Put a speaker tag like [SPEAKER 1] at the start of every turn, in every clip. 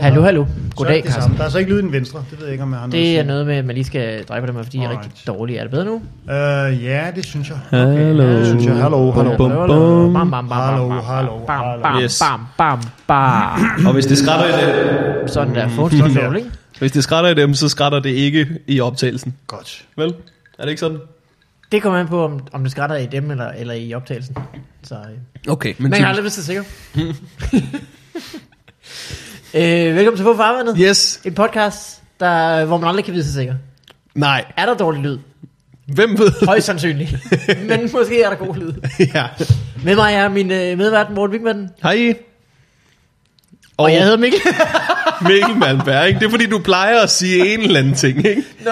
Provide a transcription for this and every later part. [SPEAKER 1] Hallo, hallo.
[SPEAKER 2] så er
[SPEAKER 1] Goddag,
[SPEAKER 2] det det
[SPEAKER 1] Carsten.
[SPEAKER 2] samme. Der er så ikke lyd i den venstre. Det ved jeg ikke, om jeg har noget
[SPEAKER 1] Det er
[SPEAKER 2] at
[SPEAKER 1] noget med, at man lige skal dreje på dem, fordi jeg er
[SPEAKER 2] Alright.
[SPEAKER 1] rigtig dårlig. Er det bedre nu?
[SPEAKER 2] sige. Øh, ja, det synes jeg.
[SPEAKER 3] Hallo.
[SPEAKER 2] Det synes jeg. Hallo, hallo.
[SPEAKER 3] Bum, bum.
[SPEAKER 1] Bam, bam, bam,
[SPEAKER 2] Hallo,
[SPEAKER 1] bam,
[SPEAKER 2] hallo,
[SPEAKER 1] bam, bam,
[SPEAKER 2] hallo.
[SPEAKER 1] bam,
[SPEAKER 3] Yes.
[SPEAKER 1] bam, bam, bam.
[SPEAKER 3] Og hvis det skrætter i dem,
[SPEAKER 1] Sådan der. Få en større rolle, ikke?
[SPEAKER 3] hvis det skrætter i dem, så skrætter det ikke i optagelsen.
[SPEAKER 2] Godt.
[SPEAKER 3] Vel? Er det ikke sådan?
[SPEAKER 1] Det kommer an på, om, om det skrætter i dem eller, eller i optagelsen. Så, øh.
[SPEAKER 3] Okay,
[SPEAKER 1] Men jeg har aldrig været så sikker. øh, velkommen til På Farvandet.
[SPEAKER 3] Yes.
[SPEAKER 1] En podcast, der, hvor man aldrig kan vide sig sikker.
[SPEAKER 3] Nej.
[SPEAKER 1] Er der dårlig lyd?
[SPEAKER 3] Hvem ved?
[SPEAKER 1] Højst sandsynligt. Men måske er der god lyd.
[SPEAKER 3] ja.
[SPEAKER 1] Med mig er min øh, medvært Morten Wigman.
[SPEAKER 3] Hej.
[SPEAKER 1] Og, og jeg hedder Mikkel.
[SPEAKER 3] Mikkel Malmberg, ikke? Det er fordi, du plejer at sige en eller anden ting, ikke?
[SPEAKER 1] Nå,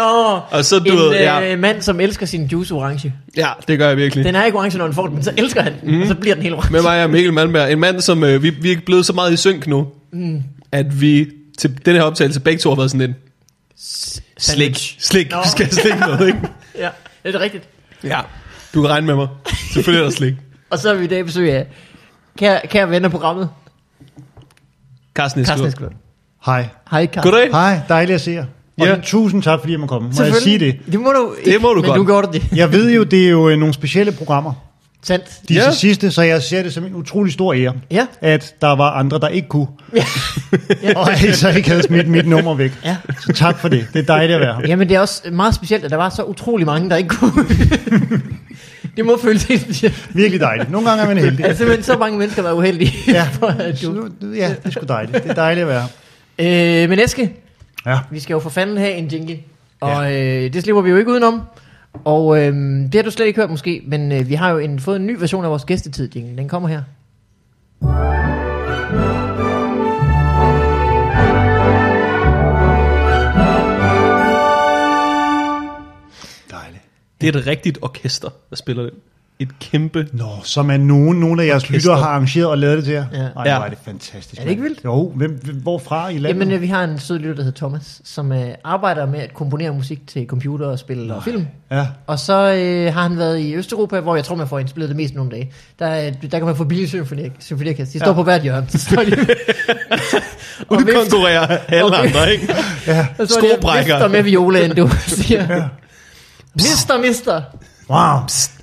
[SPEAKER 3] Og så, du
[SPEAKER 1] en
[SPEAKER 3] ved,
[SPEAKER 1] øh,
[SPEAKER 3] ja.
[SPEAKER 1] mand, som elsker sin juice orange.
[SPEAKER 3] Ja, det gør jeg virkelig.
[SPEAKER 1] Den er ikke orange, når han får den, men så elsker han den, mm. og så bliver den helt orange.
[SPEAKER 3] Med mig er Mikkel Malmberg. En mand, som øh, vi, vi er blevet så meget i synk nu, mm. at vi til den her optagelse begge to har været sådan lidt... Slik. Slik.
[SPEAKER 1] Nå.
[SPEAKER 3] Vi skal slik noget, ikke?
[SPEAKER 1] Ja, det er rigtigt.
[SPEAKER 3] Ja. Du kan regne med mig. Selvfølgelig er der slik.
[SPEAKER 1] Og så er vi i dag i besøg af kære, kære venner af programmet,
[SPEAKER 3] Carsten
[SPEAKER 1] Carsten
[SPEAKER 3] Eskelund.
[SPEAKER 1] Eskelund.
[SPEAKER 2] Hej.
[SPEAKER 1] Hej, Carsten.
[SPEAKER 3] Goddag.
[SPEAKER 2] Hej, dejligt at se jer. Og
[SPEAKER 3] Ja.
[SPEAKER 2] ja. tusind tak, fordi jeg må komme. Må jeg sige det?
[SPEAKER 1] Det må du ikke,
[SPEAKER 3] Det må du
[SPEAKER 1] men
[SPEAKER 3] godt.
[SPEAKER 1] du gjorde det.
[SPEAKER 2] Jeg ved jo, det er jo øh, nogle specielle programmer,
[SPEAKER 1] Sandt.
[SPEAKER 2] de
[SPEAKER 3] Ja.
[SPEAKER 2] ja. sidste, så jeg ser det som en utrolig stor ære,
[SPEAKER 1] Ja.
[SPEAKER 2] at der var andre, der ikke kunne,
[SPEAKER 1] Ja.
[SPEAKER 2] og at I så ikke havde smidt mit nummer væk.
[SPEAKER 1] ja.
[SPEAKER 2] Så tak for det. Det er dejligt at være her.
[SPEAKER 1] Jamen, det er også meget specielt, at der var så utrolig mange, der ikke kunne. det må føles helt specielt.
[SPEAKER 2] Virkelig dejligt. Nogle gange er man heldig.
[SPEAKER 1] Altså, men så mange mennesker var uheldige.
[SPEAKER 2] Ja.
[SPEAKER 1] for, at
[SPEAKER 2] Så
[SPEAKER 1] du...
[SPEAKER 2] nu- ja, det er sgu dejligt. Det er dejligt at være her.
[SPEAKER 1] øh, men Eske,
[SPEAKER 2] Ja.
[SPEAKER 1] Vi skal jo for fanden have en jingle, og øh, det slipper vi jo ikke udenom. Og øh, det har du slet ikke hørt måske, men øh, vi har jo en, fået en ny version af vores gæstetid jingle. Den kommer her.
[SPEAKER 2] Dejligt.
[SPEAKER 3] Det er et rigtigt orkester, der spiller det. Et kæmpe...
[SPEAKER 2] Nå, som er nogen, nogle af jeres
[SPEAKER 3] Orkester.
[SPEAKER 2] lyttere har arrangeret og lavet det til jer.
[SPEAKER 1] Ja.
[SPEAKER 2] Ja. Ej,
[SPEAKER 3] Ja.
[SPEAKER 2] ja. er det fantastisk.
[SPEAKER 1] Er det ikke
[SPEAKER 2] mand.
[SPEAKER 1] vildt?
[SPEAKER 2] Jo, hvem, hvem- hvorfra i landet?
[SPEAKER 1] Jamen, øh, vi har en sød lytter, der hedder Thomas, som øh, arbejder med at komponere musik til computer og spil og film.
[SPEAKER 2] ja.
[SPEAKER 1] Og så øh, har han været i Østeuropa, hvor jeg tror, man får indspillet det mest nogle dage. Der, øh, der kan man få billige symfoni- symfoniorkester. De står på hvert hjørne. Så står de,
[SPEAKER 3] Og du
[SPEAKER 1] vifter-
[SPEAKER 3] konkurrerer alle
[SPEAKER 1] og vif-
[SPEAKER 3] andre, ikke?
[SPEAKER 1] og så står de og
[SPEAKER 3] Skobrækker.
[SPEAKER 1] vifter med violaen, du siger. Mister, mister,
[SPEAKER 2] Wow.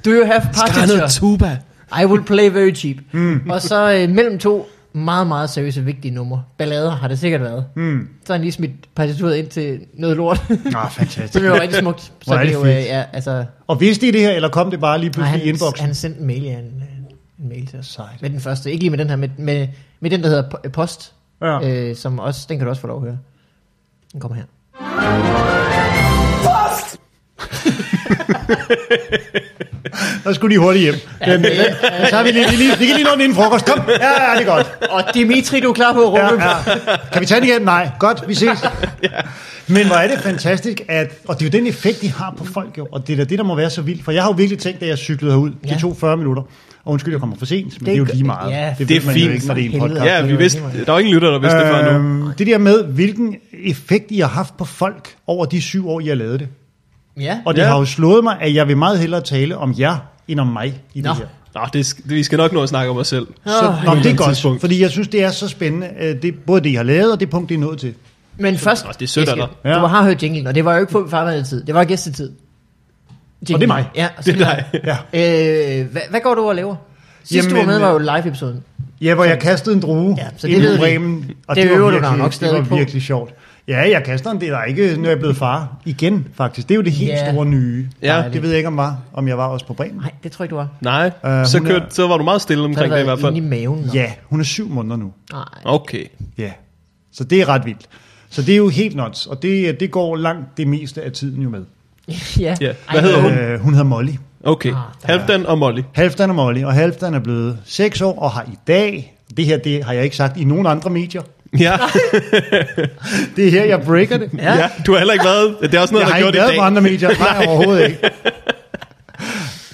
[SPEAKER 1] do you have partiture?
[SPEAKER 3] tuba.
[SPEAKER 1] I will play very cheap. Mm. Og så øh, mellem to meget, meget seriøse, vigtige numre. Ballader har det sikkert været. Mm. Så har han lige smidt partituret ind til noget lort.
[SPEAKER 2] Nå,
[SPEAKER 1] så
[SPEAKER 2] fantastisk.
[SPEAKER 1] det var rigtig smukt. Så
[SPEAKER 2] Hvor er det
[SPEAKER 1] jo,
[SPEAKER 2] fedt.
[SPEAKER 1] øh, ja, altså,
[SPEAKER 2] Og vidste I det her, eller kom det bare lige
[SPEAKER 1] nej,
[SPEAKER 2] pludselig i
[SPEAKER 1] han,
[SPEAKER 2] inboxen?
[SPEAKER 1] han sendte en mail, ja, en, øh, en mail til os.
[SPEAKER 2] Sejt.
[SPEAKER 1] Med den første. Ikke lige med den her, med, med, med den, der hedder po- øh, Post.
[SPEAKER 2] Ja.
[SPEAKER 1] Øh, som også, den kan du også få lov at høre. Den kommer her.
[SPEAKER 2] Der skulle de hurtigt hjem. Den,
[SPEAKER 1] det-
[SPEAKER 2] den, så har vi lige, vi lige, vi kan lige nå den inden frokost. Kom, ja, ja, det er godt.
[SPEAKER 1] Og Dimitri, du er klar på at
[SPEAKER 2] Ja,
[SPEAKER 1] rumme?
[SPEAKER 2] ja. Kan vi tage den igen? Nej. Godt, vi ses. Men hvor er det fantastisk, at, og det er jo den effekt, de har på folk jo, og det er da det, der må være så vildt, for jeg har jo virkelig tænkt, da jeg cyklede herud, det
[SPEAKER 1] Ja.
[SPEAKER 2] tog 40 minutter, og undskyld, jeg kommer for sent, men det, det er jo
[SPEAKER 1] gør-
[SPEAKER 2] lige meget.
[SPEAKER 1] ja,
[SPEAKER 2] det,
[SPEAKER 3] det
[SPEAKER 2] ved
[SPEAKER 3] er
[SPEAKER 2] man
[SPEAKER 3] fint.
[SPEAKER 2] jo ikke, når det er en
[SPEAKER 1] For helvede.
[SPEAKER 2] podcast.
[SPEAKER 3] Ja, vi vidste... Der var ingen lytter, der vidste det før nu.
[SPEAKER 2] Øhm, det der med, hvilken effekt I har haft på folk over de syv år, I har lavet det.
[SPEAKER 1] ja.
[SPEAKER 2] Og det
[SPEAKER 3] Ja.
[SPEAKER 2] ja. har jo slået mig, at jeg vil meget hellere tale om jer, end om mig i
[SPEAKER 1] Nå.
[SPEAKER 2] det her.
[SPEAKER 3] Nå, det, sk- det, vi skal nok nå at snakke om os selv.
[SPEAKER 2] Så,
[SPEAKER 1] Åh,
[SPEAKER 2] nå, det er
[SPEAKER 3] andet
[SPEAKER 2] godt,
[SPEAKER 3] tidspunkt.
[SPEAKER 2] fordi jeg synes, det er så spændende, øh, det, både det, I har lavet, og det punkt, det er nået til.
[SPEAKER 1] Men først,
[SPEAKER 3] Nå, det er sødt af dig.
[SPEAKER 1] Ja.
[SPEAKER 2] Ja.
[SPEAKER 1] Du har hørt jinglen, og det var jo ikke på farvandet tid. Det var gæstetid. Jinglen.
[SPEAKER 2] Og det er mig.
[SPEAKER 1] Ja,
[SPEAKER 3] Det er
[SPEAKER 1] det
[SPEAKER 3] dig.
[SPEAKER 2] Ja.
[SPEAKER 1] er øh, hvad, hvad går du og laver? Sidst du var
[SPEAKER 2] Jamen,
[SPEAKER 1] med,
[SPEAKER 2] øh,
[SPEAKER 1] var jo live-episoden.
[SPEAKER 2] Ja, hvor jeg kastede en drue
[SPEAKER 1] Ja,
[SPEAKER 2] ja,
[SPEAKER 1] så
[SPEAKER 2] så
[SPEAKER 1] det
[SPEAKER 2] ind
[SPEAKER 1] ved vi.
[SPEAKER 2] i Bremen. Og
[SPEAKER 1] Det
[SPEAKER 2] det,
[SPEAKER 1] øver
[SPEAKER 2] var
[SPEAKER 1] du
[SPEAKER 2] virkelig,
[SPEAKER 1] dig nok stadig
[SPEAKER 2] det
[SPEAKER 1] på.
[SPEAKER 2] var virkelig sjovt. Ja, jeg kaster en del, og ikke, når jeg er blevet far igen, faktisk. Det er jo det helt
[SPEAKER 1] Ja.
[SPEAKER 2] yeah. store nye.
[SPEAKER 3] Ja.
[SPEAKER 2] Det ved jeg ikke, om, var, om jeg var også på Bremen.
[SPEAKER 1] Nej, det tror jeg ikke, du var.
[SPEAKER 3] Nej,
[SPEAKER 2] Øh,
[SPEAKER 3] så,
[SPEAKER 2] hun er-
[SPEAKER 3] kørte, så var du meget stille
[SPEAKER 1] Så har
[SPEAKER 3] omkring
[SPEAKER 1] du
[SPEAKER 3] det i hvert
[SPEAKER 1] været
[SPEAKER 3] fald.
[SPEAKER 1] inde i maven. nå.
[SPEAKER 2] Ja, hun er syv måneder nu.
[SPEAKER 1] Nej.
[SPEAKER 3] Okay.
[SPEAKER 2] Ja, så det er ret vildt. Så det er jo helt nuts, og det, det går langt det meste af tiden jo med.
[SPEAKER 1] ja.
[SPEAKER 3] Ja. Hvad hedder hun?
[SPEAKER 2] Øh, hun hedder Molly.
[SPEAKER 3] Okay.
[SPEAKER 1] Ah, der er-
[SPEAKER 3] Halvdan og Molly.
[SPEAKER 2] Halvdan er Molly, og Halvdan er blevet 6 år og har i dag, det her det har jeg ikke sagt i nogen andre medier,
[SPEAKER 3] Ja,
[SPEAKER 2] det er her, jeg breaker det.
[SPEAKER 1] Ja.
[SPEAKER 3] ja. du har heller ikke været... Det er også noget,
[SPEAKER 2] jeg
[SPEAKER 3] der
[SPEAKER 2] har
[SPEAKER 3] gjort
[SPEAKER 2] ikke
[SPEAKER 3] i
[SPEAKER 2] været
[SPEAKER 3] dag.
[SPEAKER 2] på andre medier. Nej, overhovedet ikke.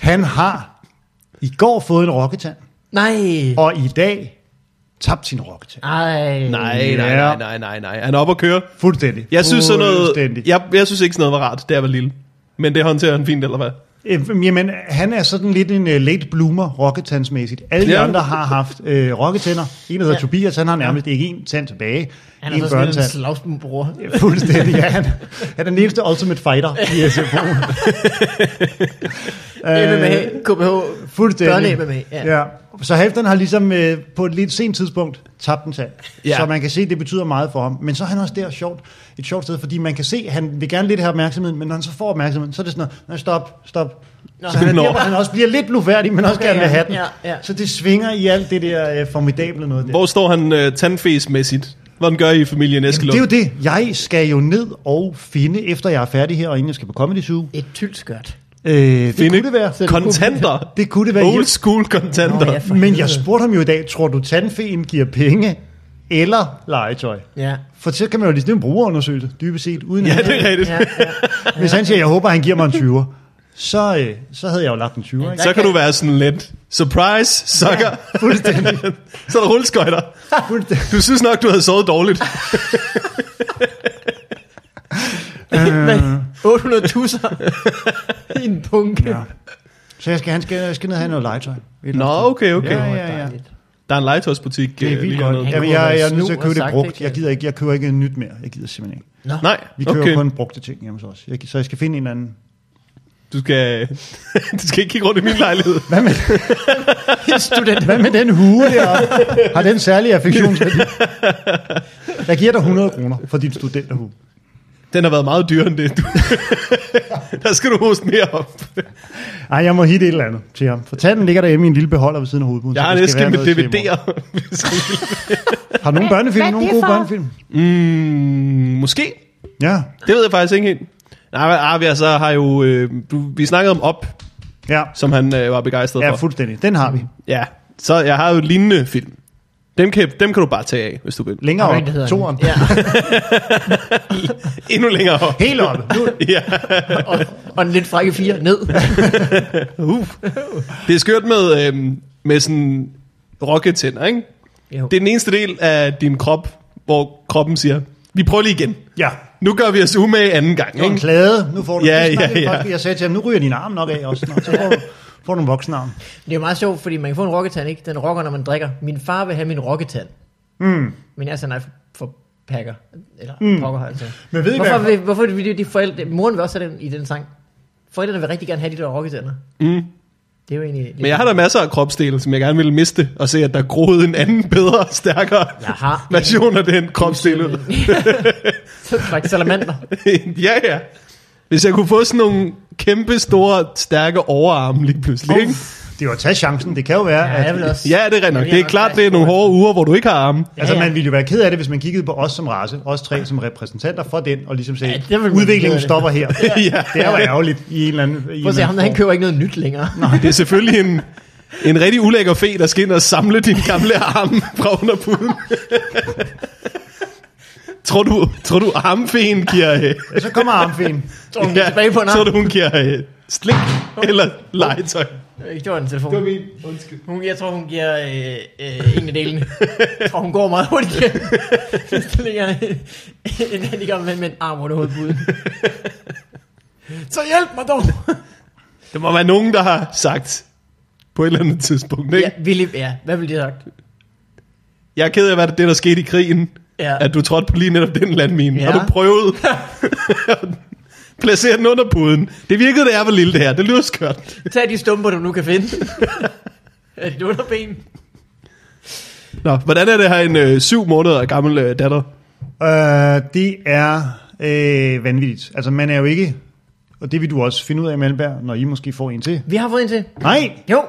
[SPEAKER 2] Han har i går fået en rokketand,
[SPEAKER 1] Nej.
[SPEAKER 2] og i dag tabt sin rokketand.
[SPEAKER 1] Ej.
[SPEAKER 3] Nej, nej, nej, nej, nej, nej. Han er oppe at køre.
[SPEAKER 2] Fuldstændig.
[SPEAKER 3] Jeg synes sådan noget...
[SPEAKER 2] Fuldstændig.
[SPEAKER 3] Jeg, jeg synes ikke sådan noget var rart, da jeg var lille. Men det håndterer han fint, eller hvad?
[SPEAKER 2] Øh, jamen, han er sådan lidt en uh, late bloomer rocketansmæssigt. Alle de
[SPEAKER 3] Ja.
[SPEAKER 2] andre har haft øh, rocketænder. En, der hedder
[SPEAKER 1] Ja.
[SPEAKER 2] ja. Tobias, han har nærmest ikke en tand tilbage.
[SPEAKER 1] Han
[SPEAKER 2] en
[SPEAKER 1] er så sådan en
[SPEAKER 2] børnetand.
[SPEAKER 1] slagsbror.
[SPEAKER 2] Ja, Fuldstændig, ja. Han, han er den eneste ultimate fighter i øh, SFO.
[SPEAKER 1] MMA, KBH,
[SPEAKER 2] Fuldstændig.
[SPEAKER 1] børne-MMA. Ja.
[SPEAKER 2] Ja. Så Halfdan har ligesom øh, på et lidt sent tidspunkt tabt en tand.
[SPEAKER 3] Ja.
[SPEAKER 2] Ja. Så man kan se, at det betyder meget for ham. Men så er han også der sjovt, et sjovt sted, fordi man kan se, at han vil gerne lidt have opmærksomheden, men når han så får opmærksomheden, så er det sådan noget, "Nå, stop, stop.
[SPEAKER 1] Nå.
[SPEAKER 2] Nå. Så han er
[SPEAKER 3] Nå.
[SPEAKER 2] der, hvor han også bliver lidt blufærdig, men også
[SPEAKER 1] Okay,
[SPEAKER 2] okay, gerne vil
[SPEAKER 1] ja.
[SPEAKER 2] have den.
[SPEAKER 1] Ja, ja.
[SPEAKER 2] Så det svinger i alt det der øh, formidable noget der.
[SPEAKER 3] Hvor står han øh, tandfæsmæssigt? Hvordan gør I i familien
[SPEAKER 2] Jamen,
[SPEAKER 3] Eskelund?
[SPEAKER 2] det er jo det. Jeg skal jo ned og finde, efter jeg er færdig her, og inden jeg skal på Comedy Zoo.
[SPEAKER 1] Et tylskørt.
[SPEAKER 2] Øh, det
[SPEAKER 3] Finde
[SPEAKER 2] kunne det være.
[SPEAKER 3] kontanter.
[SPEAKER 2] Det kunne det være.
[SPEAKER 3] Old school kontanter.
[SPEAKER 1] Nå, ja.
[SPEAKER 3] ja.
[SPEAKER 1] for
[SPEAKER 2] Men
[SPEAKER 1] helvede.
[SPEAKER 2] jeg spurgte ham jo i dag, tror du tandfeen giver penge eller legetøj?
[SPEAKER 1] Ja.
[SPEAKER 2] For så kan man jo lige, det er en brugerundersøgelse, dybest set. Uden ja,
[SPEAKER 3] det er rigtigt.
[SPEAKER 1] Ja, ja.
[SPEAKER 2] Hvis han siger, jeg håber, han giver mig en 20'er, så, øh, så havde jeg jo lagt en 20'er. Ikke?
[SPEAKER 3] Så kan du være sådan lidt, surprise, sucker. Ja.
[SPEAKER 2] Fuldstændig,
[SPEAKER 3] Så er der rulleskøjter.
[SPEAKER 2] fuldstændig.
[SPEAKER 3] Du synes nok, du havde sovet dårligt.
[SPEAKER 2] Øh.
[SPEAKER 1] Men 800 tusser i en bunke.
[SPEAKER 2] Ja. Så jeg skal, han skal, jeg skal ned og have noget legetøj. Et eller
[SPEAKER 3] Nå,
[SPEAKER 2] andet
[SPEAKER 3] okay, okay.
[SPEAKER 2] Ja,
[SPEAKER 1] Åh,
[SPEAKER 2] ja, ja.
[SPEAKER 1] dejligt.
[SPEAKER 3] Der er en legetøjsbutik.
[SPEAKER 2] sted. Det er
[SPEAKER 3] øh,
[SPEAKER 2] vildt
[SPEAKER 3] lige
[SPEAKER 2] godt.
[SPEAKER 1] Han
[SPEAKER 3] hernede.
[SPEAKER 2] Jamen,
[SPEAKER 1] kunne have
[SPEAKER 2] jeg, jeg er
[SPEAKER 1] været
[SPEAKER 2] nødt til
[SPEAKER 1] snu
[SPEAKER 2] at købe
[SPEAKER 1] og
[SPEAKER 2] det
[SPEAKER 1] sagt,
[SPEAKER 2] brugt.
[SPEAKER 1] ikke?
[SPEAKER 2] Jeg gider ikke, jeg køber ikke nyt mere. Jeg gider simpelthen ikke.
[SPEAKER 1] Nå.
[SPEAKER 3] Nej,
[SPEAKER 2] Vi køber
[SPEAKER 3] okay.
[SPEAKER 2] kun brugte ting hjemme hos os. Jeg, så jeg skal finde en eller anden.
[SPEAKER 3] Du skal, du skal ikke kigge rundt i min lejlighed.
[SPEAKER 2] Hvad med,
[SPEAKER 1] Student.
[SPEAKER 2] hvad med den hue der? Har den særlige affektionsværdi? Jeg giver dig 100 kroner for din studenterhue.
[SPEAKER 3] Den har været meget dyrere end det. Du. der skal du hoste mere op.
[SPEAKER 2] Ej, jeg må hitte et eller andet til ham. For tanden ligger derhjemme i en lille beholder ved siden af hovedbuden.
[SPEAKER 3] Jeg
[SPEAKER 2] så
[SPEAKER 3] har
[SPEAKER 2] der
[SPEAKER 3] en
[SPEAKER 2] skal være
[SPEAKER 3] æske med
[SPEAKER 2] noget til i morgen.
[SPEAKER 3] DVD'er.
[SPEAKER 2] Har du nogen
[SPEAKER 4] Hvad-
[SPEAKER 2] børnefilm?
[SPEAKER 4] hvad er
[SPEAKER 2] Nogle
[SPEAKER 4] det
[SPEAKER 2] gode
[SPEAKER 4] for?
[SPEAKER 2] børnefilm?
[SPEAKER 3] mm, måske.
[SPEAKER 2] Ja.
[SPEAKER 3] Det ved jeg faktisk ikke helt. Nej, men ah, vi altså har jo... Øh, du, vi snakkede om Op,
[SPEAKER 2] Ja.
[SPEAKER 3] som han øh, var begejstret
[SPEAKER 2] Ja,
[SPEAKER 3] for.
[SPEAKER 2] fuldstændig. Den har vi.
[SPEAKER 3] Ja, så jeg har jo en lignende film. Dem kan, dem kan du bare tage af, hvis du vil.
[SPEAKER 2] Længere
[SPEAKER 1] Hvad
[SPEAKER 2] op.
[SPEAKER 1] er det, hedder den?
[SPEAKER 2] Toren.
[SPEAKER 1] Ja.
[SPEAKER 3] Endnu længere op.
[SPEAKER 2] Helt op. Nu.
[SPEAKER 3] ja.
[SPEAKER 1] Og, og en lidt frække fire ned.
[SPEAKER 3] Uh. Det er skørt med, øh, med sådan rocketænder, ikke?
[SPEAKER 1] Jo.
[SPEAKER 3] Det er den eneste del af din krop, hvor kroppen siger, vi prøver lige igen.
[SPEAKER 2] Ja.
[SPEAKER 3] Nu gør vi os umage anden gang,
[SPEAKER 2] Det var en
[SPEAKER 3] ikke?
[SPEAKER 2] klade. Nu får du
[SPEAKER 3] Ja,
[SPEAKER 2] det snakkede
[SPEAKER 3] ja,
[SPEAKER 2] vi
[SPEAKER 3] ja.
[SPEAKER 2] faktisk. Jeg sagde til ham, nu ryger din arm nok af også. Nå, Så får du, får du en voksenarm.
[SPEAKER 1] Det er jo meget sjovt, fordi man kan få en rocketand, ikke? Den rocker, når man drikker. Min far vil have min rocketand.
[SPEAKER 2] Mm.
[SPEAKER 1] Men jeg sagde nej for, for pakker. Eller mm. pokker, altså.
[SPEAKER 2] Men ved I
[SPEAKER 1] hvorfor,
[SPEAKER 2] hvad?
[SPEAKER 1] vil, hvorfor vil de, de forældre... Moren vil også have den i den sang. Forældrene vil rigtig gerne have de der rocketander.
[SPEAKER 3] Mm.
[SPEAKER 1] Det er jo egentlig... lidt-
[SPEAKER 3] Men jeg har da masser af kropsdele, som jeg gerne vil miste, og se, at der er groet en anden bedre, stærkere
[SPEAKER 1] Jeg har en-
[SPEAKER 3] version af den kropsdel ud.
[SPEAKER 1] Så faktisk salamander.
[SPEAKER 3] ja, ja. Hvis jeg kunne få sådan nogle kæmpe, store, stærke overarme lige pludselig, ikke?
[SPEAKER 2] Det er jo at tage chancen. Det kan jo være,
[SPEAKER 1] Ja, jeg
[SPEAKER 2] at
[SPEAKER 1] vil også.
[SPEAKER 3] Ja, det er rent nok.
[SPEAKER 1] Ja,
[SPEAKER 3] Det er klart, det er nogle hårde uger, hvor du ikke har arme.
[SPEAKER 2] Altså,
[SPEAKER 1] Ja, ja.
[SPEAKER 2] man ville jo være ked af det, hvis man kiggede på os som race, os tre som repræsentanter for den, og ligesom
[SPEAKER 1] Ja,
[SPEAKER 2] sagde,
[SPEAKER 1] det
[SPEAKER 2] ja,
[SPEAKER 1] ville man blive ked af
[SPEAKER 2] udviklingen
[SPEAKER 1] det."
[SPEAKER 2] stopper her.
[SPEAKER 3] Ja.
[SPEAKER 2] Det er jo ærgerligt i en eller anden... i en
[SPEAKER 1] Prøv at se,
[SPEAKER 2] eller
[SPEAKER 1] ham der,
[SPEAKER 2] anden
[SPEAKER 1] han køber ikke noget nyt længere.
[SPEAKER 3] Det er selvfølgelig en, en rigtig ulækker fe, der skal ind og samle din gamle arm fra under puden. tror du, tror du armfeen giver... Øh,
[SPEAKER 2] form. Så kommer armfen.
[SPEAKER 1] Tror du, hun er tilbage på en
[SPEAKER 3] Tror
[SPEAKER 1] arm?
[SPEAKER 3] du, hun giver øh, slik eller legetøj?
[SPEAKER 1] Det var en telefon.
[SPEAKER 3] min. Undskyld.
[SPEAKER 1] Hun, jeg tror, hun giver øh, øh, en af delene. Jeg tror, hun går meget hurtigt. Så ligger en handicap med, med en arm under hovedpuden. Så hjælp mig dog!
[SPEAKER 3] Det må være nogen, der har sagt på et eller andet tidspunkt, ikke?
[SPEAKER 1] Ja, Willy, ja, hvad ville de have sagt?
[SPEAKER 3] Jeg er ked af, hvad det der skete i krigen,
[SPEAKER 1] Ja.
[SPEAKER 3] at du trådte på lige netop den landmine.
[SPEAKER 1] Ja.
[SPEAKER 3] Har du prøvet at placere den under puden? Det virkede, det er for lille det her. Det lyder skørt.
[SPEAKER 1] Tag de stumper, du nu kan finde. er det underben?
[SPEAKER 3] Nå, hvordan er det her en øh, syv måneder gammel øh, datter?
[SPEAKER 2] Øh, det er øh, vanvittigt. Altså, man er jo ikke... Og det vil du også finde ud af, Malberg, når I måske får en til.
[SPEAKER 1] Vi har fået en til.
[SPEAKER 2] Nej,
[SPEAKER 1] Jo,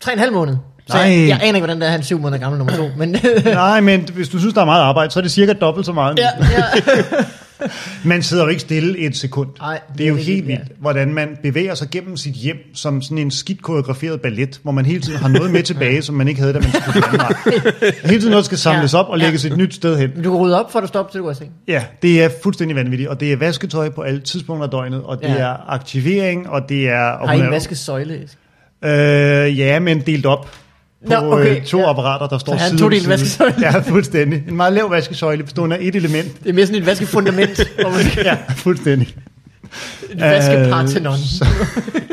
[SPEAKER 1] tre og en halv måned. Så
[SPEAKER 2] Nej.
[SPEAKER 1] jeg, jeg, aner ikke, hvordan det er, han er syv måneder gammel nummer to. Men ja,
[SPEAKER 2] nej, men hvis du synes, der er meget arbejde, så er det cirka dobbelt så meget.
[SPEAKER 1] ja,
[SPEAKER 2] Man sidder jo ikke stille et sekund.
[SPEAKER 1] Ej,
[SPEAKER 2] det, er jo
[SPEAKER 1] det er
[SPEAKER 2] helt
[SPEAKER 1] vildt,
[SPEAKER 2] vildt, hvordan man bevæger sig gennem sit hjem som sådan en skidt koreograferet ballet, hvor man hele tiden har noget med tilbage, som man ikke havde, da man skulle på Danmark. Hele tiden noget skal samles
[SPEAKER 1] Ja,
[SPEAKER 2] op og
[SPEAKER 1] ja.
[SPEAKER 2] lægges et nyt sted hen.
[SPEAKER 1] Men du kan rydde op, for du stopper, til du går i seng.
[SPEAKER 2] Ja, det er fuldstændig vanvittigt, og det er vasketøj på alle tidspunkter af døgnet, og det
[SPEAKER 1] Ja.
[SPEAKER 2] er aktivering, og det er... Og
[SPEAKER 1] Har I
[SPEAKER 2] hun
[SPEAKER 1] en
[SPEAKER 2] er-
[SPEAKER 1] vaskesøjle?
[SPEAKER 2] Øh, ja, men delt op på
[SPEAKER 1] Nå, okay,
[SPEAKER 2] okay, to
[SPEAKER 1] ja.
[SPEAKER 2] ja. apparater, der står
[SPEAKER 1] Så han
[SPEAKER 2] side
[SPEAKER 1] tog
[SPEAKER 2] om
[SPEAKER 1] delt
[SPEAKER 2] side.
[SPEAKER 1] vaskesøjle.
[SPEAKER 2] Ja, fuldstændig. En meget lav vaskesøjle bestående af et element.
[SPEAKER 1] Det er mere sådan et vaskefundament, hvor man
[SPEAKER 2] Ja, fuldstændig.
[SPEAKER 1] et vaskepartenon.
[SPEAKER 2] Øh, så- Øh,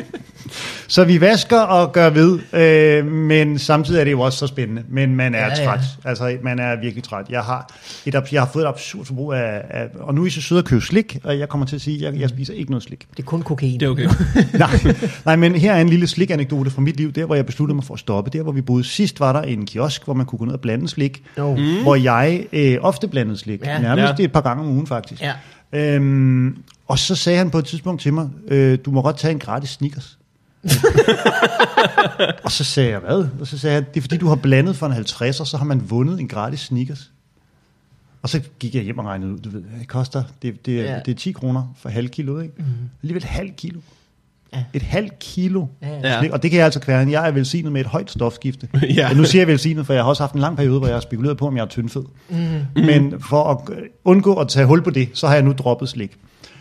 [SPEAKER 2] Så vi vasker og gør ved, øh, men samtidig er det jo også så spændende. Men man er
[SPEAKER 1] Ja, ja.
[SPEAKER 2] ja, træt. Altså, man er virkelig træt. Jeg har, et, abs- jeg har fået et absurd forbrug af, af... Og nu er I så søde at købe slik, og jeg kommer til at sige, at jeg, jeg spiser ikke noget slik.
[SPEAKER 1] Det er kun kokain.
[SPEAKER 3] Det er okay.
[SPEAKER 2] nej, nej, men her er en lille slikanekdote fra mit liv, der hvor jeg besluttede mig for at stoppe. Der hvor vi boede sidst, var der en kiosk, hvor man kunne gå ned og blande slik.
[SPEAKER 1] Jo. Mm.
[SPEAKER 2] Hvor jeg øh, ofte blandede slik.
[SPEAKER 1] Ja.
[SPEAKER 2] Ja, Nærmest
[SPEAKER 3] Ja.
[SPEAKER 2] ja. et par gange om ugen faktisk.
[SPEAKER 1] Ja.
[SPEAKER 2] Øhm, og så sagde han på et tidspunkt til mig, øh, du må godt tage en gratis Snickers. og så sagde jeg, hvad? Og så sagde han, det er fordi du har blandet for en 50'er, så har man vundet en gratis Snickers. Og så gik jeg hjem og regnede ud, du ved, det koster, det, det,
[SPEAKER 1] Ja. Mhm.
[SPEAKER 2] ja. det er 10 kroner for halv kilo, ikke? Mm. Alligevel halv kilo.
[SPEAKER 1] Ja.
[SPEAKER 2] Et halvt kilo.
[SPEAKER 1] Ja.
[SPEAKER 3] Ja.
[SPEAKER 2] Ja. Og det kan jeg altså kværne. Jeg er velsignet med et højt stofskifte.
[SPEAKER 3] Ja.
[SPEAKER 2] Og nu siger jeg velsignet, for jeg har også haft en lang periode, hvor jeg har spekuleret på, om jeg er tyndfed.
[SPEAKER 3] Mhm.
[SPEAKER 2] Mm. Men for at øh, undgå at tage hul på det, så har jeg nu droppet slik.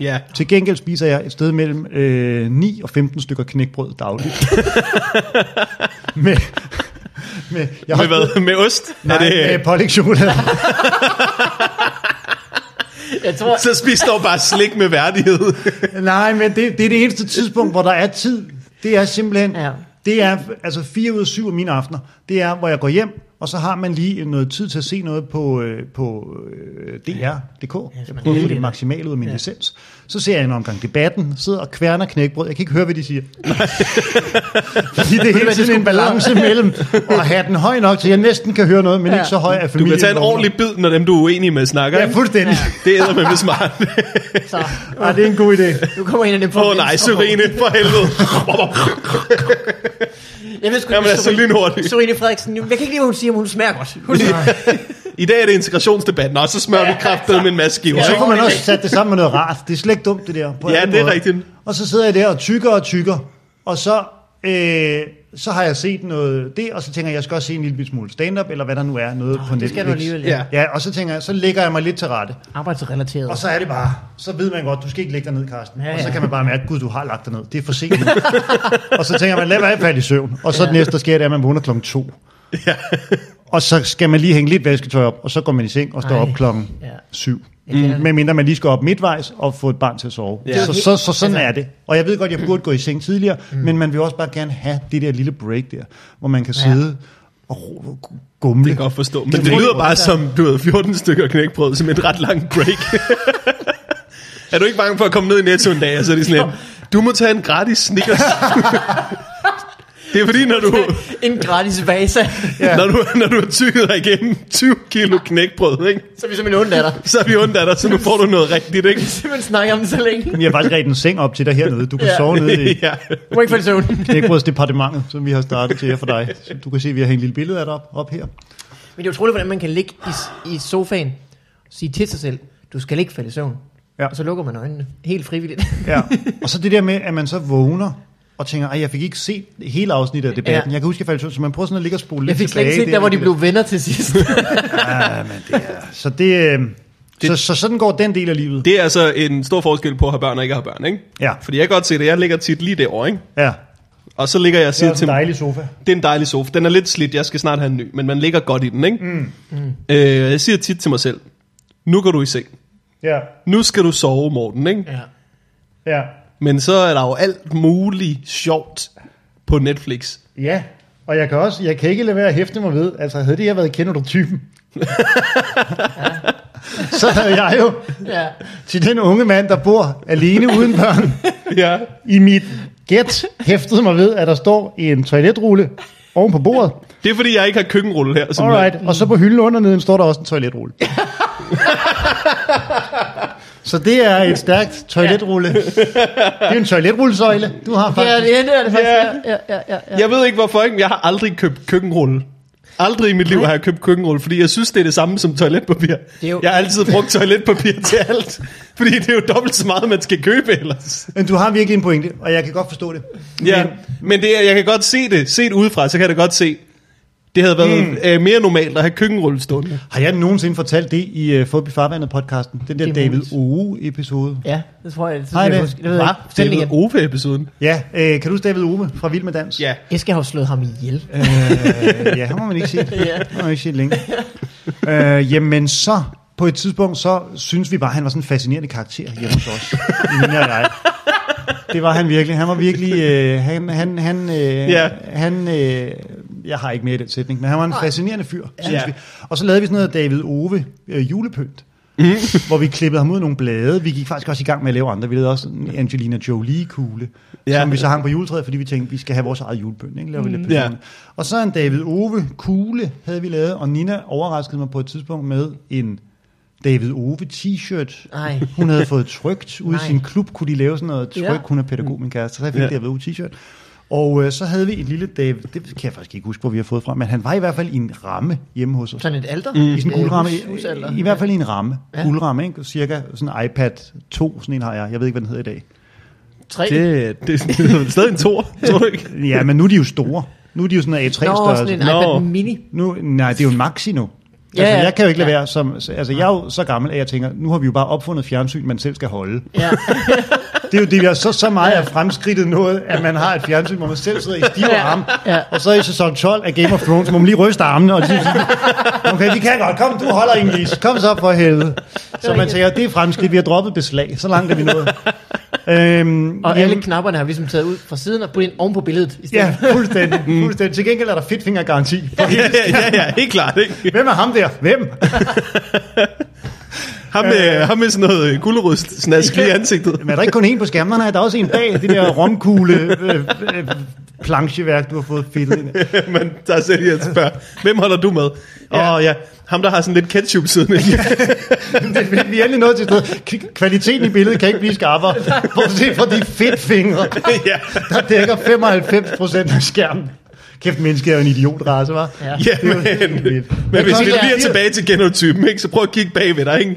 [SPEAKER 3] ja.
[SPEAKER 2] Til gengæld spiser jeg et sted mellem øh, 9 og 15 stykker knækbrød dagligt. med, med, jeg
[SPEAKER 3] Med hvad? Med ost?
[SPEAKER 2] Nej,
[SPEAKER 3] er det,
[SPEAKER 2] med pålægtschokolade.
[SPEAKER 1] Jeg tror,
[SPEAKER 3] så spiser du bare slik med værdighed.
[SPEAKER 2] Nej, men det, det er det eneste tidspunkt, hvor der er tid. Det er simpelthen...
[SPEAKER 1] Ja.
[SPEAKER 2] Ja. Det er altså fire ud af syv af mine aftener. Det er, hvor jeg går hjem, og så har man lige noget tid til at se noget på, øh, på øh,
[SPEAKER 1] så
[SPEAKER 2] DR.dk. Jeg
[SPEAKER 1] man
[SPEAKER 2] prøver at
[SPEAKER 1] lige
[SPEAKER 2] få
[SPEAKER 1] lidt.
[SPEAKER 2] det maksimale ud af min ja. licens. Så ser jeg en omgang debatten, sidder og kværner knækbrød. Jeg kan ikke høre, hvad de siger. Fordi det er
[SPEAKER 1] hvad,
[SPEAKER 2] hele
[SPEAKER 1] det
[SPEAKER 2] tiden
[SPEAKER 1] skulle
[SPEAKER 2] en balance mellem at have den høj nok, så jeg næsten kan høre noget, men
[SPEAKER 1] Ja.
[SPEAKER 2] ja. ikke så høj af
[SPEAKER 3] Du
[SPEAKER 2] familien.
[SPEAKER 3] kan tage en ordentlig bid, når dem, du er uenig med, snakker.
[SPEAKER 2] Ja,
[SPEAKER 3] ikke?
[SPEAKER 2] fuldstændig.
[SPEAKER 3] det er med smart.
[SPEAKER 1] så,
[SPEAKER 2] Ja. Ej, det er en god idé.
[SPEAKER 1] nu kommer en af dem på
[SPEAKER 3] Åh oh, nej, Serene, for helvede.
[SPEAKER 1] Jeg ved sgu
[SPEAKER 3] Jamen, altså, lynhurtigt.
[SPEAKER 1] Serene Frederiksen, jeg kan ikke lide, hvad hun siger, men hun smager godt. Hun smager.
[SPEAKER 3] I dag er det integrationsdebat. Nå, så smører vi kraftedet med en masse skiver.
[SPEAKER 2] Og så
[SPEAKER 3] ikke?
[SPEAKER 2] får man også sat det sammen med noget rart. Det er slet ikke dumt, det der. På
[SPEAKER 3] Ja,
[SPEAKER 2] alle
[SPEAKER 3] det er
[SPEAKER 2] måder.
[SPEAKER 3] rigtigt.
[SPEAKER 2] Og så sidder jeg der og tykker og tykker, og så, øh, så har jeg set noget det, og så tænker jeg, jeg skal også se en lille bit smule stand-up, eller hvad der nu er, noget på Netflix.
[SPEAKER 1] Det skal du alligevel. Ja.
[SPEAKER 3] Ja.
[SPEAKER 2] Ja, og så tænker jeg, så lægger jeg mig lidt til rette.
[SPEAKER 1] Arbejdsrelateret.
[SPEAKER 2] Og så er det bare, så ved man godt, du skal ikke lægge dig ned, Karsten.
[SPEAKER 1] Ja,
[SPEAKER 2] Ja,
[SPEAKER 1] ja.
[SPEAKER 2] ja. Og så kan man bare mærke, gud, du har lagt dig ned. Det er for sent nu. og så tænker man, lad være falde i søvn. Og så ja. det næste, der sker, det er, at man vågner klokken to.
[SPEAKER 3] Ja.
[SPEAKER 2] Og så skal man lige hænge lidt vasketøj op, og så går man i seng og står
[SPEAKER 1] Ej.
[SPEAKER 2] Ej. op klokken
[SPEAKER 1] Ja.
[SPEAKER 2] ja. syv.
[SPEAKER 1] Ja, det er det.
[SPEAKER 2] Mm. Medmindre man lige skal op midtvejs og få et barn til at sove.
[SPEAKER 3] Ja.
[SPEAKER 2] Ja. Så, så, så
[SPEAKER 1] Altså-
[SPEAKER 2] sådan er det. Og jeg ved godt, jeg burde gå i seng tidligere, mm. men man vil også bare gerne have det der lille break der, hvor man kan
[SPEAKER 1] Ja.
[SPEAKER 2] sidde og ro- gumle.
[SPEAKER 3] Det kan jeg godt forstå. Men
[SPEAKER 2] Jeg
[SPEAKER 3] det
[SPEAKER 2] tror,
[SPEAKER 3] lyder
[SPEAKER 2] det-
[SPEAKER 3] bare som, du ved, 14 stykker knækbrød, som et ret langt break. er du ikke bange for at komme ned i Netto en dag, og så er de sådan lidt, du må tage en gratis Snickers. det er fordi, når du,
[SPEAKER 1] en gratis vase,
[SPEAKER 3] ja. når du, når du har tykket dig igennem 20 kilo knækbrød, ikke?
[SPEAKER 1] så er vi simpelthen ondt af dig.
[SPEAKER 3] så er vi ondt af dig, så nu får du noget rigtigt, ikke?
[SPEAKER 1] Simpelthen snakker om det så længe.
[SPEAKER 2] Vi har faktisk ret en seng op til dig hernede. Du kan
[SPEAKER 1] Ja.
[SPEAKER 2] ja. sove nede i
[SPEAKER 3] ja.
[SPEAKER 1] Du må ikke falde i søvn.
[SPEAKER 2] knækbrødsdepartementet, som vi har startet til jer for dig. Så Du kan se, at vi har hængt et lille billede af dig op, op her.
[SPEAKER 1] Men det er utroligt, hvordan man kan ligge i, i sofaen og sige til sig selv, du skal ikke falde i søvn.
[SPEAKER 2] Ja.
[SPEAKER 1] Og så lukker man øjnene. Helt frivilligt.
[SPEAKER 2] Ja. Og så det der med, at man så vågner og tænker, at jeg fik ikke set hele afsnittet af
[SPEAKER 1] Ja.
[SPEAKER 2] debatten. Ja. Jeg kan huske, at jeg faldt i søvn, så man prøver sådan at ligge og spole
[SPEAKER 1] Jeg
[SPEAKER 2] lidt
[SPEAKER 1] fik slet
[SPEAKER 2] tilbage.
[SPEAKER 1] ikke set der, hvor de blev venner til sidst.
[SPEAKER 2] Ja, men det er... Så, det, øh, så, så sådan går den del af livet.
[SPEAKER 3] Det er altså en stor forskel på at have børn og ikke at have børn, ikke?
[SPEAKER 2] Ja.
[SPEAKER 3] Fordi jeg kan godt se det, jeg ligger tit lige derovre, ikke?
[SPEAKER 2] Ja.
[SPEAKER 3] Og så ligger jeg og
[SPEAKER 2] Det er
[SPEAKER 3] siger
[SPEAKER 2] også
[SPEAKER 3] til
[SPEAKER 2] en
[SPEAKER 3] mig,
[SPEAKER 2] dejlig sofa.
[SPEAKER 3] det er en dejlig sofa, den er lidt slidt, jeg skal snart have en ny, men man ligger godt i den, ikke? Mm. Mm. Øh, jeg siger tit til mig selv, nu går du i seng.
[SPEAKER 2] Ja,
[SPEAKER 3] Nu skal du sove, Morten, ikke? Ja.
[SPEAKER 1] ja.
[SPEAKER 2] ja,
[SPEAKER 3] Men så er der jo alt muligt sjovt på Netflix.
[SPEAKER 2] ja. Og jeg kan, også, jeg kan ikke lade være at hæfte mig ved, altså havde det her været kender du typen? så havde jeg jo
[SPEAKER 1] ja.
[SPEAKER 2] til den unge mand, der bor alene uden børn,
[SPEAKER 3] Ja.
[SPEAKER 2] i mit gæt hæftede mig ved, at der står en toiletrulle oven på bordet.
[SPEAKER 3] Det er fordi, jeg ikke har køkkenrulle her. som-
[SPEAKER 2] Alright, og så på hylden under neden står der også en toiletrulle. så det er et stærkt toiletrulle. Det er en toiletrullesøjle, du har
[SPEAKER 1] Det er
[SPEAKER 2] faktisk.
[SPEAKER 1] det, det er det faktisk.
[SPEAKER 3] Ja.
[SPEAKER 1] Ja, ja, ja, ja.
[SPEAKER 3] Jeg ved ikke hvorfor, ikke? men jeg har aldrig købt køkkenrulle. Aldrig i mit liv har jeg købt køkkenrulle, fordi jeg synes, det er det samme som toiletpapir.
[SPEAKER 1] Det er jo-
[SPEAKER 3] Jeg har altid brugt toiletpapir til alt, fordi det er jo dobbelt så meget, man skal købe ellers.
[SPEAKER 2] Men du har virkelig en pointe, og jeg kan godt forstå det.
[SPEAKER 3] Ja, men det er, jeg kan godt se det. Set udefra, så kan jeg da godt se, det havde været mm. øh, mere normalt at have køkkenrulle stående.
[SPEAKER 2] Har jeg nogensinde fortalt det i uh, Fodby Farvandet podcasten? Den der
[SPEAKER 1] Det er
[SPEAKER 2] David
[SPEAKER 1] muligt.
[SPEAKER 2] Oge episode.
[SPEAKER 1] Ja, det tror jeg. Det,
[SPEAKER 2] Hej,
[SPEAKER 1] jeg
[SPEAKER 2] det.
[SPEAKER 1] huske. det ved jeg
[SPEAKER 2] Hva?
[SPEAKER 1] ikke. Fortæl
[SPEAKER 3] Det
[SPEAKER 1] det
[SPEAKER 3] er
[SPEAKER 1] igen.
[SPEAKER 3] Ove-episoden.
[SPEAKER 2] Ja, øh, kan du huske David Oge fra Vild med Dans?
[SPEAKER 3] Ja.
[SPEAKER 1] Jeg skal jo have slået ham ihjel.
[SPEAKER 2] Øh, ja, ham har man ikke set.
[SPEAKER 1] Ja.
[SPEAKER 2] Ham har man ikke set længe. Øh, jamen så, på et tidspunkt, så synes vi bare, at han var sådan en fascinerende karakter hjemme hos os. Nina og jeg. Det var han virkelig. Han var virkelig... Øh, han, han, han, øh,
[SPEAKER 3] Ja.
[SPEAKER 2] han øh, jeg har ikke mere i den sætning, men han var en fascinerende fyr, synes
[SPEAKER 3] Ja.
[SPEAKER 2] vi. Og så lavede vi sådan noget David Ove øh, julepynt. Mm. hvor vi klippede ham ud af nogle blade. Vi gik faktisk også i gang med at lave andre. Vi lavede også en Angelina Jolie-kugle,
[SPEAKER 3] Ja.
[SPEAKER 2] ja. som vi så hang på juletræet, fordi vi tænkte, vi skal have vores eget julepynt. Ikke? Laver vi lidt
[SPEAKER 3] Ja.
[SPEAKER 2] ja. Og så en David Ove-kugle havde vi lavet, og Nina overraskede mig på et tidspunkt med en David Ove t-shirt.
[SPEAKER 1] Nej.
[SPEAKER 2] Hun havde fået trygt ud i
[SPEAKER 1] Nej.
[SPEAKER 2] sin klub, kunne de lave sådan noget tryk.
[SPEAKER 1] Ja.
[SPEAKER 2] Ja. Hun er pædagog, min kæreste. Så jeg fik
[SPEAKER 3] Ja.
[SPEAKER 2] ja. David Ove t-shirt. Og øh, så havde vi et lille David, det kan jeg faktisk ikke huske, hvor vi har fået fra, men han var i hvert fald i en ramme hjemme hos os.
[SPEAKER 1] Sådan et alter. Mm.
[SPEAKER 2] I sådan en guldramme, i, i, i hvert fald i en ramme.
[SPEAKER 1] Ja.
[SPEAKER 2] Ja. Guldramme, ikke? Cirka sådan en iPad 2, sådan en har jeg. Jeg ved ikke, hvad den hedder i dag.
[SPEAKER 1] Tre.
[SPEAKER 3] Det, det, det er stadig en tor, tror du ikke?
[SPEAKER 2] Ja, men nu er de jo store. Nu er de jo sådan en
[SPEAKER 1] Nå,
[SPEAKER 2] A3-størrelse.
[SPEAKER 1] sådan en
[SPEAKER 3] Nå.
[SPEAKER 1] iPad mini.
[SPEAKER 2] Nu, nej, det er jo en maxi nu.
[SPEAKER 1] Ja,
[SPEAKER 2] Ja, altså,
[SPEAKER 1] ja.
[SPEAKER 2] jeg kan jo ikke lade
[SPEAKER 1] Ja.
[SPEAKER 2] være som... Altså, jeg er jo så gammel, at jeg tænker, nu har vi jo bare opfundet fjernsyn, man selv skal holde.
[SPEAKER 1] Ja.
[SPEAKER 2] Det er jo det, vi har så, så meget af fremskridtet noget, at man har et fjernsyn, hvor man selv sidder i stive
[SPEAKER 1] Ja,
[SPEAKER 2] arme.
[SPEAKER 1] ja.
[SPEAKER 2] Og så i sæson 12 af Game of Thrones, må man lige ryste armene og sige, okay, vi kan godt, kom, du holder Inglis, kom så for helvede. Så man tænker, det er fremskridt, vi har droppet beslag, så langt er vi nået.
[SPEAKER 1] Og
[SPEAKER 2] Øhm, jamen-
[SPEAKER 1] alle knapperne har vi ligesom taget ud fra siden og puttet ind oven på billedet. I stedet.
[SPEAKER 2] Ja, fuldstændig, fuldstændig. Til gengæld er der fedtfingergaranti. For
[SPEAKER 3] Ja,
[SPEAKER 2] hele-
[SPEAKER 3] ja, ja, helt klart, ikke?
[SPEAKER 2] Hvem er ham der? Hvem?
[SPEAKER 3] Ham med, ham med sådan noget øh, gulerodssnask lige i ansigtet.
[SPEAKER 2] Men er der ikke kun en på skærmerne? Er der også en bag det der romkugle øh, øh, plancheværk, du har fået fedtet ind?
[SPEAKER 3] Men der selv lige at spørge, hvem holder du med? Åh ja.
[SPEAKER 2] Ja.
[SPEAKER 3] Oh, ja, ham der har sådan lidt ketchup siden.
[SPEAKER 2] Det, vi vi er endelig nået til et sted. K- Kvaliteten i billedet kan ikke blive skarpere. Bortset fra de fedtfingre,
[SPEAKER 3] ja.
[SPEAKER 2] der dækker 95 procent af skærmen. Kæft, mennesket er jo en idiotrace, hva'?
[SPEAKER 1] Ja.
[SPEAKER 3] Ja,
[SPEAKER 2] Det er jo
[SPEAKER 3] men,
[SPEAKER 2] helt vildt.
[SPEAKER 3] men hvis vi
[SPEAKER 1] klokken er
[SPEAKER 3] lige er
[SPEAKER 1] fire.
[SPEAKER 3] tilbage til genotypen, ikke, så prøv at kigge bagved dig. Ikke?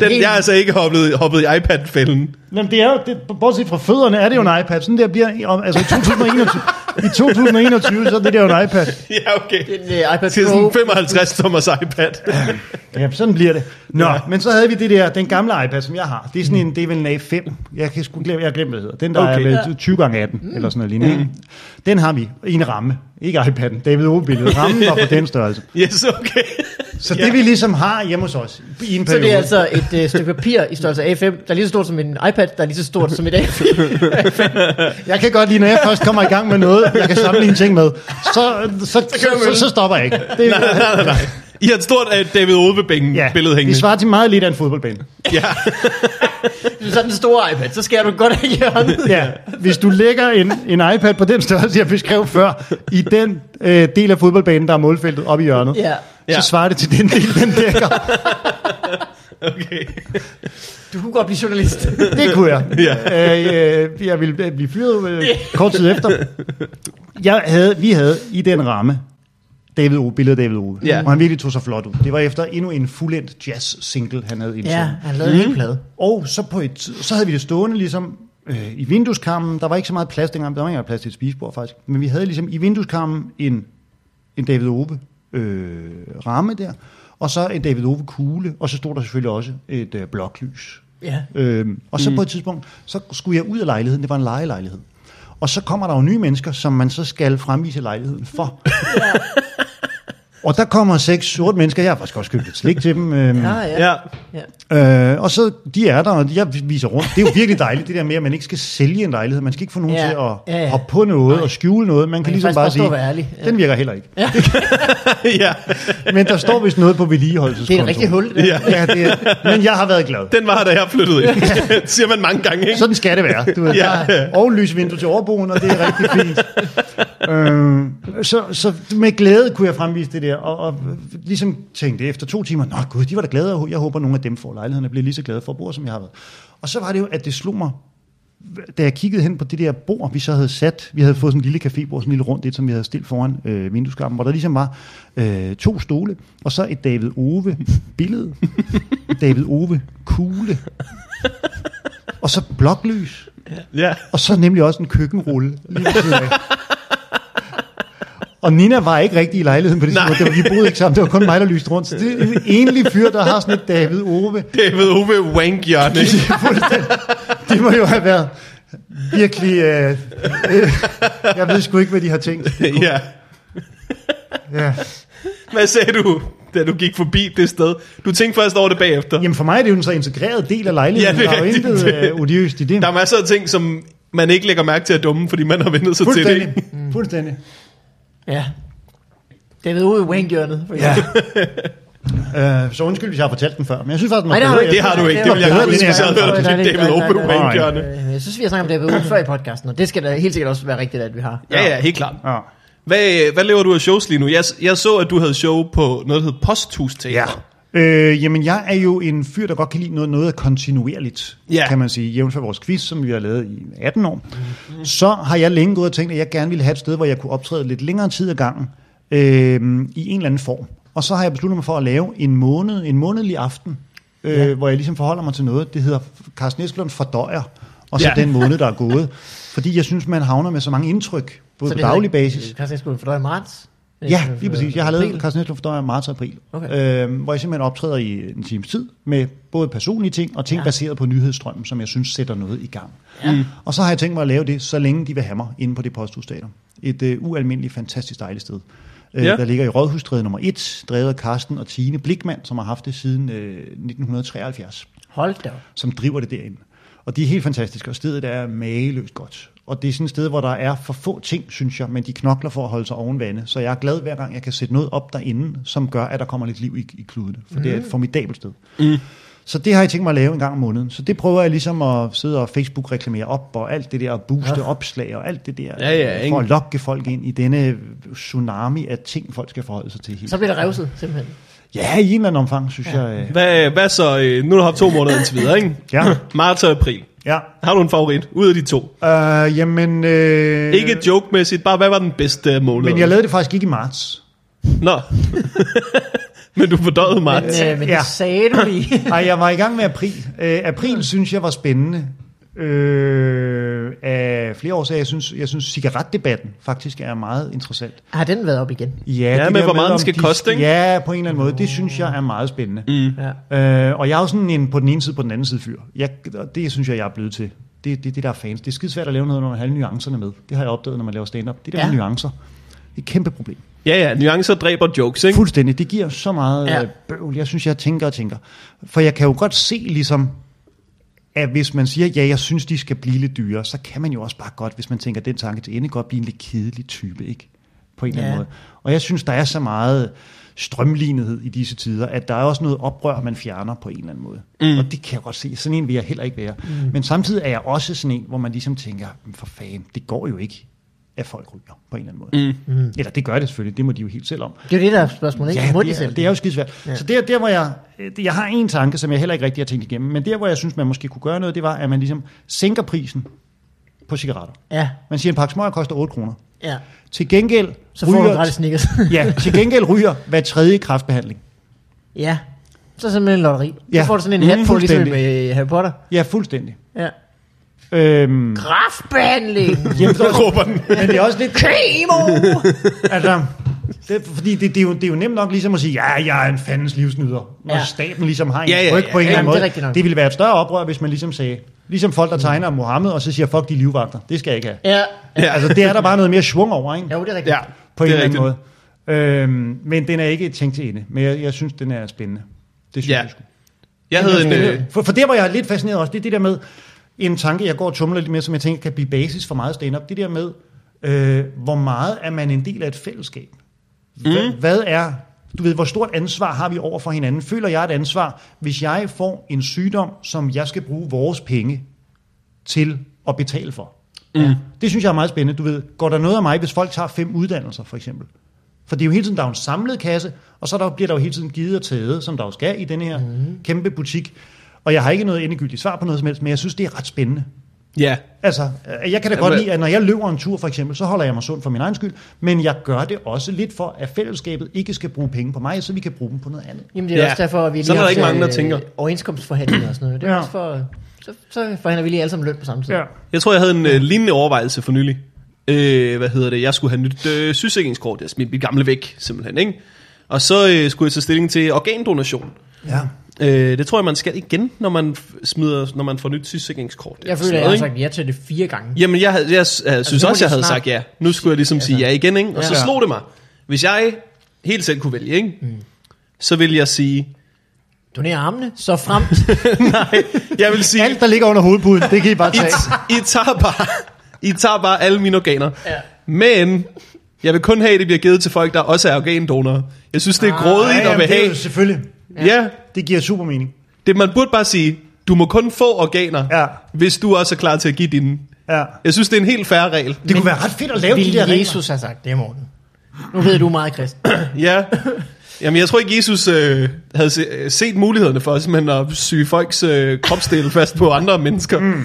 [SPEAKER 3] Den, jeg er altså ikke hoppet, hoppet i iPad-fælden.
[SPEAKER 2] Jamen, det er jo, det, bortset fra fødderne, er det jo en iPad. Sådan der bliver, i- om- altså i 2021, i 2021, så er det der jo en iPad.
[SPEAKER 3] Ja, okay.
[SPEAKER 1] En uh, iPad
[SPEAKER 3] Til
[SPEAKER 1] Pro.
[SPEAKER 3] sådan 55-tommers iPad.
[SPEAKER 2] Ja, sådan bliver det. Nå,
[SPEAKER 3] Ja.
[SPEAKER 2] ja. men så havde vi det der, den gamle iPad, som jeg har. Det er sådan en, det er vel en A5. Jeg kan sgu glemme, jeg har glemt, hvad det hedder. Den der
[SPEAKER 3] Okay.
[SPEAKER 2] okay. er
[SPEAKER 1] Ja.
[SPEAKER 2] vel 20 gange 18 mm. eller sådan noget lignende. Mm. Den har vi i en ramme. Ikke iPad'en. David Ove-billedet. Rammen var på den størrelse.
[SPEAKER 3] Yes, okay.
[SPEAKER 2] Så det vi ligesom har hjemme hos os i en
[SPEAKER 1] Så
[SPEAKER 2] periode.
[SPEAKER 1] det er altså et øh, stykke papir i størrelse A5, der er lige så stort som en iPad, der er lige så stort som et A4.
[SPEAKER 2] Jeg kan godt lide, når jeg først kommer i gang med noget, jeg kan sammenligne ting med, så, så, så, så, så stopper jeg ikke. Det,
[SPEAKER 3] Nej, nej, nej, nej. I har et stort uh, David Ove-billede
[SPEAKER 2] ja,
[SPEAKER 3] billede
[SPEAKER 2] det
[SPEAKER 3] hængende.
[SPEAKER 2] svarer til meget lidt af en fodboldbane.
[SPEAKER 3] Ja.
[SPEAKER 1] Det er sådan en stor iPad, så skærer du godt af hjørnet.
[SPEAKER 2] Ja, hvis du lægger en, en iPad på den størrelse, jeg beskrev før, i den øh, del af fodboldbanen, der er målfeltet oppe i hjørnet,
[SPEAKER 1] Ja.
[SPEAKER 3] Ja.
[SPEAKER 2] så svarer det til den del, den dækker.
[SPEAKER 3] Okay.
[SPEAKER 1] Du kunne godt blive journalist.
[SPEAKER 2] Det kunne jeg.
[SPEAKER 3] Ja.
[SPEAKER 2] Øh, øh, jeg ville øh, blive fyret øh, kort tid efter. Jeg havde, vi havde i den ramme David Ove, billedet af David Ove.
[SPEAKER 3] Ja.
[SPEAKER 2] Og han virkelig tog sig flot ud. Det var efter endnu en fuldendt jazz-single, han havde indsendt.
[SPEAKER 1] ja, han lavede en hel plade.
[SPEAKER 2] Og så, på et, tid- så havde vi det stående ligesom øh, i vindueskarmen. Der var ikke så meget plads dengang, der var ikke engang plads til et spisebord faktisk. Men vi havde ligesom i vindueskarmen en, en David Ove øh, ramme der, og så en David Ove kugle, og så stod der selvfølgelig også et øh, bloklys.
[SPEAKER 1] Ja.
[SPEAKER 2] Øhm, og så mm. på et tidspunkt, så skulle jeg ud af lejligheden, det var en lejelejlighed. Og så kommer der jo nye mennesker, som man så skal fremvise lejligheden for. og der kommer seks sorte mennesker, jeg har faktisk også købt lidt slik til dem. Øhm,
[SPEAKER 1] Ah, ja.
[SPEAKER 3] Ja.
[SPEAKER 1] ja.
[SPEAKER 2] Øh, og så, de er der, og jeg viser rundt. Det er jo virkelig dejligt, det der med, at man ikke skal sælge en lejlighed. Man skal ikke få nogen
[SPEAKER 1] Ja,
[SPEAKER 2] til at
[SPEAKER 1] ja, ja.
[SPEAKER 2] hoppe på noget og skjule noget. Man kan,
[SPEAKER 1] kan faktisk
[SPEAKER 2] ligesom bare
[SPEAKER 1] bare stå
[SPEAKER 2] sige,
[SPEAKER 1] og være ærlig. Ja.
[SPEAKER 2] den virker heller ikke.
[SPEAKER 3] ja.
[SPEAKER 2] Men der står vist noget på
[SPEAKER 1] Det er
[SPEAKER 2] vedligeholdelseskontoen.
[SPEAKER 1] et rigtigt hul, det der.
[SPEAKER 3] Ja.
[SPEAKER 2] Ja, det er, men jeg har været glad.
[SPEAKER 3] Den var, da jeg flyttede ind. Det siger man mange gange, ikke?
[SPEAKER 2] Sådan skal det være. Du ved,
[SPEAKER 3] Ja.
[SPEAKER 2] ja. der er ovenlysvindue til overboen, og det er rigtig fint. øh, så, så med glæde kunne jeg fremvise det der, og, og ligesom tænkte efter to timer, nå gud, de var da glade, og jeg håber, nogle af dem får lejligheden, og bliver lige så glade for at bo, som jeg har været. Og så var det jo, at det slog mig, da jeg kiggede hen på det der bord, vi så havde sat, vi havde fået sådan en lille cafébord, sådan en lille rundt et, som vi havde stillet foran øh, vindueskarmen, hvor der ligesom var øh, to stole, og så et David Ove billede, David Ove kugle, og så bloklys,
[SPEAKER 3] Ja.
[SPEAKER 2] og så nemlig også en køkkenrulle lige ved siden af. Og Nina var ikke rigtig i lejligheden på det
[SPEAKER 3] Nej.
[SPEAKER 2] tidspunkt. Det var- Vi boede ikke sammen. Det var kun mig, der lyste rundt. Så det er en enlig fyr, der har sådan et David Ove.
[SPEAKER 3] David Ove wank hjørne.
[SPEAKER 2] Det må jo have været virkelig... Øh, øh, jeg ved sgu ikke, hvad de har tænkt.
[SPEAKER 3] ja.
[SPEAKER 2] Ja.
[SPEAKER 3] Hvad sagde du? da du gik forbi det sted. Du tænkte først over det bagefter.
[SPEAKER 2] Jamen for mig er det jo en så integreret del af lejligheden.
[SPEAKER 3] Ja, det
[SPEAKER 2] Ja,
[SPEAKER 3] er
[SPEAKER 2] der er jo
[SPEAKER 3] rigtigt.
[SPEAKER 2] intet uh, odiøst i det.
[SPEAKER 3] Der er masser af ting, som man ikke lægger mærke til at dumme, fordi man har vendt sig til det.
[SPEAKER 2] Fuldstændig. Mm.
[SPEAKER 3] ikke?
[SPEAKER 2] Fuldstændig.
[SPEAKER 1] Ja. Det ved ude i wank-hjørnet. for
[SPEAKER 2] Ja.
[SPEAKER 1] eksempel.
[SPEAKER 2] Øh, så undskyld, hvis jeg har fortalt den før, men jeg synes faktisk, den var
[SPEAKER 1] Nej, det har
[SPEAKER 2] bedre
[SPEAKER 1] du ikke.
[SPEAKER 3] Det har du ikke. Det vil jeg
[SPEAKER 2] Det var
[SPEAKER 3] godt huske,
[SPEAKER 2] bedre,
[SPEAKER 3] hvis jeg havde
[SPEAKER 2] det
[SPEAKER 3] hørt, at
[SPEAKER 1] der.
[SPEAKER 3] du fik
[SPEAKER 1] Det er
[SPEAKER 3] David
[SPEAKER 1] det.
[SPEAKER 3] Open
[SPEAKER 1] Nej, nej, nej.
[SPEAKER 3] Wayne-hjørne.
[SPEAKER 1] Øh, Jeg synes, vi har snakket om David Owen før i podcasten, og det skal da helt sikkert også være rigtigt, at vi har.
[SPEAKER 3] Ja, ja, helt klart.
[SPEAKER 2] Ja.
[SPEAKER 3] Hvad, hvad laver du af shows lige nu? Jeg, jeg så, at du havde show på noget, der hed Posthus Teater.
[SPEAKER 2] Ja. Øh, jamen, jeg er jo en fyr, der godt kan lide noget, noget kontinuerligt,
[SPEAKER 3] Ja.
[SPEAKER 2] kan man sige, jævnt for vores quiz, som vi har lavet i 18 år. Så har jeg længe gået og tænkt, at jeg gerne ville have et sted, hvor jeg kunne optræde lidt længere tid ad gangen, øh, i en eller anden form. Og så har jeg besluttet mig for at lave en måned, en månedlig aften, øh, hvor jeg ligesom forholder mig til noget. Det hedder Carsten Eskelund fordøjer, og så
[SPEAKER 3] Ja.
[SPEAKER 2] ja. den måned, der er gået. Fordi jeg synes, man havner med så mange indtryk, både
[SPEAKER 1] Så
[SPEAKER 2] på
[SPEAKER 1] det hedder
[SPEAKER 2] daglig
[SPEAKER 1] ikke-
[SPEAKER 2] basis.
[SPEAKER 1] Carsten Eskelund fordøjer marts.
[SPEAKER 2] Ja,
[SPEAKER 1] Øh,
[SPEAKER 2] lige præcis. Jeg har
[SPEAKER 1] april.
[SPEAKER 2] lavet Carsten Eslund for i marts og april,
[SPEAKER 1] Okay.
[SPEAKER 2] okay. øh, hvor jeg simpelthen optræder i en times tid med både personlige ting og ting
[SPEAKER 1] Ja.
[SPEAKER 2] ja. baseret på nyhedsstrømmen, som jeg synes sætter noget i gang.
[SPEAKER 1] Ja. Mm.
[SPEAKER 2] Og så har jeg tænkt mig at lave det, så længe de vil have mig inde på det posthusstadion. Et øh, ualmindeligt fantastisk dejligt sted. Øh,
[SPEAKER 3] Ja.
[SPEAKER 2] Der ligger i Rådhusstræde nummer 1, drevet af Carsten og Tine Blikmand, som har haft det siden øh, 1973
[SPEAKER 1] Hold da. op.
[SPEAKER 2] som driver det derinde. Og de er helt fantastiske, og stedet er mageløst godt. Og det er sådan et sted, hvor der er for få ting, synes jeg, men de knokler for at holde sig oven vande. Så jeg er glad hver gang, jeg kan sætte noget op derinde, som gør, at der kommer lidt liv i, i kludene. For mm. det er et formidabelt sted. Mm. Så det har jeg tænkt mig at lave en gang om måneden. Så det prøver jeg ligesom at sidde og Facebook-reklamere op, og alt det der, og booste
[SPEAKER 1] Ja.
[SPEAKER 2] ja. opslag, og alt det der. øh,
[SPEAKER 3] Ja, ja,
[SPEAKER 2] for
[SPEAKER 3] ingen-
[SPEAKER 2] at lokke folk ind i denne tsunami af ting, folk skal forholde sig til. hele
[SPEAKER 1] Så bliver der revset, simpelthen.
[SPEAKER 2] Ja, i en eller anden omfang, synes ja. jeg. øh,
[SPEAKER 3] Hvad, hvad så? øh, Nu har du haft to måneder indtil videre, ikke?
[SPEAKER 2] Ja.
[SPEAKER 3] Marts og april.
[SPEAKER 2] Ja.
[SPEAKER 3] Har du en favorit ud af de to?
[SPEAKER 2] Øh, jamen... Øh...
[SPEAKER 3] Ikke joke-mæssigt, bare hvad var den bedste øh, måned?
[SPEAKER 2] Men jeg lavede det faktisk ikke i marts.
[SPEAKER 3] Nå. men du fordøjede
[SPEAKER 1] Men,
[SPEAKER 3] marts.
[SPEAKER 1] øh, men
[SPEAKER 2] Ja.
[SPEAKER 1] det sagde du lige.
[SPEAKER 2] Nej, jeg var i gang med april. Øh, april synes jeg var spændende. Øh, af flere årsager. Jeg synes, jeg synes cigaretdebatten faktisk er meget interessant.
[SPEAKER 1] har den været op igen?
[SPEAKER 2] Ja,
[SPEAKER 3] men
[SPEAKER 2] der
[SPEAKER 3] hvor meget
[SPEAKER 2] om
[SPEAKER 3] den skal
[SPEAKER 2] de-
[SPEAKER 3] koste, ikke?
[SPEAKER 2] Ja, på en eller anden måde. Det synes jeg er meget spændende.
[SPEAKER 1] Ja.
[SPEAKER 2] Mm. Øh, og jeg er jo sådan en på den ene side, på den anden side fyr. Jeg, og det synes jeg, jeg er blevet til. Det, det, det der er fans. Det er skidesvært at lave noget, når man har alle nuancerne med. Det har jeg opdaget, når man laver stand-up. Det der
[SPEAKER 1] Ja.
[SPEAKER 2] ja. med nuancer. Det er et kæmpe problem.
[SPEAKER 3] Ja, ja, nuancer dræber jokes, ikke?
[SPEAKER 2] Fuldstændig. Det giver så meget
[SPEAKER 1] Ja.
[SPEAKER 2] ja. bøvl. Jeg synes, jeg tænker og tænker. For jeg kan jo godt se ligesom, at hvis man siger, ja, jeg synes, de skal blive lidt dyre, så kan man jo også bare godt, hvis man tænker den tanke til ende, godt blive en lidt kedelig type, ikke? På en eller anden
[SPEAKER 1] Ja.
[SPEAKER 2] måde. Og jeg synes, der er så meget strømlignethed i disse tider, at der er også noget oprør, man fjerner på en eller anden måde. Mm. Og det kan jeg godt se. Sådan en vil jeg heller ikke være. Mm. Men samtidig er jeg også sådan en, hvor man ligesom tænker, "Men for fanden, det går jo ikke, at folk ryger på en eller anden måde. Mm. Mm. Eller det gør det selvfølgelig, det må de jo helt selv om.
[SPEAKER 1] Det er jo det, der er spørgsmålet, ikke?
[SPEAKER 2] Ja,
[SPEAKER 1] Må de
[SPEAKER 2] det, er,
[SPEAKER 1] selv?
[SPEAKER 2] det er jo skidesvært.
[SPEAKER 1] Ja.
[SPEAKER 2] Ja. Så der, der hvor jeg, øh, jeg har en tanke, som jeg heller ikke rigtig har tænkt igennem, men der hvor jeg synes, man måske kunne gøre noget, det var, at man ligesom sænker prisen på cigaretter.
[SPEAKER 1] Ja,
[SPEAKER 2] Man siger, en pakke smøger koster 8 kroner.
[SPEAKER 1] ja.
[SPEAKER 2] Til gengæld
[SPEAKER 1] Så får du
[SPEAKER 2] ryger,
[SPEAKER 1] gratis sneakers.
[SPEAKER 2] ja, til gengæld ryger hver tredje kraftbehandling.
[SPEAKER 1] ja. Så simpelthen en lotteri. Ja.
[SPEAKER 2] Ja.
[SPEAKER 1] Så får du sådan en hat
[SPEAKER 2] Mm,
[SPEAKER 1] på, ligesom
[SPEAKER 2] fuldstændig.
[SPEAKER 1] med Harry Potter.
[SPEAKER 2] Ja, fuldstændig.
[SPEAKER 1] Ja.
[SPEAKER 2] Øhm,
[SPEAKER 1] Kraftbehandling!
[SPEAKER 2] jamen, så,
[SPEAKER 3] Råber den.
[SPEAKER 2] men det er også lidt...
[SPEAKER 1] Kemo!
[SPEAKER 2] Altså, det, fordi det, det, er jo, det er jo nemt nok ligesom at sige, ja, jeg er en fandens livsnyder, når
[SPEAKER 1] Ja.
[SPEAKER 2] ja. staten ligesom har en
[SPEAKER 3] Ja,
[SPEAKER 2] ja,
[SPEAKER 3] ja,
[SPEAKER 2] ja, ryg på en
[SPEAKER 3] ja,
[SPEAKER 2] eller
[SPEAKER 1] jamen, det er
[SPEAKER 2] anden
[SPEAKER 1] rigtigt
[SPEAKER 2] måde.
[SPEAKER 1] nok. Mm.
[SPEAKER 2] Det, ville være et større oprør, hvis man ligesom sagde, ligesom folk, der tegner om Mohammed, og så siger, fuck de livvagter, det skal jeg ikke have.
[SPEAKER 1] ja.
[SPEAKER 3] Ja.
[SPEAKER 2] Ja. Altså, det er der bare noget mere svung over, ikke?
[SPEAKER 1] Jo, det er rigtigt.
[SPEAKER 3] Ja,
[SPEAKER 2] på en
[SPEAKER 3] det er
[SPEAKER 2] eller anden
[SPEAKER 3] rigtigt.
[SPEAKER 2] måde. Øhm, men den er ikke tænkt til ende, men jeg, jeg synes, den er spændende. Det synes
[SPEAKER 3] Ja.
[SPEAKER 2] jeg sgu.
[SPEAKER 3] Jeg havde en... Øh,
[SPEAKER 2] For, for det, hvor jeg er lidt fascineret også, det er det der med, en tanke, jeg går og tumler lidt med, som jeg tænker kan blive basis for meget stand-up, det der med, øh, hvor meget er man en del af et fællesskab? Hva, mm. Hvad er, du ved, hvor stort ansvar har vi over for hinanden? Føler jeg et ansvar, hvis jeg får en sygdom, som jeg skal bruge vores penge til at betale for? Mm. Det synes jeg er meget spændende. Du ved, går der noget af mig, hvis folk tager fem uddannelser, for eksempel? For det er jo hele tiden, der er jo en samlet kasse, og så der, bliver der jo hele tiden givet og taget, som der jo skal i den her mm. kæmpe butik. Og jeg har ikke noget endegyldigt svar på noget som helst, men jeg synes, det er ret spændende.
[SPEAKER 3] ja,
[SPEAKER 2] Altså, øh, jeg kan da godt
[SPEAKER 3] men-
[SPEAKER 2] lide, at når jeg løber en tur for eksempel, så holder jeg mig sund for min egen skyld, men jeg gør det også lidt for, at fællesskabet ikke skal bruge penge på mig, så vi kan bruge dem på noget andet.
[SPEAKER 1] Jamen, det er
[SPEAKER 3] Ja.
[SPEAKER 1] ja. også derfor, at vi lige
[SPEAKER 3] Sådan er der
[SPEAKER 1] har
[SPEAKER 3] ikke
[SPEAKER 1] haft,
[SPEAKER 3] mange, der
[SPEAKER 1] øh,
[SPEAKER 3] tænker.
[SPEAKER 1] Overenskomstforhandlinger og sådan noget. Det er ja.
[SPEAKER 2] Ja.
[SPEAKER 1] også for... Så, så forhandler vi lige alle sammen løn på samme tid.
[SPEAKER 3] jeg tror, jeg havde en øh, lignende overvejelse for nylig. Øh, hvad hedder det? Jeg skulle have nyt øh, sygesikringskort. Jeg smidte mit gamle væk, simpelthen, ikke? Og så øh, skulle jeg tage stilling til organdonation.
[SPEAKER 2] ja.
[SPEAKER 3] Øh, det tror jeg, man skal igen, når man f- smider, når man får nyt sygesikringskort.
[SPEAKER 1] Jeg
[SPEAKER 3] Sådan
[SPEAKER 1] føler, jeg
[SPEAKER 3] noget,
[SPEAKER 1] har
[SPEAKER 3] ikke?
[SPEAKER 1] sagt ja til det fire gange.
[SPEAKER 3] Jamen, jeg, havde- jeg, jeg, jeg synes
[SPEAKER 1] nu må
[SPEAKER 3] også,
[SPEAKER 1] de
[SPEAKER 3] jeg havde
[SPEAKER 1] snart-
[SPEAKER 3] sagt ja. Nu skulle jeg ligesom sige ja igen, ikke? Og så
[SPEAKER 2] Ja.
[SPEAKER 1] Mm.
[SPEAKER 3] slog det mig. Hvis jeg helt selv kunne vælge, ikke? så vil jeg sige...
[SPEAKER 1] Doner armene, så frem.
[SPEAKER 3] nej, jeg vil sige...
[SPEAKER 2] Alt, der ligger under hovedpuden, det kan I bare
[SPEAKER 3] I,
[SPEAKER 2] tage.
[SPEAKER 3] I, tager bare, I tager bare alle mine organer.
[SPEAKER 1] Ja.
[SPEAKER 3] Men jeg vil kun have, at det bliver givet til folk, der også er organdonorer. Jeg synes, det er grådigt
[SPEAKER 2] Ah, Ja,
[SPEAKER 3] at
[SPEAKER 2] jamen,
[SPEAKER 3] vil
[SPEAKER 2] det er jo
[SPEAKER 3] have.
[SPEAKER 2] selvfølgelig.
[SPEAKER 3] Ja,
[SPEAKER 2] Det giver super mening.
[SPEAKER 3] det man burde bare sige, du må kun få organer,
[SPEAKER 2] Ja.
[SPEAKER 3] hvis du også er klar til at give dine.
[SPEAKER 2] Ja.
[SPEAKER 3] Jeg synes, det er en helt færre regel.
[SPEAKER 2] Det kunne være ret fedt at lave de
[SPEAKER 1] Ville
[SPEAKER 2] der regler.
[SPEAKER 1] Jesus have sagt det, Morten? Nu ved du meget, Christian.
[SPEAKER 3] Ja. Jamen, jeg tror ikke, Jesus øh, havde se, øh, set mulighederne for os, men at syge folks øh, kropsdele fast på andre mennesker. Mm.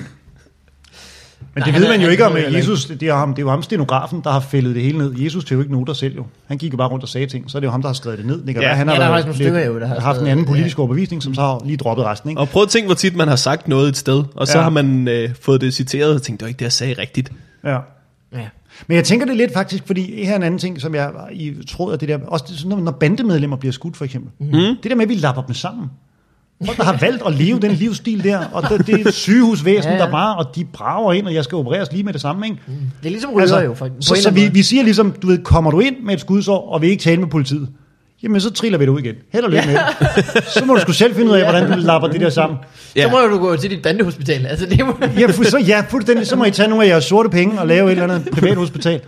[SPEAKER 2] Men
[SPEAKER 1] Nej,
[SPEAKER 2] det
[SPEAKER 1] han
[SPEAKER 2] ved
[SPEAKER 1] er-
[SPEAKER 2] man jo
[SPEAKER 1] han
[SPEAKER 2] ikke
[SPEAKER 1] er
[SPEAKER 2] om,
[SPEAKER 1] jo
[SPEAKER 2] at
[SPEAKER 1] heller ikke.
[SPEAKER 2] Jesus, det er, ham, det er jo ham stenografen, der har fældet det hele ned. Jesus tog jo ikke noter selv jo. Han gik jo bare rundt og sagde ting, så er det jo ham, der har skrevet det ned. Det kan
[SPEAKER 3] Ja.
[SPEAKER 2] være, han
[SPEAKER 1] Ja,
[SPEAKER 2] har
[SPEAKER 1] der er
[SPEAKER 2] været
[SPEAKER 1] faktisk nogle
[SPEAKER 2] lidt-
[SPEAKER 1] stykker jo, der har
[SPEAKER 2] haft en
[SPEAKER 1] skrevet-
[SPEAKER 2] anden politisk overbevisning, som så har lige droppet resten. Ikke?
[SPEAKER 3] Og prøv at tænke, hvor tit man har sagt noget et sted, og så
[SPEAKER 2] Ja.
[SPEAKER 3] har man øh, fået det citeret og tænkt, det var ikke det, jeg sagde rigtigt.
[SPEAKER 2] Ja.
[SPEAKER 1] Ja.
[SPEAKER 2] Men jeg tænker det lidt faktisk, fordi her er en anden ting, som jeg i troede, at det der, også det, sådan, når- når bandemedlemmer bliver skudt for eksempel.
[SPEAKER 1] Mhm.
[SPEAKER 2] Mm. Det der med, at vi lapper dem sammen. Folk, der har valgt at leve den livsstil der, og det, det er sygehusvæsen,
[SPEAKER 1] Ja,
[SPEAKER 2] ja,
[SPEAKER 1] ja.
[SPEAKER 2] ja. der bare, og de brager ind, og jeg skal opereres lige med det samme, ikke?
[SPEAKER 1] Det er ligesom ryger altså, jo. For, på
[SPEAKER 2] så
[SPEAKER 1] en
[SPEAKER 2] så
[SPEAKER 1] eller anden
[SPEAKER 2] vi,
[SPEAKER 1] måde.
[SPEAKER 2] vi siger ligesom, du ved, kommer du ind med et skudsår, og vil ikke tale med politiet, jamen så triller vi det ud igen. Held og lykke med det. Så må du sgu selv finde ud af, hvordan du lapper det der sammen.
[SPEAKER 1] Så
[SPEAKER 3] Ja.
[SPEAKER 1] må du gå til dit bandehospital. Altså, det må...
[SPEAKER 2] Ja, fu- så, ja, fuldstændig, så må I tage nogle af jeres sorte penge og lave et eller andet privat hospital.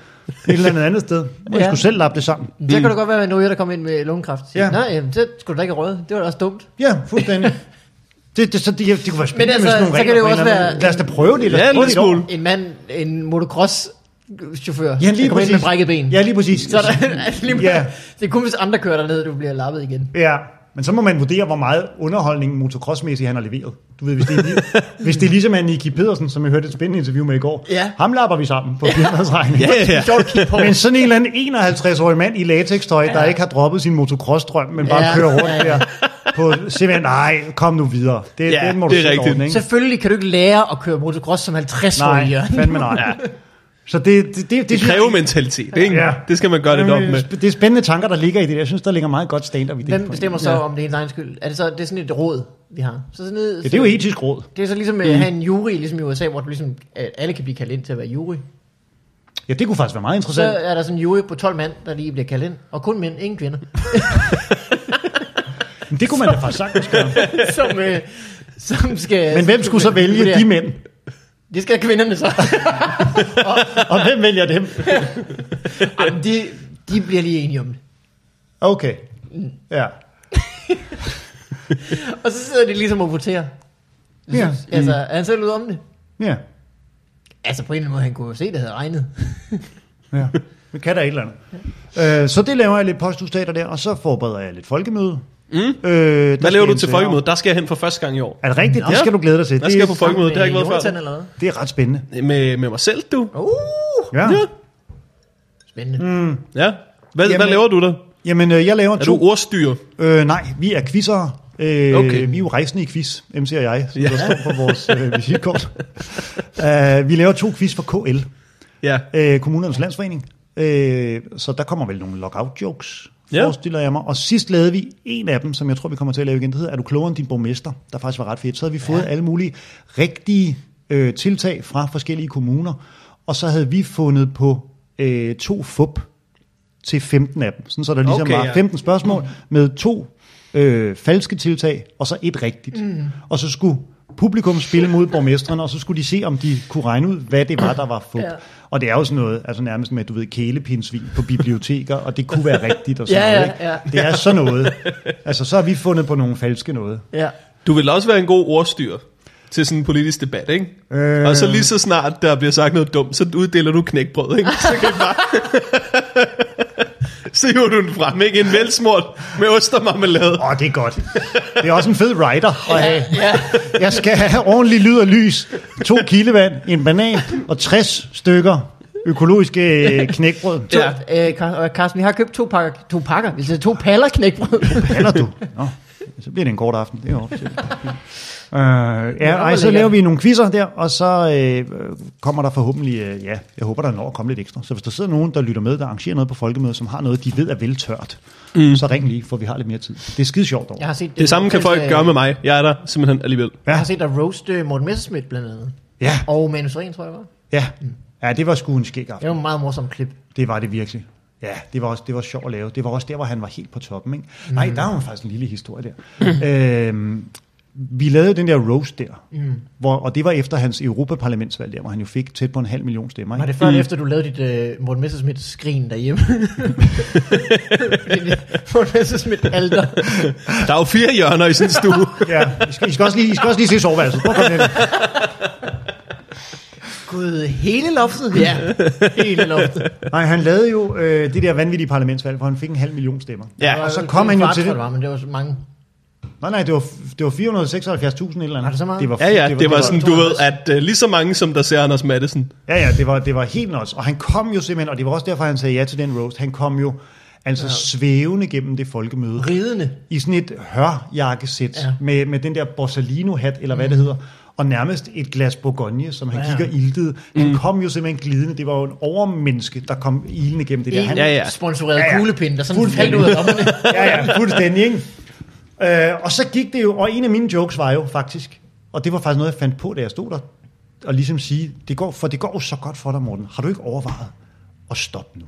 [SPEAKER 2] Et eller andet andet sted.
[SPEAKER 1] Ja.
[SPEAKER 2] Må I ja. skulle selv lappe det sammen.
[SPEAKER 1] Så kan det godt være, at nogen der kommer ind med lungekræft. Ja.
[SPEAKER 2] Ja.
[SPEAKER 1] Nej, jamen, så skulle du da ikke have røget. Det var da også dumt.
[SPEAKER 2] Ja, fuldstændig. Det, det, så det, ja, det kunne være spændende
[SPEAKER 1] altså,
[SPEAKER 2] med sådan nogle
[SPEAKER 1] så kan
[SPEAKER 2] regler.
[SPEAKER 1] det jo
[SPEAKER 2] på en
[SPEAKER 1] også
[SPEAKER 2] eller anden måde.
[SPEAKER 1] være-
[SPEAKER 2] Lad os da prøve det. Lad os
[SPEAKER 3] Ja, en
[SPEAKER 2] prøve
[SPEAKER 3] lille
[SPEAKER 2] det et år.
[SPEAKER 3] smule.
[SPEAKER 1] En mand, en motocross chauffør,
[SPEAKER 2] Ja, lige
[SPEAKER 1] der kommer ind med
[SPEAKER 2] præcis.
[SPEAKER 1] brækket ben.
[SPEAKER 2] Ja, lige præcis.
[SPEAKER 1] Så er der, altså, lige
[SPEAKER 2] Ja.
[SPEAKER 1] Det er kun, hvis andre kører derned, du bliver lappet igen.
[SPEAKER 2] Ja, men så må man vurdere, hvor meget underholdning motocrossmæssigt han har leveret. Du ved, hvis det er, li- hvis det er ligesom er Nicky Pedersen, som jeg hørte et spændende interview med i går.
[SPEAKER 1] Ja.
[SPEAKER 2] Ham lapper vi sammen på firmaets regning.
[SPEAKER 3] Ja, ja,
[SPEAKER 1] Sjovt at kigge på.
[SPEAKER 2] Men sådan en eller anden 51-årig mand i latextøj, ja. der ikke har droppet sin motocross-drøm, men bare
[SPEAKER 1] Ja.
[SPEAKER 2] ja. kører rundt
[SPEAKER 1] Ja.
[SPEAKER 2] der på simpelthen, nej, kom nu videre. Det,
[SPEAKER 3] Ja,
[SPEAKER 2] den må du
[SPEAKER 3] det er
[SPEAKER 2] selv
[SPEAKER 3] rigtigt.
[SPEAKER 2] Ordne, ikke?
[SPEAKER 1] Selvfølgelig kan du ikke lære at køre motocross som 50 år
[SPEAKER 2] Nej, fandme nej. Ja. Så det, det, det, det,
[SPEAKER 3] Det kræver mentalitet, ikke?
[SPEAKER 2] Ja.
[SPEAKER 3] Det skal man gøre lidt op med.
[SPEAKER 2] Det er spændende tanker, der ligger i det. Jeg synes, der ligger meget godt stand-up i det.
[SPEAKER 1] Hvem bestemmer så om det er ens egen skyld? Er det så det er sådan et råd, vi har? Så sådan et,
[SPEAKER 2] Ja, det er jo etisk råd.
[SPEAKER 1] Det er så ligesom mm. at have en jury, ligesom i USA, hvor du ligesom, at alle kan blive kaldt ind til at være jury.
[SPEAKER 2] Ja, det kunne faktisk være meget
[SPEAKER 1] Så
[SPEAKER 2] interessant.
[SPEAKER 1] er der sådan en jury på 12 mand, der lige bliver kaldt ind. Og kun mænd, ingen kvinder.
[SPEAKER 2] Men det kunne man da faktisk sagtens gøre.
[SPEAKER 1] som, øh, som skal...
[SPEAKER 2] Men hvem skulle så vælge de mænd?
[SPEAKER 1] Det skal kvinderne så.
[SPEAKER 2] Og hvem vælger dem?
[SPEAKER 1] Jamen, de, de bliver lige enige om det.
[SPEAKER 2] Okay. Ja.
[SPEAKER 1] Og så sidder de ligesom og voterer.
[SPEAKER 2] Ja.
[SPEAKER 1] Altså,
[SPEAKER 3] Mm.
[SPEAKER 1] er han selv ude om det?
[SPEAKER 2] Ja.
[SPEAKER 1] Altså, på en eller anden måde, han kunne jo se, det havde regnet.
[SPEAKER 2] ja. Vi kan da et eller andet. Øh, så det laver jeg lidt posthustater der, og så forbereder jeg lidt folkemøde. Mm. Øh,
[SPEAKER 3] Hvad laver du til folkemødet? Der skal jeg hen for første gang i år.
[SPEAKER 2] Er det rigtigt? Det skal du glæde dig til.
[SPEAKER 3] Der skal jeg på
[SPEAKER 2] Det,
[SPEAKER 3] folkemødet, det har jeg ikke været
[SPEAKER 1] Jonathan
[SPEAKER 3] før.
[SPEAKER 1] eller hvad?
[SPEAKER 2] det er ret spændende.
[SPEAKER 3] Med, med mig selv, du.
[SPEAKER 1] Uh,
[SPEAKER 2] Ja.
[SPEAKER 3] Ja.
[SPEAKER 1] spændende.
[SPEAKER 3] Mm. ja. Hvad, hvad
[SPEAKER 2] Jamen-
[SPEAKER 3] laver du der?
[SPEAKER 2] Jamen, øh, jeg laver
[SPEAKER 3] Er
[SPEAKER 2] to...
[SPEAKER 3] du ordstyrer?
[SPEAKER 2] Øh, nej, vi er quizzere. Øh,
[SPEAKER 3] Okay.
[SPEAKER 2] okay. Vi er jo rejsende i quiz, MC og jeg, som
[SPEAKER 3] Ja.
[SPEAKER 2] ja. der står på vores øh, visitkort. uh, vi laver to quiz for KL,
[SPEAKER 3] Ja.
[SPEAKER 2] øh, Kommunernes Landsforening. Øh, så der kommer vel nogle lockout-jokes,
[SPEAKER 3] Ja.
[SPEAKER 2] ja. forestiller jeg mig. Og sidst lavede vi en af dem, som jeg tror, vi kommer til at lave igen. Det hedder, er du klogere end din borgmester? Der faktisk var ret fedt. Så havde vi fået ja. alle mulige rigtige øh, tiltag fra forskellige kommuner. Og så havde vi fundet på øh, to fup til 15 af dem. Sådan, så der ligesom
[SPEAKER 3] Okay,
[SPEAKER 2] okay, var
[SPEAKER 3] ja.
[SPEAKER 2] 15 spørgsmål med to øh, falske tiltag, og så et rigtigt. Mm. Og så skulle publikum spille mod borgmesteren, og så skulle de se, om de kunne regne ud, hvad det var, der var fup.
[SPEAKER 1] Ja.
[SPEAKER 2] Ja. Og det er jo sådan noget, altså nærmest med, du ved, kælepindsvin på biblioteker, og det kunne være rigtigt og sådan
[SPEAKER 1] Ja, ja,
[SPEAKER 2] noget. Ikke?
[SPEAKER 1] ja.
[SPEAKER 2] Det er sådan noget. Altså, så har vi fundet på nogle falske noget.
[SPEAKER 1] Ja.
[SPEAKER 3] Du vil også være en god ordstyrer til sådan en politisk debat, ikke? Øh.
[SPEAKER 2] Øh.
[SPEAKER 3] Og så lige så snart der bliver sagt noget dumt, så uddeler du knækbrød, ikke? Så kan I bare... så hiver du den frem, ikke? En velsmurt med ost og marmelade.
[SPEAKER 2] Åh, oh, det er godt. Det er også en fed rider at have.
[SPEAKER 1] ja.
[SPEAKER 2] Jeg skal have ordentlig lyd og lys, to kildevand, en banan og 60 stykker økologiske øh, knækbrød.
[SPEAKER 1] To,
[SPEAKER 3] Ja.
[SPEAKER 1] øh, Car- og Carsten, vi har købt to pakker, to pakker, vi siger to paller knækbrød.
[SPEAKER 2] Paller du? Nå, så bliver det en kort aften. Det er jo også- øh, ja, ej, så
[SPEAKER 1] lækkert.
[SPEAKER 2] laver vi nogle quizzer der, og så øh, kommer der forhåbentlig, øh, ja, jeg håber, der når at komme lidt ekstra. Så hvis der sidder nogen, der lytter med, der arrangerer noget på Folkemødet, som har noget, de ved er veltørt, mm. så ring lige, for vi har lidt mere tid. Det er skide sjovt over.
[SPEAKER 1] Jeg har set, øh,
[SPEAKER 3] Det samme kan folk gøre med mig. Jeg er der simpelthen alligevel.
[SPEAKER 1] Jeg har set dig roast øh, Morten Messerschmidt blandt andet.
[SPEAKER 2] Ja,
[SPEAKER 1] Og Manus Ren, tror jeg var.
[SPEAKER 2] ja. Ja, det var sgu en skæg aften.
[SPEAKER 1] Det var en meget morsom klip.
[SPEAKER 2] Det var det virkelig. Ja, det var, også, det var sjovt at lave. Det var også der, hvor han var helt på toppen. Ikke? Mm. Nej, der var faktisk en lille historie der. øhm, vi lavede den der roast der, mm. hvor, og det var efter hans Europaparlamentsvalg der, hvor han jo fik tæt på en halv million stemmer.
[SPEAKER 1] Var
[SPEAKER 2] Ikke?
[SPEAKER 1] det før eller efter, du lavede dit uh, Morten Messerschmidt-skrin derhjemme? Dit Morten Messerschmidt-alter.
[SPEAKER 3] Der er jo fire hjørner i sådan en stue.
[SPEAKER 2] Ja, I skal, I skal, også lige, I skal også lige se soveværelset. Prøv at komme lidt.
[SPEAKER 1] Gud, hele loftet? Ja, hele loftet.
[SPEAKER 2] Nej, han lavede jo øh, det der vanvittige parlamentsvalg, hvor han fik en halv million stemmer.
[SPEAKER 3] Ja.
[SPEAKER 1] Der var
[SPEAKER 2] Og så
[SPEAKER 1] jo
[SPEAKER 2] kom
[SPEAKER 1] en
[SPEAKER 2] han jo
[SPEAKER 1] kvart,
[SPEAKER 2] til
[SPEAKER 1] tror jeg,
[SPEAKER 2] det.
[SPEAKER 1] Var, men det var så mange.
[SPEAKER 2] Nej, nej, det var, det var 476.000 eller et eller andet.
[SPEAKER 1] Var det så meget?
[SPEAKER 2] Det var,
[SPEAKER 3] Ja, ja, det var sådan, du ved,
[SPEAKER 1] 52.
[SPEAKER 3] at uh, lige så mange, som der ser Anders Madsen.
[SPEAKER 2] Ja, ja, det var, det var helt nuts. Og han kom jo simpelthen, og det var også derfor, han sagde ja til den roast, han kom jo altså ja. svævende gennem det folkemøde.
[SPEAKER 1] Ridende.
[SPEAKER 2] I sådan et hørjakkesæt
[SPEAKER 1] Ja. Mhm.
[SPEAKER 2] ja. med, med den der Borsalino-hat, eller hvad mm. det hedder, og nærmest et glas Bourgogne, som han
[SPEAKER 1] Ja. Mhm.
[SPEAKER 2] ja. kigger iltede. Han mm. kom jo simpelthen glidende. Det var jo en overmenneske, der kom ilende gennem det der. Han,
[SPEAKER 1] En
[SPEAKER 3] Ja,
[SPEAKER 1] ja,
[SPEAKER 3] ja.
[SPEAKER 1] ja. sponsoreret
[SPEAKER 2] Ja,
[SPEAKER 1] ja,
[SPEAKER 2] ja.
[SPEAKER 1] ja. kuglepind, der sådan faldt
[SPEAKER 2] Fuldstændig.
[SPEAKER 1] ud af lommerne.
[SPEAKER 2] ja, ja, fuldstændig, ikke? Øh, og så gik det jo, og en af mine jokes var jo faktisk, og det var faktisk noget, jeg fandt på, da jeg stod der, og ligesom sige, det går, for det går jo så godt for dig, Morten. Har du ikke overvejet at stoppe nu?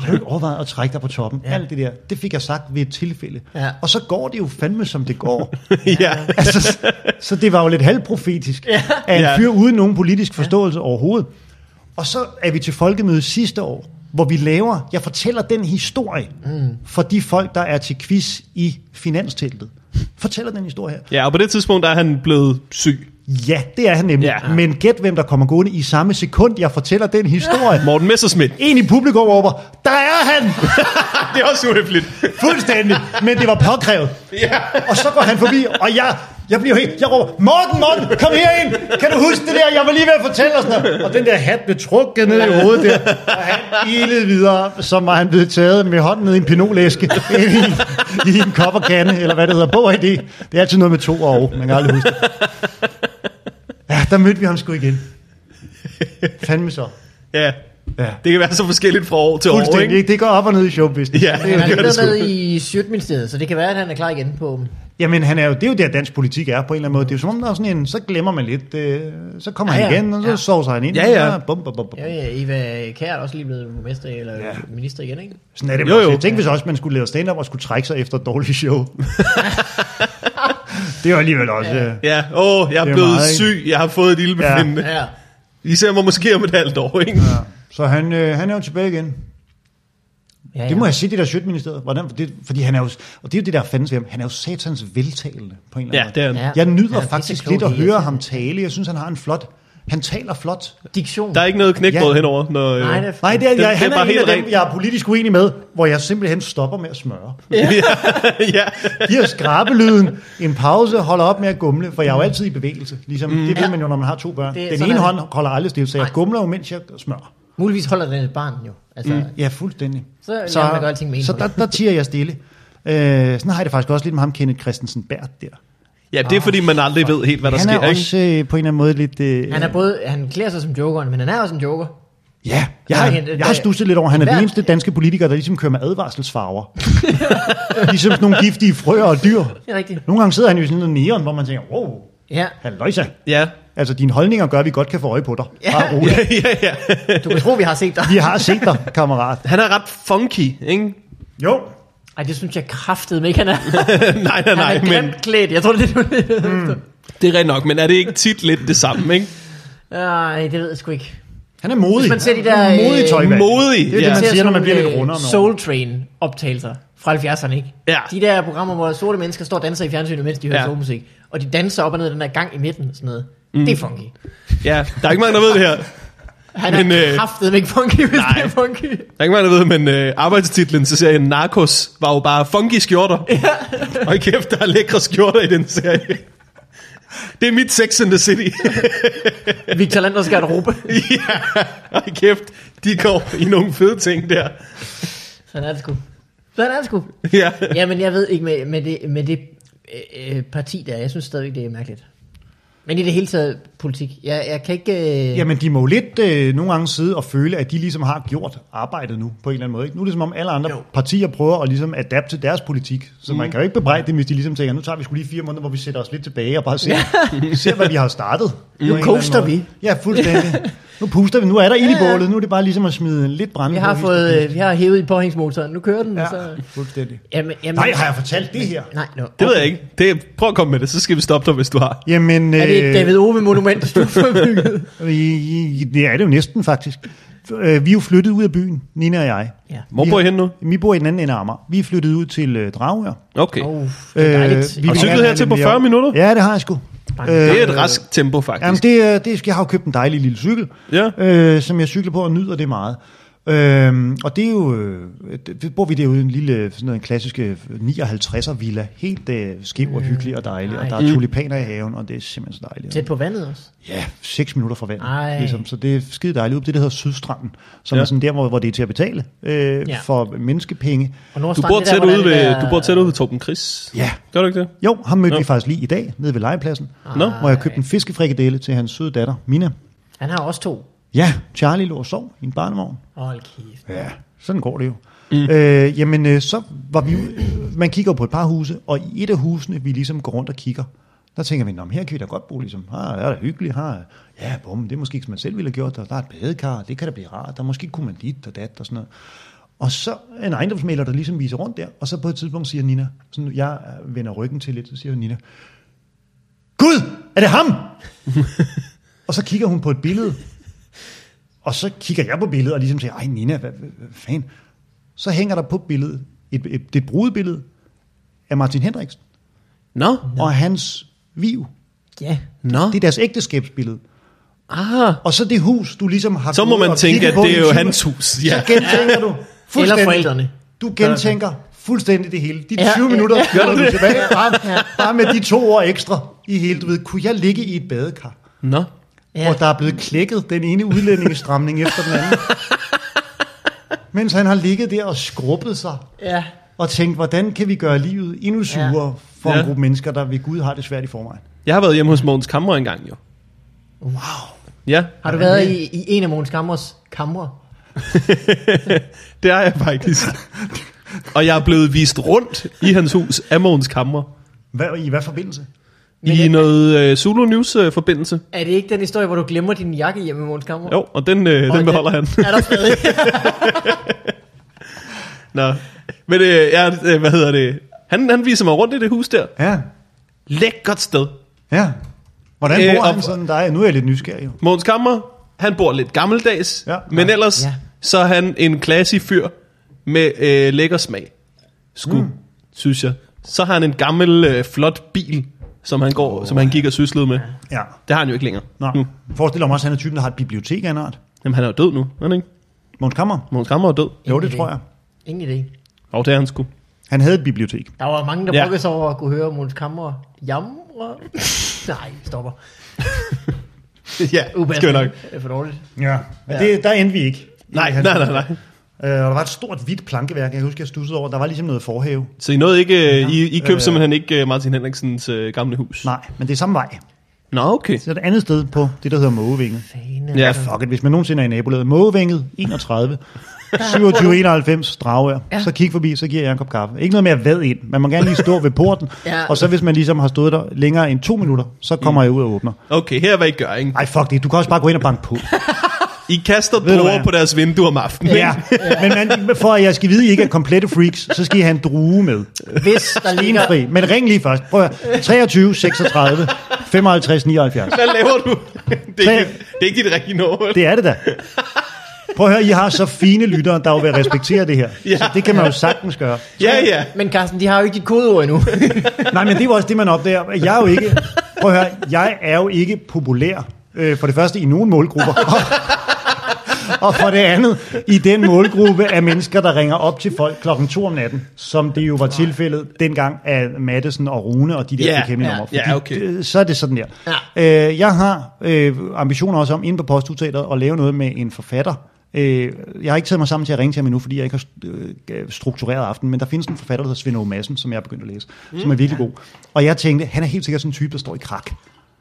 [SPEAKER 2] Har du ikke overvejet at trække dig på toppen? Ja. Alt det der, det fik jeg sagt ved et tilfælde.
[SPEAKER 1] Ja.
[SPEAKER 2] Og så går det jo fandme, som det går.
[SPEAKER 3] ja.
[SPEAKER 2] altså, så- så det var jo lidt halvprofetisk ja. af en
[SPEAKER 3] Ja.
[SPEAKER 2] fyr uden nogen politisk forståelse ja. overhovedet. Og så er vi til folkemødet sidste år, hvor vi laver, jeg fortæller den historie mm. for de folk, der er til quiz i finansteltet. Fortæller den historie her.
[SPEAKER 3] Ja, og på det tidspunkt, der er han blevet syg.
[SPEAKER 2] Ja, det er han nemlig.
[SPEAKER 3] Ja.
[SPEAKER 2] Ja. Men gæt, hvem der kommer gående i samme sekund, jeg fortæller den historie.
[SPEAKER 3] Morten Messerschmidt.
[SPEAKER 2] En i publikum råber, der er han!
[SPEAKER 3] Det er også uhøfligt.
[SPEAKER 2] Fuldstændig. Men det var påkrævet.
[SPEAKER 3] Ja.
[SPEAKER 2] Og så går han forbi, og jeg, jeg bliver helt, jeg råber, Morten, Morten, kom herind, kan du huske det der, jeg var lige ved at fortælle og sådan noget. Og den der hat blev trukket ned i hovedet der, og han ilede videre, som var han blevet taget med hånden ned i en pinolæske, ind i, i en kopperkande, eller hvad det hedder, på idé. Det er altid noget med to år, man kan aldrig huske det. Ja, der mødte vi ham sgu igen. Fandme så.
[SPEAKER 3] ja.
[SPEAKER 2] Ja.
[SPEAKER 3] Det kan være så forskelligt fra år til år,
[SPEAKER 2] Fuldstændig,
[SPEAKER 3] ikke?
[SPEAKER 2] ikke? Det går op og ned i showbiz.
[SPEAKER 3] Ja,
[SPEAKER 1] Han
[SPEAKER 3] det
[SPEAKER 1] er
[SPEAKER 3] gør det
[SPEAKER 1] lige
[SPEAKER 3] sgu.
[SPEAKER 1] med i Sjøtministeriet, så det kan være, at han er klar igen på...
[SPEAKER 2] Jamen, han er jo, det er jo der, dansk politik er på en eller anden måde. Det er jo som om, der er sådan en, så glemmer man lidt, øh, så kommer
[SPEAKER 1] Ja,
[SPEAKER 2] han
[SPEAKER 1] ja.
[SPEAKER 2] igen, og så
[SPEAKER 1] Ja.
[SPEAKER 2] ja. sover han ind.
[SPEAKER 3] Ja, ja.
[SPEAKER 2] Og bum, bum, bum, bum.
[SPEAKER 1] Ja, ja, øh, Eva Kjær er også lige blevet borgmester eller ja.
[SPEAKER 2] Ja.
[SPEAKER 1] minister igen, ikke?
[SPEAKER 2] Sådan er det
[SPEAKER 3] Jo,
[SPEAKER 2] jo,
[SPEAKER 3] jo.
[SPEAKER 2] jo. Jeg tænkte, hvis også man skulle lave stand-up og skulle trække sig efter et dårligt show. det er jo alligevel også... øh. Ja.
[SPEAKER 3] Ja, åh, oh, jeg er,
[SPEAKER 2] Det er
[SPEAKER 3] blevet
[SPEAKER 2] meget, ikke?
[SPEAKER 3] syg. Jeg har fået et ildbefindende. Ja.
[SPEAKER 1] Ja.
[SPEAKER 3] I ser mig måske om et halvt år, ikke? Ja.
[SPEAKER 2] Så han, øh, han er jo tilbage igen.
[SPEAKER 1] ja, ja.
[SPEAKER 2] Det må jeg sige, det der Sjøtministeriet. Hvordan, for det, fordi han er jo, og det er jo det der fandens ved ham. Han er jo satans veltalende på en eller anden
[SPEAKER 3] Ja,
[SPEAKER 2] måde.
[SPEAKER 3] det er han.
[SPEAKER 1] Ja.
[SPEAKER 2] Jeg
[SPEAKER 1] Han
[SPEAKER 2] nyder
[SPEAKER 1] er
[SPEAKER 2] faktisk
[SPEAKER 1] pisseklog,
[SPEAKER 2] lidt at
[SPEAKER 1] det er
[SPEAKER 2] høre
[SPEAKER 1] sådan.
[SPEAKER 2] ham tale. Jeg synes, han har en flot... Han taler flot.
[SPEAKER 1] Diktion.
[SPEAKER 3] Der er ikke noget knækbrød
[SPEAKER 2] Ja.
[SPEAKER 3] henover, når... øh,
[SPEAKER 1] Nej, det er...
[SPEAKER 2] Nej, det er,
[SPEAKER 3] Den-
[SPEAKER 2] jeg,
[SPEAKER 3] den
[SPEAKER 2] han
[SPEAKER 3] er
[SPEAKER 2] er,
[SPEAKER 3] bare
[SPEAKER 2] en
[SPEAKER 3] helt
[SPEAKER 2] af dem,
[SPEAKER 3] ren.
[SPEAKER 2] jeg er politisk uenig med, hvor jeg simpelthen stopper med at smøre.
[SPEAKER 3] ja.
[SPEAKER 2] Giver skrabelyden en pause, holder op med at gumle, for jeg er jo altid i bevægelse. Ligesom, mm. Det ved man jo, når man har to børn.
[SPEAKER 1] Det er-
[SPEAKER 2] Det, Den
[SPEAKER 1] sådan
[SPEAKER 2] ene
[SPEAKER 1] er
[SPEAKER 2] hånd
[SPEAKER 1] det.
[SPEAKER 2] holder aldrig stille, så jeg
[SPEAKER 1] Nej.
[SPEAKER 2] gumler jo, mens jeg smører.
[SPEAKER 1] Muligvis holder den et barn jo. Altså, mm.
[SPEAKER 2] Ja, fuldstændig.
[SPEAKER 1] Så lærer man at gøre alting med en
[SPEAKER 2] så
[SPEAKER 1] hånd.
[SPEAKER 2] der, der tiger jeg stille. Øh, sådan har jeg det faktisk også lidt med ham, Kenneth Christensen Bært der.
[SPEAKER 3] ja, det er fordi, man aldrig ved helt, hvad der
[SPEAKER 2] han
[SPEAKER 3] sker,
[SPEAKER 2] er
[SPEAKER 3] ikke?
[SPEAKER 2] også øh, på en eller anden måde lidt... Øh,
[SPEAKER 1] Han er både, han klæder sig som jokeren, men han er også en joker.
[SPEAKER 2] Ja, jeg
[SPEAKER 1] er
[SPEAKER 2] har,
[SPEAKER 1] hende-
[SPEAKER 2] jeg har stusset lidt over, at han er den
[SPEAKER 1] Hver-
[SPEAKER 2] eneste danske politiker, der ligesom kører med advarselsfarver. ligesom sådan nogle giftige frøer og dyr.
[SPEAKER 1] Det er rigtigt.
[SPEAKER 2] Nogle gange sidder han jo i sådan noget neon, hvor man tænker, wow,
[SPEAKER 1] Ja,
[SPEAKER 2] halløjsa.
[SPEAKER 3] Ja.
[SPEAKER 2] Altså, dine holdninger gør, at vi godt kan få øje på dig.
[SPEAKER 1] Ja.
[SPEAKER 2] Bare rolig.
[SPEAKER 3] ja, ja, ja.
[SPEAKER 1] du kan tro, vi har set dig.
[SPEAKER 2] Vi har set dig, kammerat.
[SPEAKER 3] Han er ret funky, ikke?
[SPEAKER 2] Jo.
[SPEAKER 1] Ej, det synes jeg kraftedeme ikke, han er.
[SPEAKER 3] nej, nej, nej,
[SPEAKER 1] han er
[SPEAKER 3] men
[SPEAKER 1] grimt klædt. Jeg tror, det er det, du
[SPEAKER 3] det er rigtigt nok. Men er det ikke tit lidt det samme, ikke?
[SPEAKER 1] Nej, det ved jeg sgu ikke.
[SPEAKER 2] Han er modig.
[SPEAKER 1] Hvis man ser de
[SPEAKER 2] Han er
[SPEAKER 1] der,
[SPEAKER 2] modig
[SPEAKER 1] øh,
[SPEAKER 2] tøjvalg.
[SPEAKER 3] Modig,
[SPEAKER 2] Det er det,
[SPEAKER 3] ja.
[SPEAKER 2] man
[SPEAKER 1] ser
[SPEAKER 2] siger, når man
[SPEAKER 1] sådan
[SPEAKER 2] bliver
[SPEAKER 1] nogle,
[SPEAKER 2] lidt rundere. om
[SPEAKER 1] øh,
[SPEAKER 2] året.
[SPEAKER 1] Soul Train optagelser fra 70'erne, ikke?
[SPEAKER 3] Ja.
[SPEAKER 1] De der programmer, hvor sorte mennesker står og danser i fjernsynet, mens de hører
[SPEAKER 3] Ja.
[SPEAKER 1] ja. soulmusik. Og de danser op og ned ad den der gang i midten og sådan noget. Mm. Det er funky.
[SPEAKER 3] Ja, der er ikke mange, der ved det her.
[SPEAKER 1] Han
[SPEAKER 3] Men,
[SPEAKER 1] er
[SPEAKER 3] øh,
[SPEAKER 1] øh, kraftedeme ikke funky, hvis
[SPEAKER 3] nej.
[SPEAKER 1] det er funky.
[SPEAKER 3] Der er ikke mange, der ved, men øh, arbejdstitlen til serien Narcos var jo bare funky skjorter. Ja. og i kæft, der er lækre skjorter i den serie. Det er mit Sex and the City.
[SPEAKER 1] Victor Landers garderobe.
[SPEAKER 3] ja, og i kæft, de går i nogle fede ting der.
[SPEAKER 1] Sådan er det sgu. Sådan er det sgu.
[SPEAKER 3] Ja.
[SPEAKER 1] Jamen, jeg ved ikke med, med det, med det øh, øh, parti der. Jeg synes stadigvæk, det er mærkeligt. Men i det hele taget politik. Jeg, jeg kan ikke... Øh,
[SPEAKER 2] Jamen, de må jo lidt øh, nogle gange sidde og føle, at de ligesom har gjort arbejdet nu, på en eller anden måde. Ikke? Nu er det som om alle andre
[SPEAKER 1] Jo.
[SPEAKER 2] jo. partier prøver at ligesom adapte til deres politik. Så mm. man kan jo ikke bebrejde dem, hvis de ligesom tænker, nu tager vi sgu lige fire måneder, hvor vi sætter os lidt tilbage og bare ser, ser hvad vi har startet. på en eller anden
[SPEAKER 1] coaster
[SPEAKER 2] måde.
[SPEAKER 1] vi.
[SPEAKER 2] Ja, fuldstændig. Nu puster vi. Nu er der ild i bålet. Nu er det bare ligesom at smide lidt brænde
[SPEAKER 1] Jeg
[SPEAKER 2] på,
[SPEAKER 1] har
[SPEAKER 2] hvis
[SPEAKER 1] fået,
[SPEAKER 2] det-
[SPEAKER 1] øh, jeg har hævet i påhængsmotoren. Nu kører den, ja.
[SPEAKER 2] Ja,
[SPEAKER 1] og så...
[SPEAKER 2] fuldstændig.
[SPEAKER 1] Jamen, jamen,
[SPEAKER 2] Nej, har jeg fortalt det her?
[SPEAKER 1] Nej, no.
[SPEAKER 3] Det ved jeg ikke. Det, er- prøv at komme med det, så skal vi stoppe dig, hvis du har.
[SPEAKER 2] Jamen, øh,
[SPEAKER 1] Er det et David Ove monument, du har fået bygget?
[SPEAKER 2] I, I, det er det jo næsten faktisk. Øh, Vi er jo flyttet ud af byen, Nina og jeg.
[SPEAKER 1] Ja.
[SPEAKER 3] Hvor bor I henne nu?
[SPEAKER 2] Vi bor i den anden ende af Amager. Vi er flyttet ud til øh, Dragør.
[SPEAKER 3] Okay.
[SPEAKER 1] Oh, det er dejligt.
[SPEAKER 2] Øh, vi
[SPEAKER 1] Øh,
[SPEAKER 3] Og
[SPEAKER 2] vil
[SPEAKER 3] cyklet
[SPEAKER 2] gerne have
[SPEAKER 3] hertil
[SPEAKER 2] lidt
[SPEAKER 3] på
[SPEAKER 2] mere.
[SPEAKER 3] 40 minutter?
[SPEAKER 2] Ja, det har jeg sgu.
[SPEAKER 3] Det er
[SPEAKER 2] Øh,
[SPEAKER 3] et rask tempo, faktisk.
[SPEAKER 2] Jamen, det, er- det, jeg har jo købt en dejlig lille cykel,
[SPEAKER 3] Ja.
[SPEAKER 2] øh, som jeg cykler på og nyder det meget. Øhm, og det er jo, øh, det- det bor vi derude i en lille, sådan noget, en klassisk 59'er villa, helt øh, skæv
[SPEAKER 3] Mm.
[SPEAKER 2] og hyggelig og dejlig, og der er tulipaner i haven, og det er simpelthen så dejligt.
[SPEAKER 1] tæt på vandet også.
[SPEAKER 2] Ja, 6 minutter fra
[SPEAKER 1] Ej.
[SPEAKER 2] vandet. Ligesom. Så det er skide dejligt. Ude på Det, der hedder Sydstranden, som
[SPEAKER 3] Ja.
[SPEAKER 2] ja. er sådan der, hvor, hvor det er til at betale øh,
[SPEAKER 1] Ja.
[SPEAKER 2] ja. for menneskepenge.
[SPEAKER 1] Og
[SPEAKER 3] Du
[SPEAKER 1] Nordstrand,
[SPEAKER 3] bor,
[SPEAKER 1] det der,
[SPEAKER 3] tæt
[SPEAKER 1] hvor der
[SPEAKER 3] ude
[SPEAKER 1] er det
[SPEAKER 3] ved,
[SPEAKER 1] der-
[SPEAKER 3] du bor tæt ude ved Torben Chris.
[SPEAKER 2] Ja.
[SPEAKER 3] Gør du ikke det?
[SPEAKER 2] Jo, ham mødte
[SPEAKER 3] Nå.
[SPEAKER 2] vi faktisk lige i dag, nede ved legepladsen,
[SPEAKER 3] Nå.
[SPEAKER 2] hvor jeg købte en fiskefrikadelle til hans søde datter, Mina.
[SPEAKER 1] Han har også to.
[SPEAKER 2] Ja, Charlie lå og sov i en barnevogn.
[SPEAKER 1] Hold kæft.
[SPEAKER 2] Ja, sådan går det jo. Mm. Øh, jamen, øh, så var vi ude- man kigger jo på et par huse, og i et af husene, vi ligesom går rundt og kigger, der tænker vi, Nå, men her kan vi da godt bo, ligesom. Her er der hyggeligt, her er- ja, bum, det er måske ikke, som man selv ville have gjort, der, der er et badekar, det kan da blive rart, der måske kunne man dit og dat og sådan noget. Og så en ejendomsmaler, der ligesom viser rundt der, og så på et tidspunkt siger Nina, sådan, jeg vender ryggen til lidt, så siger Nina, Gud, er det ham? og så kigger hun på et billede, og så kigger jeg på billedet og ligesom siger, ej Nina, hvad, hvad, hvad fanden? Så hænger der på billedet, et, et, det er et brudebillede af Martin Hendriksen
[SPEAKER 3] Nå.
[SPEAKER 2] og hans viv.
[SPEAKER 1] Ja.
[SPEAKER 3] Nå.
[SPEAKER 2] Det er deres ægteskabsbillede.
[SPEAKER 3] Ah.
[SPEAKER 2] Og så det hus, du ligesom har
[SPEAKER 3] Så må
[SPEAKER 2] gået
[SPEAKER 3] man
[SPEAKER 2] og
[SPEAKER 3] tænke,
[SPEAKER 2] kigget
[SPEAKER 3] at
[SPEAKER 2] på
[SPEAKER 3] det er
[SPEAKER 2] i
[SPEAKER 3] jo
[SPEAKER 2] syv-
[SPEAKER 3] hans hus. Ja.
[SPEAKER 2] Så gentænker du fuldstændig-
[SPEAKER 1] forældrene.
[SPEAKER 2] Du gentænker fuldstændig det hele. De
[SPEAKER 1] Ja,
[SPEAKER 2] 20
[SPEAKER 1] ja,
[SPEAKER 2] minutter
[SPEAKER 1] ja.
[SPEAKER 2] flytter du tilbage, bare, bare med de to år ekstra i hele. Du ved, kunne jeg ligge i et badekar?
[SPEAKER 3] Nå.
[SPEAKER 1] Ja.
[SPEAKER 2] ja. hvor der er blevet klækket den ene udlændingestramning efter den anden. Mens han har ligget der og skrubbet sig
[SPEAKER 1] Ja.
[SPEAKER 2] og tænkt, hvordan kan vi gøre livet endnu surere ja. for
[SPEAKER 3] Ja.
[SPEAKER 2] en gruppe mennesker, der ved Gud har det svært i forvejen.
[SPEAKER 3] Jeg har været hjemme hos Mogens Kammer engang, jo.
[SPEAKER 1] Wow.
[SPEAKER 3] Ja,
[SPEAKER 1] Har du været i, i en af Mogens Kammers kamre?
[SPEAKER 3] det er jeg faktisk. Og jeg er blevet vist rundt i hans hus af Mogens Kammer.
[SPEAKER 2] Hvad, I hvad forbindelse?
[SPEAKER 1] Men
[SPEAKER 3] I
[SPEAKER 1] jeg-
[SPEAKER 3] noget øh, Zulu News-forbindelse.
[SPEAKER 1] Er det ikke den historie, hvor du glemmer din jakke hjemme i Mogens Kammer?
[SPEAKER 3] Jo, og den, øh,
[SPEAKER 1] Og
[SPEAKER 3] den beholder han.
[SPEAKER 1] Er der stadig?
[SPEAKER 3] Nå. Men øh, jeg, øh, hvad hedder det? Han, han viser mig rundt i det hus der.
[SPEAKER 2] Ja,
[SPEAKER 3] Lækkert sted.
[SPEAKER 2] ja. Hvordan
[SPEAKER 3] Øh,
[SPEAKER 2] bor øh,
[SPEAKER 3] og-
[SPEAKER 2] han sådan dig? Nu er jeg lidt nysgerrig. Jo.
[SPEAKER 3] Mogens Kammer, han bor lidt gammeldags, ja,
[SPEAKER 2] Ja.
[SPEAKER 3] men ellers ja.
[SPEAKER 1] Ja.
[SPEAKER 3] så er han en klassisk fyr med øh, lækker smag. Sku, mm. synes jeg. Så har han en gammel, øh, flot bil, som han, går, oh, som han gik og syslede med.
[SPEAKER 2] Ja.
[SPEAKER 3] Det har han jo ikke længere.
[SPEAKER 2] Nå.
[SPEAKER 3] Nu.
[SPEAKER 2] Forestil dig om også, at han er typen, der har et bibliotek af en art.
[SPEAKER 3] Jamen, han er jo død nu, er han ikke?
[SPEAKER 2] Måns Kammer?
[SPEAKER 3] Mogens Kammer er død.
[SPEAKER 2] Jo, det
[SPEAKER 1] idé.
[SPEAKER 2] tror jeg.
[SPEAKER 1] Ingen idé.
[SPEAKER 3] Og det er han sgu.
[SPEAKER 2] Han havde et bibliotek.
[SPEAKER 1] Der var mange, der
[SPEAKER 3] Ja.
[SPEAKER 1] ja. brokkede sig over at kunne høre Mogens Kammer jamre. Nej, stopper.
[SPEAKER 3] ja, skal nok.
[SPEAKER 1] Det er for dårligt.
[SPEAKER 2] Ja. Men det, der endte vi ikke.
[SPEAKER 3] Nej, nej, nej, nej.
[SPEAKER 2] Øh, og der var et stort hvidt plankeværk, jeg kan huske, jeg stussede over. Der var ligesom noget forhave.
[SPEAKER 3] Så I nåede ikke, øh, I, I købte øh, simpelthen ikke øh, Martin Henriksens øh, gamle hus?
[SPEAKER 2] Nej, men det er samme vej.
[SPEAKER 3] Nå, okay.
[SPEAKER 2] Så er det andet sted på det, der hedder Mågevinget.
[SPEAKER 1] Fane.
[SPEAKER 3] Ja,
[SPEAKER 1] altså.
[SPEAKER 2] Fuck it, hvis man nogensinde er i nabolaget. Mågevinget, 31, 27, 91, Dragør.
[SPEAKER 1] Ja.
[SPEAKER 2] Ja. Så kig forbi, så giver jeg en kop kaffe. Ikke noget med at vade ind. Man må gerne lige stå ved porten.
[SPEAKER 1] Ja.
[SPEAKER 2] ja. Mm. Og så hvis man ligesom har stået der længere end to minutter, så kommer jeg ud og åbner.
[SPEAKER 3] Okay, her er hvad I gør, ikke?
[SPEAKER 2] Ej, fuck det. Du kan også bare gå ind og banke på.
[SPEAKER 3] I kaster
[SPEAKER 2] Ved du
[SPEAKER 3] druer
[SPEAKER 2] hvad?
[SPEAKER 3] på deres vindue om aftenen.
[SPEAKER 2] ja. Men man, for at jeg skal vide, at I ikke er komplette freaks, så skal I have en drue med.
[SPEAKER 1] Hvis der ligger...
[SPEAKER 2] Stenfri. Men ring lige først. Prøv at høre. 23, 36, 55, 79.
[SPEAKER 3] Hvad laver du? Det er,
[SPEAKER 2] Tag-
[SPEAKER 3] ikke, det er ikke dit rigtige nummer.
[SPEAKER 2] Det er det da. Prøv at høre, I har så fine lyttere, der jo vil respektere det her.
[SPEAKER 3] Ja.
[SPEAKER 2] Ja. Så det kan man jo sagtens gøre.
[SPEAKER 3] Ja, ja.
[SPEAKER 1] Men Carsten, de har jo ikke dit kodeord endnu.
[SPEAKER 2] Nej, men det er jo også det, man opdager. Jeg er jo ikke, prøv at høre, jeg er jo ikke populær. Øh, for det første i nogen målgrupper. Og for det andet, i den målgruppe af mennesker, der ringer op til folk klokken 2 om natten, som det jo var tilfældet dengang af Madison og Rune og de der
[SPEAKER 3] Ja,
[SPEAKER 2] yeah, bekæmpende
[SPEAKER 1] ja,
[SPEAKER 2] numre.
[SPEAKER 3] ja,
[SPEAKER 2] Fordi,
[SPEAKER 3] okay.
[SPEAKER 2] øh, Så er det sådan der. Øh, jeg har øh, ambitioner også om inde på Posthuteateret at lave noget med en forfatter. Øh, jeg har ikke taget mig sammen til at ringe til ham endnu, fordi jeg ikke har øh, struktureret aftenen, men der findes en forfatter, der hedder Svend Aage Madsen, som jeg er begyndt at læse, mm, som er virkelig god. Og jeg tænkte, han er helt sikkert sådan en type, der står i krak.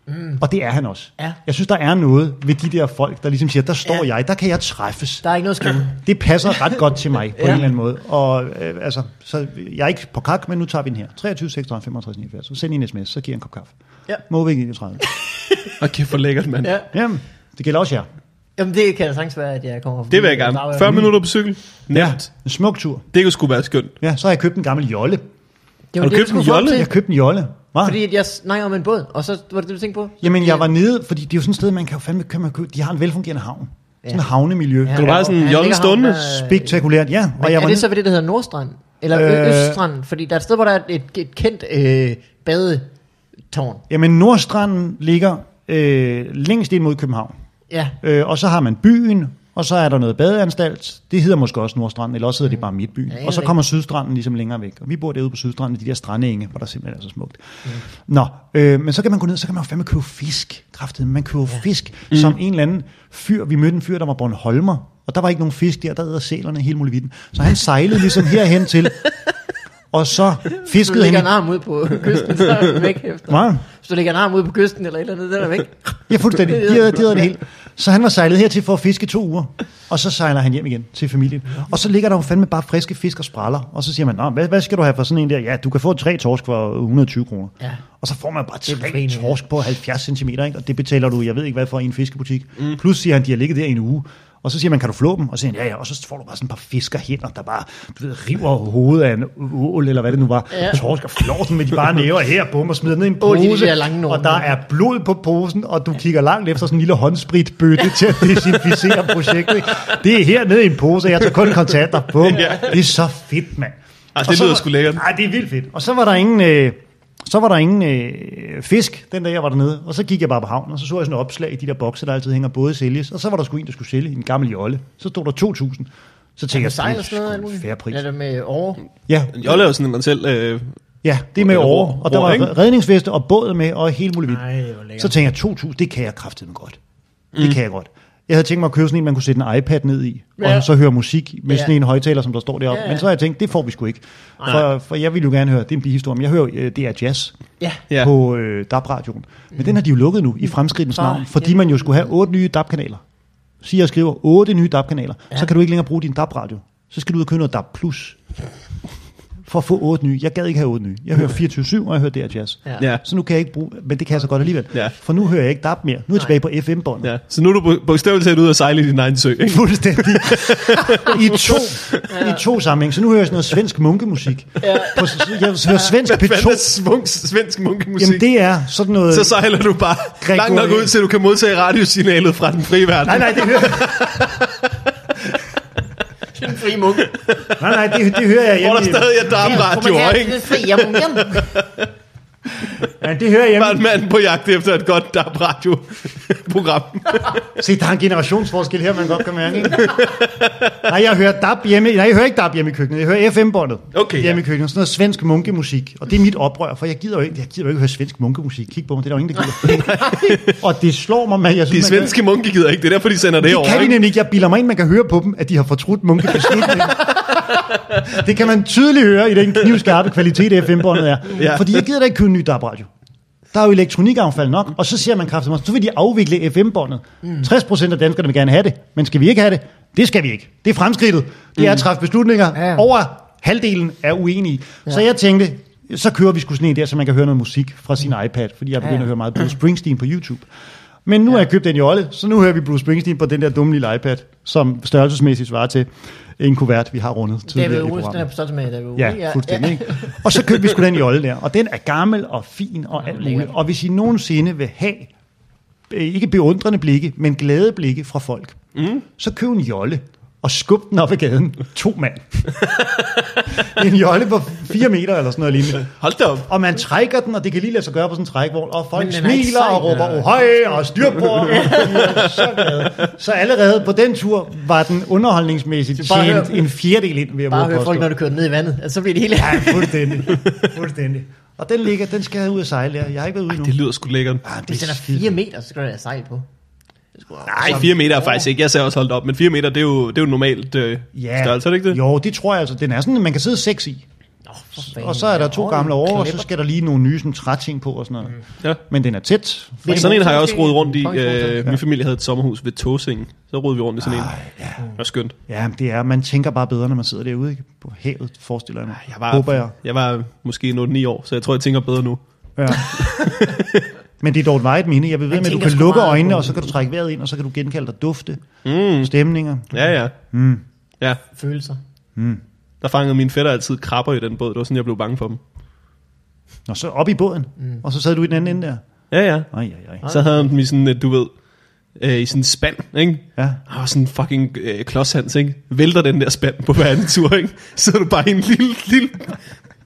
[SPEAKER 2] Mm. Og det er han også.
[SPEAKER 1] Ja.
[SPEAKER 2] Jeg synes, der er noget ved de der folk, der ligesom siger, der står
[SPEAKER 1] Ja.
[SPEAKER 2] jeg, der kan jeg træffes.
[SPEAKER 1] Der er ikke noget skæmt.
[SPEAKER 2] Det passer ret godt til mig, på
[SPEAKER 1] Ja.
[SPEAKER 2] en eller anden måde. Og øh, altså, så jeg er ikke på kak, men nu tager vi den her. 23, 36, 65, 79. Så send en sms, så giver jeg en kop kaffe.
[SPEAKER 1] Ja.
[SPEAKER 2] Måvik 31.
[SPEAKER 3] Og kæft for lækkert, mand.
[SPEAKER 1] Ja.
[SPEAKER 2] Jamen, det gælder også jer.
[SPEAKER 1] Jamen, det kan da sagtens være, at jeg kommer forbi.
[SPEAKER 3] Det vil jeg gerne.
[SPEAKER 1] Der er jo-
[SPEAKER 3] 40 minutter på cykel. Nemt.
[SPEAKER 2] En smuk tur.
[SPEAKER 3] Det kunne sgu være skønt.
[SPEAKER 2] Ja, så har jeg købt en gammel jolle.
[SPEAKER 1] Det
[SPEAKER 3] Har
[SPEAKER 1] var
[SPEAKER 3] du
[SPEAKER 1] det,
[SPEAKER 3] købt
[SPEAKER 1] du skulle
[SPEAKER 3] en
[SPEAKER 1] frem
[SPEAKER 3] jolle?
[SPEAKER 1] til.
[SPEAKER 2] Jeg købte en jolle. Hva?
[SPEAKER 1] Fordi at jeg snakker om en båd, og så var det det, du tænkte på?
[SPEAKER 2] Jamen, jeg var nede, fordi det er jo sådan et sted, man kan jo fandme kan man købe. De har en velfungerende havn. Ja. Sådan
[SPEAKER 1] Ja.
[SPEAKER 2] et havnemiljø. Ja.
[SPEAKER 1] Ja,
[SPEAKER 2] Det var
[SPEAKER 3] bare
[SPEAKER 1] og
[SPEAKER 3] sådan
[SPEAKER 1] han ligger
[SPEAKER 3] jollen
[SPEAKER 1] ham øh,
[SPEAKER 3] stående?
[SPEAKER 1] der-
[SPEAKER 2] spektakulært, ja.
[SPEAKER 1] Men
[SPEAKER 2] Og jeg
[SPEAKER 1] er
[SPEAKER 2] var
[SPEAKER 1] det
[SPEAKER 2] nede,
[SPEAKER 1] så ved det, der hedder Nordstrand? Eller
[SPEAKER 2] Øh,
[SPEAKER 1] øh, Øststrand? Fordi der er et sted, hvor der er et, et kendt øh, badetårn.
[SPEAKER 2] jamen, Nordstranden ligger øh, længst ind mod København.
[SPEAKER 1] Ja.
[SPEAKER 2] Øh, og så har man byen, og så er der noget badeanstalt. Det hedder måske også Nordstranden, eller også hedder Mm. det bare Midtbyen.
[SPEAKER 1] Ja, jeg
[SPEAKER 2] og så
[SPEAKER 1] ved
[SPEAKER 2] kommer Sydstranden ligesom længere væk. Og vi bor derude på Sydstranden, i de der strandenge, hvor der simpelthen er så smukt. Nå, øh, men så kan man gå ned, så kan man jo fandme købe fisk. Kraftedeme, man køber ja. fisk, mm. som en eller anden fyr. Vi mødte en fyr, der var Bornholmer, og der var ikke nogen fisk der, der æder sælerne hele muligheden. Så han sejlede ligesom herhen til, og så
[SPEAKER 1] Hvis du
[SPEAKER 2] fiskede
[SPEAKER 1] lægger en
[SPEAKER 2] han...
[SPEAKER 1] arm ud på kysten, så er den væk efter.
[SPEAKER 2] Hvad?
[SPEAKER 1] Hvis du lægger en arm ud på kysten eller et eller andet, den er væk.
[SPEAKER 2] Ja, fuldstændig. De havde, de havde det hele. Så han var sejlet hertil for at fiske i to uger, og så sejler han hjem igen til familien. Og så ligger der jo fandme bare friske fisk og spraller, og så siger man, Nå, hvad, hvad skal du have for sådan en der? Ja, du kan få tre torsk for 120 kroner.
[SPEAKER 1] Ja.
[SPEAKER 2] Og så får man bare
[SPEAKER 1] er
[SPEAKER 2] tre
[SPEAKER 1] befriende, ja.
[SPEAKER 2] torsk på 70 cm, ikke? og det betaler du, jeg ved ikke hvad, for i en fiskebutik. Mm. Plus siger han, de har ligget der i en uge. Og så siger man, kan du flå dem? Og så siger han, ja, ja. Og så får du bare sådan et par fiskerhænder, der bare du ved, river hovedet af en ål, eller hvad det nu var. Ja.
[SPEAKER 1] Ja.
[SPEAKER 2] Torsk og flår dem med de bare næver her, bum, og smider ned i en
[SPEAKER 1] Åh, de
[SPEAKER 2] pose.
[SPEAKER 1] der lange nogle.
[SPEAKER 2] og der er blod på posen, og du kigger langt efter sådan en lille håndspritbøtte til at desinficere projektet. ikke? Det er hernede i en pose, og jeg tager kun kontanter. Bum. Det er så fedt, mand.
[SPEAKER 3] Altså,
[SPEAKER 2] Og
[SPEAKER 3] det
[SPEAKER 2] så
[SPEAKER 3] lyder
[SPEAKER 2] var-
[SPEAKER 3] sgu lækkert.
[SPEAKER 2] Ej, det er vildt fedt. Og så var der ingen, øh, så var der ingen øh, fisk, den dag jeg var dernede. Og så gik jeg bare på havnen, og så så jeg sådan et opslag i de der bokse, der altid hænger både sælges. Og så var der sgu en, der skulle sælge en gammel jolle. Så stod der 2.000. Så tænkte
[SPEAKER 1] Med
[SPEAKER 2] jeg,
[SPEAKER 1] sejl
[SPEAKER 2] det er
[SPEAKER 1] og sådan noget. alt
[SPEAKER 2] sgu en
[SPEAKER 1] muligt.
[SPEAKER 2] fair pris.
[SPEAKER 1] Ja, det er med over.
[SPEAKER 2] Ja,
[SPEAKER 3] Jeg laver sådan en, man selv... Øh,
[SPEAKER 2] ja det er med
[SPEAKER 3] Eller
[SPEAKER 2] over.
[SPEAKER 3] ror-
[SPEAKER 2] Og der
[SPEAKER 3] ror, ikke?
[SPEAKER 2] var redningsveste og båd med, og hele muligt. vildt.
[SPEAKER 1] Nej, hvor lækkert.
[SPEAKER 2] Så tænker jeg, 2.000, det kan jeg kraftedeme godt.
[SPEAKER 1] Mm.
[SPEAKER 2] Det kan jeg godt. Jeg havde tænkt mig at købe sådan en, man kunne sætte en iPad ned i, ja.
[SPEAKER 1] Ja.
[SPEAKER 2] og så høre musik med
[SPEAKER 1] Ja.
[SPEAKER 2] sådan en højtaler, som der står deroppe.
[SPEAKER 1] Ja,
[SPEAKER 2] Ja,
[SPEAKER 1] ja.
[SPEAKER 2] Men så har jeg tænkt, det får vi sgu ikke. For, for jeg ville jo gerne høre, det er en bihistorie, men jeg hører, øh, det er jazz
[SPEAKER 1] Ja.
[SPEAKER 3] Ja.
[SPEAKER 2] ja. på øh, DAB-radioen. Men den har de jo lukket nu, i fremskridtens
[SPEAKER 1] Ah,
[SPEAKER 2] navn, fordi
[SPEAKER 1] ja.
[SPEAKER 2] man jo skulle have otte nye DAB-kanaler. Siger og skriver otte nye DAB-kanaler, ja. så kan du ikke længere bruge din DAB-radio. Så skal du ud og købe noget DAB+. Plus. For at få otte nye. Jeg gad ikke have otte nye. Jeg hører 24-7, og jeg hører DR Jazz.
[SPEAKER 1] Ja.
[SPEAKER 3] ja.
[SPEAKER 2] Så nu kan jeg ikke bruge, men det kan jeg så godt alligevel.
[SPEAKER 3] Ja.
[SPEAKER 2] For nu hører jeg ikke DAB mere. Nu er jeg tilbage på FM-båndet.
[SPEAKER 3] ja. Så nu er du på- bogstaveligt talt ude og sejle i din egen sø, ikke?
[SPEAKER 2] Fuldstændig. I to, I to sammenhæng. Så nu hører jeg sådan noget svensk munkemusik. Ja. På, jeg hører svensk
[SPEAKER 3] Hvad er
[SPEAKER 2] P2.
[SPEAKER 3] svung, svensk munkemusik?
[SPEAKER 2] Jamen det er sådan noget...
[SPEAKER 3] så sejler du bare
[SPEAKER 2] Gregor-
[SPEAKER 3] langt nok ud, til du kan modtage radiosignalet fra den frie verden.
[SPEAKER 2] Nej, nej, det hører,
[SPEAKER 1] Den frie munk.
[SPEAKER 2] nej, nej, det, det hører jeg
[SPEAKER 3] Hvor
[SPEAKER 2] hjemme.
[SPEAKER 3] der
[SPEAKER 2] i-
[SPEAKER 3] stadig er DAB-radio, ikke?
[SPEAKER 1] Den frie munk.
[SPEAKER 2] Ja, det hører jeg
[SPEAKER 3] Bare en
[SPEAKER 2] hjemme.
[SPEAKER 3] mand på jagt efter et godt DAB-radio-program.
[SPEAKER 2] Se, der er en generationsforskel her, man godt kan mærke. nej, jeg hører DAB hjemme. Nej, jeg hører ikke DAB hjemme i køkkenet. Jeg hører FM-båndet
[SPEAKER 3] Okay, ja.
[SPEAKER 2] hjemme i køkkenet. Sådan noget svensk munkemusik. Og det er mit oprør, for jeg gider jo ikke, jeg gider jo ikke høre svensk munkemusik. Kig på mig, det er der jo ingen, der gider. og det slår mig, man. Jeg
[SPEAKER 3] De
[SPEAKER 2] synes, man
[SPEAKER 3] svenske munke gider ikke, det er derfor, de sender det,
[SPEAKER 2] Det
[SPEAKER 3] over.
[SPEAKER 2] kan de
[SPEAKER 3] ikke?
[SPEAKER 2] nemlig ikke. Jeg bilder mig ind, man kan høre på dem, at de har fortrudt munkebeslutningen. det kan man tydeligt høre i den knivskarpe kvalitet, FM-båndet er.
[SPEAKER 3] Ja.
[SPEAKER 2] Ja. Fordi jeg gider da ikke købe en ny DAB-radio. Der er jo elektronikaffald nok, og så siger man kraftigt, så vil de afvikle FM-båndet. Mm. 60% af danskerne vil gerne have det, men skal vi ikke have det? Det skal vi ikke. Det er fremskridtet. Det er at træffe beslutninger.
[SPEAKER 1] Mm. Ja.
[SPEAKER 2] Ja. Over halvdelen er uenige. Ja. Så jeg tænkte, så kører vi sgu sådan en der, så man kan høre noget musik fra sin iPad, fordi jeg begynder
[SPEAKER 1] Mm. Ja.
[SPEAKER 2] at høre meget Bruce Springsteen på YouTube. Men nu har jeg købt en jolle, så nu hører vi Bruce Springsteen på den der dumme lille iPad, som størrelsesmæssigt svarer til en kuvert, vi har rundet
[SPEAKER 1] David
[SPEAKER 2] tidligere i
[SPEAKER 1] Ove, den er
[SPEAKER 2] programmet.
[SPEAKER 1] på størrelse med David Ove.
[SPEAKER 2] Ja, fuldstændig. Ikke? Og så købte vi sgu den jolle der, og den er gammel og fin og alt muligt. Og hvis I nogensinde vil have, øh, ikke beundrende blikke, men glade blikke fra folk, mm. så køb en jolle og skub den op ad gaden. To mand. en jolle på 4 meter eller sådan noget lignende.
[SPEAKER 3] Hold da op.
[SPEAKER 2] Og man trækker den, og det kan lige lade sig gøre på sådan en trækvogn, og folk
[SPEAKER 1] Men den er ikke
[SPEAKER 2] smiler
[SPEAKER 1] sej,
[SPEAKER 2] og råber,
[SPEAKER 1] den er-
[SPEAKER 2] oh, hej, og styrbord, og de er så glade. Så allerede på den tur var den underholdningsmæssigt
[SPEAKER 1] Så bare
[SPEAKER 2] tjent
[SPEAKER 1] hør-
[SPEAKER 2] en fjerdedel ind, vil jeg
[SPEAKER 1] Bare
[SPEAKER 2] våge at
[SPEAKER 1] hør folk,
[SPEAKER 2] påstå.
[SPEAKER 1] når du kører ned i vandet. Altså, så bliver det hele...
[SPEAKER 2] Ja, fuldstændig. fuldstændig. Og den ligger, den skal jeg ud og sejle der. Jeg har ikke været ude nu.
[SPEAKER 3] Det lyder sgu lækkert.
[SPEAKER 2] Ah, det
[SPEAKER 1] Hvis den er
[SPEAKER 2] skidt.
[SPEAKER 1] 4 meter, så skal der være sejl på. Det skulle
[SPEAKER 3] Nej, 4 meter er faktisk ikke. Jeg sagde også holdt op, men 4 meter, det er jo, det er jo normalt øh,
[SPEAKER 2] Ja.
[SPEAKER 3] størrelse, er det ikke det?
[SPEAKER 2] Jo, det tror jeg altså. Den er sådan, man kan sidde seks i.
[SPEAKER 1] Nå, for fanden.
[SPEAKER 2] Og så er der to
[SPEAKER 1] Åh, Mm.
[SPEAKER 2] gamle år, og så
[SPEAKER 1] klipper.
[SPEAKER 2] skal der lige nogle nye sådan, træting på og sådan noget.
[SPEAKER 3] Ja.
[SPEAKER 2] Men den er tæt.
[SPEAKER 1] Vil-
[SPEAKER 3] Sådan en har jeg også rodet rundt i.
[SPEAKER 1] Kongehuset,
[SPEAKER 3] Øh, min familie havde et sommerhus ved Tåsingen. Så rodede vi rundt i sådan en. Det var skønt.
[SPEAKER 2] Ja, men det er, man tænker bare bedre, når man sidder derude ikke? på havet, forestiller jeg mig.
[SPEAKER 3] Jeg var,
[SPEAKER 2] Håber jeg.
[SPEAKER 3] jeg var måske 8-9 år, så jeg tror, jeg tænker bedre nu.
[SPEAKER 2] Ja. men det er dog et vejet minde. Jeg vil ved
[SPEAKER 1] Man
[SPEAKER 2] med, at du
[SPEAKER 1] tænker
[SPEAKER 2] kan
[SPEAKER 1] sgu
[SPEAKER 2] lukke
[SPEAKER 1] meget på
[SPEAKER 2] øjnene,
[SPEAKER 1] det.
[SPEAKER 2] og så kan du trække vejret ind, og så kan du genkalde dig dufte,
[SPEAKER 3] Mm.
[SPEAKER 2] stemninger.
[SPEAKER 3] Ja, ja.
[SPEAKER 2] Mm.
[SPEAKER 3] ja.
[SPEAKER 1] Følelser.
[SPEAKER 3] Der fangede mine fætter altid krabber i den båd. Det var sådan, jeg blev bange for dem.
[SPEAKER 2] Nå, så op i båden, mm. og så sad du i den anden ende der.
[SPEAKER 3] Ja, ja.
[SPEAKER 2] Ej, ej, ej.
[SPEAKER 3] Så havde han dem i sådan, øh, du ved, øh, i sådan en spand, ikke?
[SPEAKER 2] Ja.
[SPEAKER 3] Og sådan en fucking øh, klodshands, ikke? Vælter den der spand på hver anden tur, ikke? Så er du bare i en lille, lille,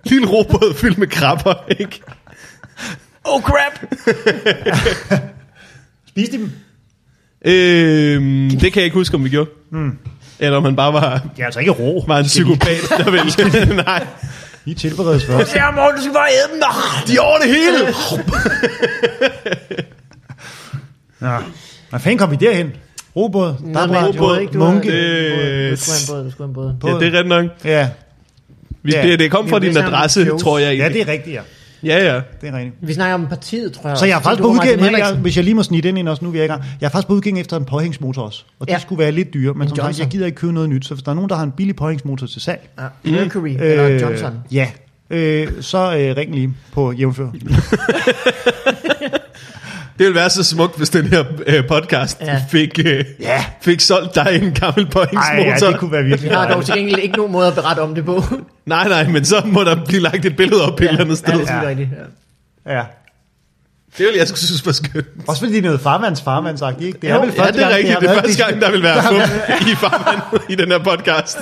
[SPEAKER 3] lille robåd fyldt med krabber, ikke?
[SPEAKER 1] Oh crap!
[SPEAKER 2] Spiste dem?
[SPEAKER 3] Øhm, det kan jeg ikke huske, om vi gjorde. Mm.
[SPEAKER 2] Hmm.
[SPEAKER 3] Eller om han bare var,
[SPEAKER 2] Det er altså ikke rå.
[SPEAKER 3] var en psykopat, der ville. Nej,
[SPEAKER 2] I tilberedes først.
[SPEAKER 1] Ja, Morten, du skal bare æde dem. Nå,
[SPEAKER 3] de over det hele.
[SPEAKER 2] Nå. Hvad fanden kom vi derhen? Robåd?
[SPEAKER 1] Nej, men
[SPEAKER 2] Dabra-
[SPEAKER 1] du havde ikke- du havde-
[SPEAKER 2] Munke?
[SPEAKER 1] du havde-
[SPEAKER 3] Øh,
[SPEAKER 1] Du skulle have en båd, du skulle have en båd.
[SPEAKER 3] Ja, det er ret nok.
[SPEAKER 2] Ja.
[SPEAKER 3] Vi,
[SPEAKER 2] Ja.
[SPEAKER 3] det, det kom fra
[SPEAKER 1] Jamen, det
[SPEAKER 3] din
[SPEAKER 1] er sådan
[SPEAKER 3] adresse,
[SPEAKER 1] jokes.
[SPEAKER 3] tror jeg.
[SPEAKER 2] ja,
[SPEAKER 3] egentlig.
[SPEAKER 2] det er rigtigt, ja.
[SPEAKER 3] Ja, ja.
[SPEAKER 2] Det er rigtigt.
[SPEAKER 1] Vi snakker om partiet, tror jeg.
[SPEAKER 2] Så jeg er
[SPEAKER 1] også.
[SPEAKER 2] faktisk
[SPEAKER 1] Du
[SPEAKER 2] på
[SPEAKER 1] var Martin
[SPEAKER 2] udkig, men jeg,
[SPEAKER 1] Henriksen.
[SPEAKER 2] hvis jeg lige må snige den ind også nu, vi er i gang. Jeg er faktisk på udkig efter en påhængsmotor også. Og det
[SPEAKER 1] Ja.
[SPEAKER 2] skulle være lidt dyrere, men
[SPEAKER 1] En
[SPEAKER 2] som sagt,
[SPEAKER 1] Johnson.
[SPEAKER 2] jeg gider ikke købe noget nyt. Så hvis der er nogen, der har en billig påhængsmotor til salg, øh,
[SPEAKER 1] Ja, Mercury, eller Johnson.
[SPEAKER 2] ja, øh, så øh, ring lige på jævnfør.
[SPEAKER 3] Det ville være så smukt, hvis den her øh, podcast ja.
[SPEAKER 1] Ja.
[SPEAKER 3] fik, øh,
[SPEAKER 2] Ja.
[SPEAKER 3] fik solgt dig en gammel
[SPEAKER 2] Ej,
[SPEAKER 3] pointsmotor.
[SPEAKER 2] ja, det kunne være
[SPEAKER 1] Vi
[SPEAKER 2] virkelig
[SPEAKER 1] har dog
[SPEAKER 2] dejligt.
[SPEAKER 1] til gengæld ikke nogen måde at berette om det på.
[SPEAKER 3] Nej, nej, men så må der blive lagt et billede op ja. et eller andet sted.
[SPEAKER 1] Ja,
[SPEAKER 3] Ja,
[SPEAKER 1] det er
[SPEAKER 3] ja.
[SPEAKER 1] helt rigtigt. Ja.
[SPEAKER 2] Ja.
[SPEAKER 3] Det ville jeg skulle synes var skønt.
[SPEAKER 2] Også fordi det er noget farmands farmandsagtigt, ikke? Det er
[SPEAKER 1] Jo,
[SPEAKER 2] vel
[SPEAKER 1] ja,
[SPEAKER 2] første
[SPEAKER 3] Ja, det er
[SPEAKER 2] gang,
[SPEAKER 3] rigtigt.
[SPEAKER 2] har
[SPEAKER 3] Det er
[SPEAKER 2] været
[SPEAKER 3] første gang, der vil være fup i farvandet i den her podcast.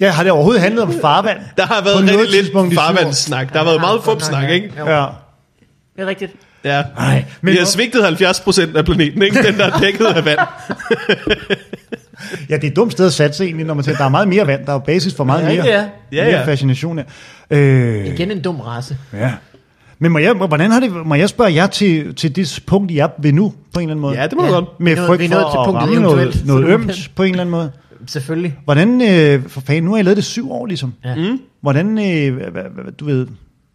[SPEAKER 2] Ja, har det overhovedet handlet om farvand?
[SPEAKER 3] Der har
[SPEAKER 2] På
[SPEAKER 3] været
[SPEAKER 2] noget
[SPEAKER 3] rigtig lidt
[SPEAKER 2] tidspunkt i syv år.
[SPEAKER 3] farvandssnak. Der har
[SPEAKER 1] Ja,
[SPEAKER 3] været meget
[SPEAKER 1] godt nok,
[SPEAKER 3] fup-snak,
[SPEAKER 1] ja.
[SPEAKER 3] ikke?
[SPEAKER 1] Jo,
[SPEAKER 2] Ja.
[SPEAKER 1] Det er rigtigt.
[SPEAKER 3] Ja.
[SPEAKER 2] Ej, men
[SPEAKER 3] Vi har svigtet 70 procent af planeten, ikke? Den, der er dækket af vand.
[SPEAKER 2] ja, det er et dumt sted at satse egentlig, når man tænker, der er meget mere vand, der er jo basis for meget
[SPEAKER 1] Ja,
[SPEAKER 2] mere.
[SPEAKER 1] ja.
[SPEAKER 3] Ja,
[SPEAKER 2] mere
[SPEAKER 3] ja.
[SPEAKER 2] fascination af. Øh,
[SPEAKER 1] Igen en dum race.
[SPEAKER 2] Ja. Men må jeg, hvordan har det, må jeg spørge jer til, til det punkt, I er ved nu, på en eller anden måde?
[SPEAKER 3] Ja, det må du
[SPEAKER 1] Ja.
[SPEAKER 3] godt.
[SPEAKER 2] Med
[SPEAKER 1] Vi er nået-
[SPEAKER 2] frygt
[SPEAKER 1] vi er
[SPEAKER 2] for
[SPEAKER 1] nået til
[SPEAKER 2] at
[SPEAKER 1] punktet
[SPEAKER 2] ramme noget,
[SPEAKER 1] eventuelt,
[SPEAKER 2] noget
[SPEAKER 1] så du kan-
[SPEAKER 2] ømt, på en eller anden måde.
[SPEAKER 1] Selvfølgelig.
[SPEAKER 2] Hvordan, øh, for fanden, nu har I lavet det syv år ligesom.
[SPEAKER 1] Ja.
[SPEAKER 2] Mm. Hvordan, øh, hvad, hvad, hvad- du ved,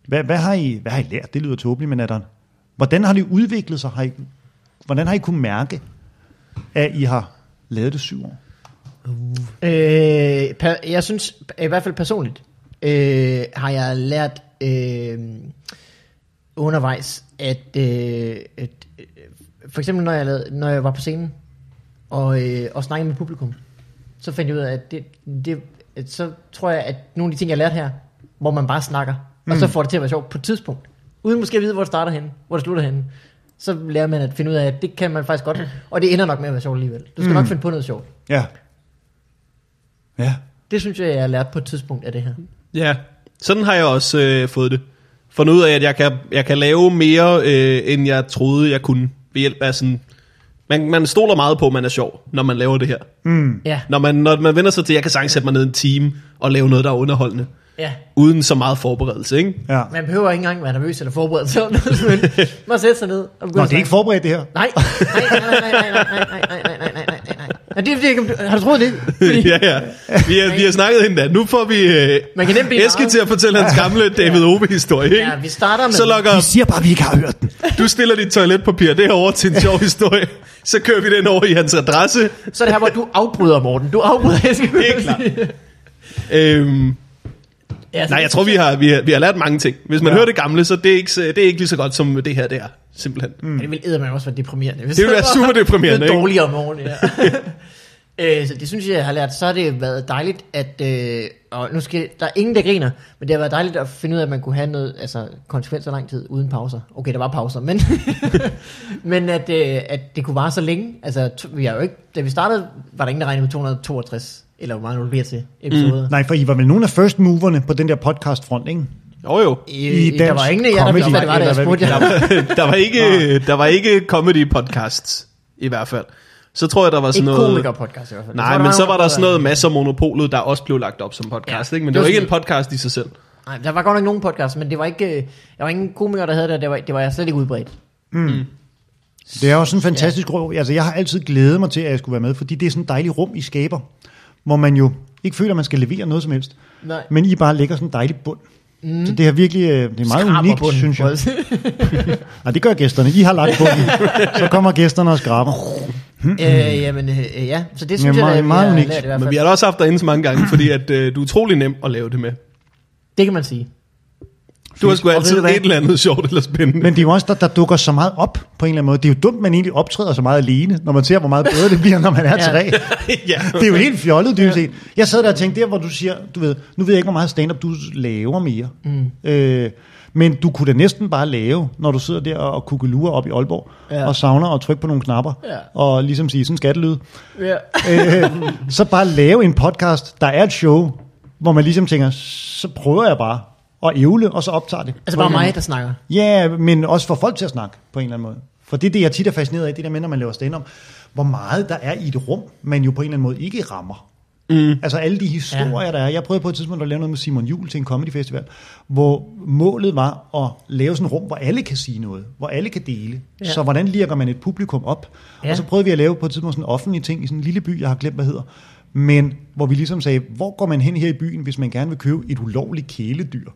[SPEAKER 2] hvad, hvad, har I, hvad har I lært? Det lyder tåbeligt, men er der, hvordan har det udviklet sig? Har I, hvordan har I kunne mærke, at I har lavet det syv år?
[SPEAKER 1] Øh, per, jeg synes, i hvert fald personligt, øh, har jeg lært øh, undervejs, at, øh, at øh, for eksempel når jeg, lavede, når jeg var på scenen og, øh, og snakkede med publikum, så fandt jeg ud af, at det, det, at så tror jeg, at nogle af de ting, jeg lærte her, hvor man bare snakker, mm. og så får det til at være sjovt på et tidspunkt, uden måske at vide, hvor det starter henne, hvor det slutter henne, så lærer man at finde ud af, at det kan man faktisk godt, og det ender nok med at være sjovt alligevel. Du skal mm. nok finde på noget sjovt.
[SPEAKER 2] Ja. Ja.
[SPEAKER 1] Det synes jeg, jeg har lært på et tidspunkt af det her.
[SPEAKER 3] Ja, sådan har jeg også øh, fået det. Fundet ud af, at jeg kan, jeg kan lave mere, øh, end jeg troede, jeg kunne. Ved hjælp af sådan... Man, man stoler meget på, at man er sjov, når man laver det her.
[SPEAKER 2] Mm.
[SPEAKER 1] Ja,
[SPEAKER 3] Når man, når man vender sig til, at jeg kan sagtens sætte mig ned en time og lave noget, der er underholdende.
[SPEAKER 1] ja.
[SPEAKER 3] Uden så meget forberedelse, ikke?
[SPEAKER 2] ja.
[SPEAKER 1] Man behøver ikke engang være nervøs eller forberedt sig. Men man sætter sig ned og begynder
[SPEAKER 2] Nå,
[SPEAKER 1] at
[SPEAKER 2] det er
[SPEAKER 1] snakke.
[SPEAKER 2] ikke forberedt det her.
[SPEAKER 1] Nej, nej, nej, nej, nej, nej, nej, nej, nej, nej, nej, nej, nej, nej. Nej, det er fordi, jeg kan- har du troet det? Fordi,
[SPEAKER 3] ja, ja. Vi har, vi har snakket hende der. Nu får vi øh,
[SPEAKER 1] Man kan nemt blive
[SPEAKER 3] Eske
[SPEAKER 1] narret.
[SPEAKER 3] til at fortælle hans gamle David Ove-historie, ikke?
[SPEAKER 1] Ja, vi starter med...
[SPEAKER 3] Så
[SPEAKER 2] Vi
[SPEAKER 3] lukker,
[SPEAKER 2] siger bare, at vi ikke har hørt den.
[SPEAKER 3] du stiller dit toiletpapir derover til en sjov historie. Så kører vi den over i hans adresse.
[SPEAKER 1] Så er det her, hvor du afbryder, Morten. Du afbryder, jeg skal
[SPEAKER 3] Det er klart. Øhm,
[SPEAKER 1] Ja,
[SPEAKER 3] Nej, jeg tror, vi har, vi har, vi har lært mange ting. Hvis man
[SPEAKER 2] Ja.
[SPEAKER 3] ja. hører det gamle, så det er ikke, så- det er ikke lige så godt som det her, det er. Simpelthen. Mm.
[SPEAKER 1] Det ville eddermame også være deprimerende. Hvis
[SPEAKER 3] Det ville være super deprimerende,
[SPEAKER 1] Det
[SPEAKER 3] ikke?
[SPEAKER 1] er dårligere om morgenen, ja. øh, så det synes jeg, jeg har lært. Så har det været dejligt, at... Øh, og nu skal, der er ingen, der griner, men det har været dejligt at finde ud af, at man kunne have noget, altså, konsekvenser lang tid uden pauser. Okay, der var pauser, men, men at, øh, at det kunne vare så længe. Altså, to, vi har jo ikke, da vi startede, var der ingen, der regnede med 262, eller hvor meget nu det bliver til episoder. Mm.
[SPEAKER 2] Nej, for I var vel nogle af first moverne på den der podcast-front, ikke?
[SPEAKER 3] Jo jo.
[SPEAKER 1] I,
[SPEAKER 2] I
[SPEAKER 1] I der var
[SPEAKER 2] dansk
[SPEAKER 1] ingen af jer, der
[SPEAKER 2] comedy,
[SPEAKER 1] vidste, hvad det var, der
[SPEAKER 2] eller
[SPEAKER 1] jeg
[SPEAKER 2] hvad vi
[SPEAKER 1] spurgte
[SPEAKER 2] kalder
[SPEAKER 1] jer.
[SPEAKER 3] Der var ikke, der var ikke comedy podcasts, i hvert fald. Så tror jeg, der var sådan
[SPEAKER 1] Ikke
[SPEAKER 3] noget...
[SPEAKER 1] komikerpodcast i hvert fald. Jeg
[SPEAKER 3] Nej,
[SPEAKER 1] tror,
[SPEAKER 3] men så
[SPEAKER 1] nogle
[SPEAKER 3] var der sådan noget
[SPEAKER 1] der-
[SPEAKER 3] masser af monopolet, der også blev lagt op som podcast,
[SPEAKER 1] Ja.
[SPEAKER 3] ikke? Men det
[SPEAKER 1] Det
[SPEAKER 3] var
[SPEAKER 1] var
[SPEAKER 3] ikke en
[SPEAKER 1] sådan-
[SPEAKER 3] podcast i sig selv.
[SPEAKER 1] Nej, der var godt nok nogen podcasts, men det var ikke, øh, der var ingen komikere, der havde det, og det var, det var slet ikke udbredt.
[SPEAKER 2] Det er også en fantastisk rum. Altså, jeg har altid glædet mig til, at jeg skulle være med, fordi det er sådan et dejligt rum, I skaber, hvor man jo ikke føler, at man skal levere noget som helst.
[SPEAKER 1] Nej.
[SPEAKER 2] Men I bare lægger sådan en dejlig bund. Mm. Så det er virkelig øh, det er meget
[SPEAKER 1] Skraber
[SPEAKER 2] unikt,
[SPEAKER 1] bunden,
[SPEAKER 2] synes jeg.
[SPEAKER 1] prøv at sige.
[SPEAKER 2] Nej, det gør gæsterne. I har lagt bunden. så kommer gæsterne og skraber.
[SPEAKER 1] øh, jamen, øh, ja. Så det synes
[SPEAKER 2] Hmm.
[SPEAKER 1] jeg,
[SPEAKER 2] Ja, meget-
[SPEAKER 1] at vi
[SPEAKER 2] meget
[SPEAKER 1] har
[SPEAKER 2] unikt.
[SPEAKER 1] lært i hvert
[SPEAKER 3] Men
[SPEAKER 1] fald.
[SPEAKER 3] vi har da også haft dig inde så mange gange, fordi at, øh, du er utrolig nem at lave det med.
[SPEAKER 1] Det kan man sige.
[SPEAKER 3] Du har sgu
[SPEAKER 1] Og ved
[SPEAKER 3] altid
[SPEAKER 1] du hvad?
[SPEAKER 3] et eller andet sjovt eller spændende.
[SPEAKER 2] Men det er jo også, der, der dukker så meget op på en eller anden måde. Det er jo dumt, man egentlig optræder så meget alene, når man ser, hvor meget bedre det bliver, når man er
[SPEAKER 1] Ja.
[SPEAKER 2] tre.
[SPEAKER 3] ja.
[SPEAKER 2] Det er jo helt fjollet, dybest set. Jeg sad der og tænkte, der hvor du siger, du ved, nu ved jeg ikke, hvor meget stand-up du laver mere. Mm. Øh, men du kunne da næsten bare lave, når du sidder der og kugelurer op i Aalborg,
[SPEAKER 1] Ja.
[SPEAKER 2] ja. og savner og trykke på nogle knapper,
[SPEAKER 1] Ja.
[SPEAKER 2] og ligesom sige sådan en skattelyd.
[SPEAKER 1] Ja.
[SPEAKER 2] øh, så bare lave en podcast, der er et show, hvor man ligesom tænker, så prøver jeg bare at ævle, og så optager det.
[SPEAKER 1] Altså bare mig, der snakker.
[SPEAKER 2] Ja, men også for folk til at snakke på en eller anden måde. For det er det, jeg tit er fascineret af, det der med, når man laver stand hvor meget der er i et rum, man jo på en eller anden måde ikke rammer. Mm. Altså alle de historier, ja. der er. Jeg prøvede på et tidspunkt at lave noget med Simon Jul til en comedy festival, hvor målet var at lave sådan et rum, hvor alle kan sige noget, hvor alle kan dele.
[SPEAKER 1] Ja.
[SPEAKER 2] Ja. Så hvordan lirker man et publikum op?
[SPEAKER 1] Ja.
[SPEAKER 2] Ja. Og så prøvede vi at lave på et tidspunkt sådan en offentlig ting i sådan en lille by, jeg har glemt, hvad hedder. Men hvor vi ligesom sagde, hvor går man hen her i byen, hvis man gerne vil købe et ulovligt kæledyr?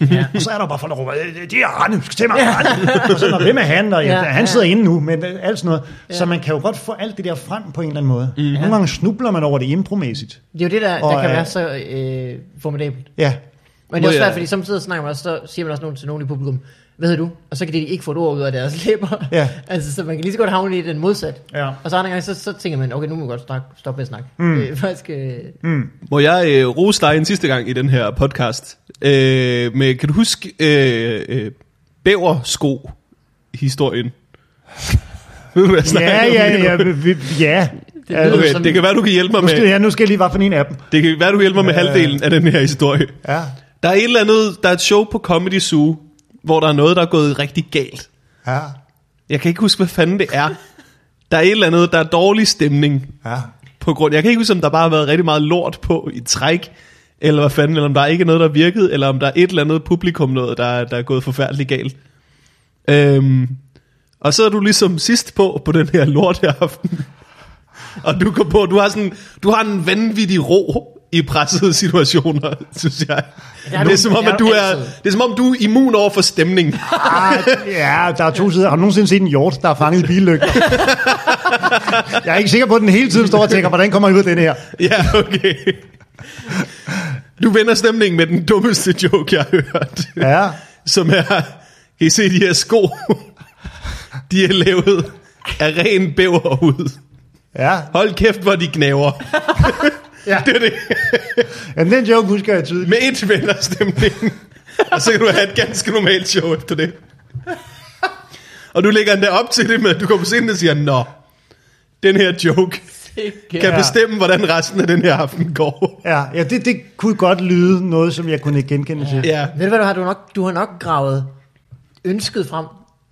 [SPEAKER 1] Ja.
[SPEAKER 2] Og så er der bare folk, der råber, "Øh, det er Arne, du skal til mig, Arne. og så, "Nå, hvem er han? Og, ja,
[SPEAKER 1] Ja, ja.
[SPEAKER 2] han sidder inde nu, men øh, alt sådan noget. Så man kan jo godt få alt det der frem på en eller anden måde.
[SPEAKER 1] Mhm.
[SPEAKER 2] Mm. Nogle gange snubler man over det impromæssigt.
[SPEAKER 1] Det er jo det, der, der
[SPEAKER 2] Og,
[SPEAKER 1] kan
[SPEAKER 2] øh,
[SPEAKER 1] være så øh, formidabelt.
[SPEAKER 2] Ja,
[SPEAKER 1] Men det er også
[SPEAKER 3] Må jeg-
[SPEAKER 1] svært, fordi samtidig snakker man også, så siger man også nogen til nogen i publikum, hvad hedder du? Og så kan de ikke få et ord ud af deres læber.
[SPEAKER 2] Ja.
[SPEAKER 1] altså, så man kan lige så godt havne i den modsat.
[SPEAKER 2] Ja.
[SPEAKER 1] Og så andre gange, så, så tænker man, okay, nu må vi godt snak, stoppe med at snakke. Mm. Øh, faktisk, øh,
[SPEAKER 2] Mm.
[SPEAKER 3] Må jeg øh, rose dig en sidste gang i den her podcast? Øh, med, kan du huske øh, øh, bæversko-historien? Ved du, hvad jeg snakker
[SPEAKER 2] ja, ja,
[SPEAKER 3] om lige nu?
[SPEAKER 2] ja. vi- vi- ja. ja
[SPEAKER 1] lyder
[SPEAKER 3] Okay,
[SPEAKER 1] som-
[SPEAKER 3] det kan være, du kan hjælpe mig
[SPEAKER 2] nu, skal,
[SPEAKER 3] med,
[SPEAKER 2] ja, nu skal jeg lige, hvad for en af dem.
[SPEAKER 3] det kan være, du hjælper med halvdelen af den her historie.
[SPEAKER 2] Ja.
[SPEAKER 3] Der er et eller andet, der er et show på Comedy Zoo, hvor der er noget, der er gået rigtig galt.
[SPEAKER 2] Ja.
[SPEAKER 3] Jeg kan ikke huske, hvad fanden det er. Der er et eller andet, der er dårlig stemning
[SPEAKER 2] Ja.
[SPEAKER 3] på grund. Jeg kan ikke huske, om der bare har været rigtig meget lort på i træk, eller hvad fanden, eller om der ikke er noget, der virkede, eller om der er et eller andet publikum noget, der, er- der er gået forfærdeligt galt. Øhm, og så er du ligesom sidst på, på den her lort her aften. Og du går på, du har, sådan, du har en vanvittig ro i pressede situationer, synes jeg.
[SPEAKER 1] Det har
[SPEAKER 3] det, er
[SPEAKER 1] du-
[SPEAKER 3] som
[SPEAKER 1] det
[SPEAKER 3] om,
[SPEAKER 1] har
[SPEAKER 3] at
[SPEAKER 1] du
[SPEAKER 3] du er,
[SPEAKER 1] altid.
[SPEAKER 3] det er som om, du er immun over for stemning.
[SPEAKER 2] Ah, ja, der er to sider. Har du nogensinde set en hjort, der er fanget i billygter? jeg er ikke sikker på, at den hele tiden står og tænker, hvordan kommer jeg ud af den her?
[SPEAKER 3] Ja, okay. Du vender stemningen med den dummeste joke, jeg har hørt.
[SPEAKER 2] Ja.
[SPEAKER 3] Som er, kan I se de her sko? De er lavet af ren bæverhud.
[SPEAKER 2] Ja,
[SPEAKER 3] Hold kæft, hvor de gnaver.
[SPEAKER 2] Ja.
[SPEAKER 3] Det er det.
[SPEAKER 2] ja den joke husker jeg tydeligt.
[SPEAKER 3] Med et vender stemningen. Og så kan du have et ganske normalt show efter det. Og du lægger endda op til det med, at du kommer på scenen og siger, Nå, den her joke kan
[SPEAKER 1] ja.
[SPEAKER 3] bestemme, hvordan resten af den her aften går.
[SPEAKER 2] Ja, ja det, det kunne godt lyde noget, som jeg kunne genkende til.
[SPEAKER 3] Ja.
[SPEAKER 1] Ved du hvad, du har, du, har nok, du har nok gravet ønsket frem,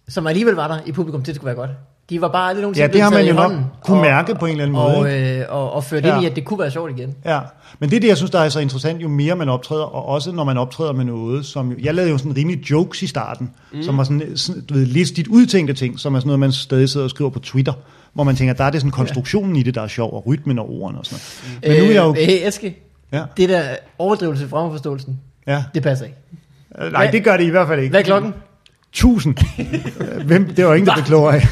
[SPEAKER 1] som alligevel var der i publikum, til det skulle være godt. De var bare lidt nogen,
[SPEAKER 2] Ja, det har man jo nok kunne mærke på en eller anden
[SPEAKER 1] og,
[SPEAKER 2] måde,
[SPEAKER 1] Og, øh, og, og ført ja.
[SPEAKER 2] Ja.
[SPEAKER 1] ind i, at det kunne være sjovt igen.
[SPEAKER 2] Ja, men det er det, jeg synes, der er så interessant, jo mere man optræder, og også når man optræder med noget, som... Jeg lavede jo sådan rimelig jokes i starten, mm. som var sådan, sådan, du ved, listigt udtænkte ting, som er sådan noget, man stadig sidder og skriver på Twitter, hvor man tænker, der er det sådan konstruktionen i det, der er sjov, og rytmen og ordene og sådan noget. Men nu er jeg jo...
[SPEAKER 1] Øh, øh, Eske,
[SPEAKER 2] Ja.
[SPEAKER 1] det der overdrivelse fra forståelsen,
[SPEAKER 2] Ja.
[SPEAKER 1] det passer ikke.
[SPEAKER 2] Øh, Nej, det gør det i hvert fald ikke.
[SPEAKER 1] Hvad er klokken?
[SPEAKER 2] Tusind. Øh, Hvem, det var ingen, der blev klogere af.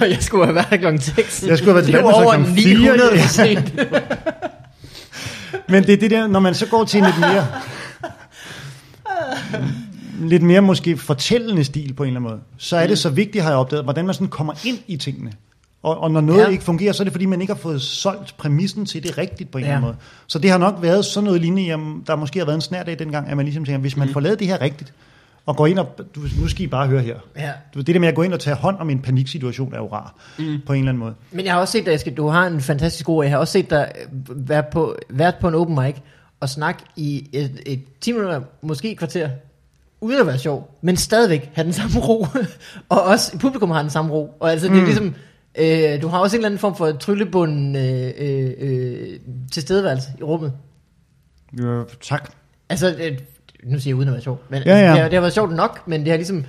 [SPEAKER 1] Og jeg skulle have været her klokken 6.
[SPEAKER 2] Jeg skulle have været
[SPEAKER 1] det var
[SPEAKER 2] tilbage
[SPEAKER 1] over
[SPEAKER 2] klokken fire,
[SPEAKER 1] 900
[SPEAKER 2] ja.
[SPEAKER 1] procent.
[SPEAKER 2] Men det er det der, når man så går til en lidt mere... lidt mere måske fortællende stil på en eller anden måde, så er det så vigtigt, har jeg opdaget, hvordan man sådan kommer ind i tingene. Og, og når noget
[SPEAKER 1] Ja.
[SPEAKER 2] ja. ikke fungerer, så er det fordi, man ikke har fået solgt præmissen til det rigtigt på en
[SPEAKER 1] Ja.
[SPEAKER 2] eller anden måde. Så det har nok været sådan noget lignende, jamen, der måske har været en snært af dengang, at man ligesom tænker, hvis
[SPEAKER 1] Mm.
[SPEAKER 2] man får lavet det her rigtigt, og går ind og, du, nu skal I bare høre her.
[SPEAKER 1] Ja.
[SPEAKER 2] Du ved, Det der med at gå ind og tage hånd om en paniksituation er jo rar, mm. på en eller anden måde.
[SPEAKER 1] Men jeg har også set dig, Eske, du har en fantastisk ord. Jeg har også set dig øh, være på, været på en open mic og snakke i et, et 10 minutter, måske et kvarter, uden at være sjov, men stadigvæk have den samme ro. og også publikum har den samme ro. Og altså, det er ligesom, øh, du har også en eller anden form for tryllebunden øh, øh, øh, tilstedeværelse i rummet.
[SPEAKER 2] Ja, tak.
[SPEAKER 1] Altså, øh, nu siger jeg uden at være sjov. Men,
[SPEAKER 2] Ja, ja.
[SPEAKER 1] altså, Det, har, det har været sjovt nok, men det har ligesom...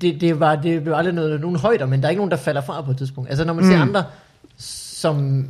[SPEAKER 1] Det, det, var, det blev aldrig noget, nogen højder, men der er ikke nogen, der falder fra på et tidspunkt. Altså, når man mm. ser andre, som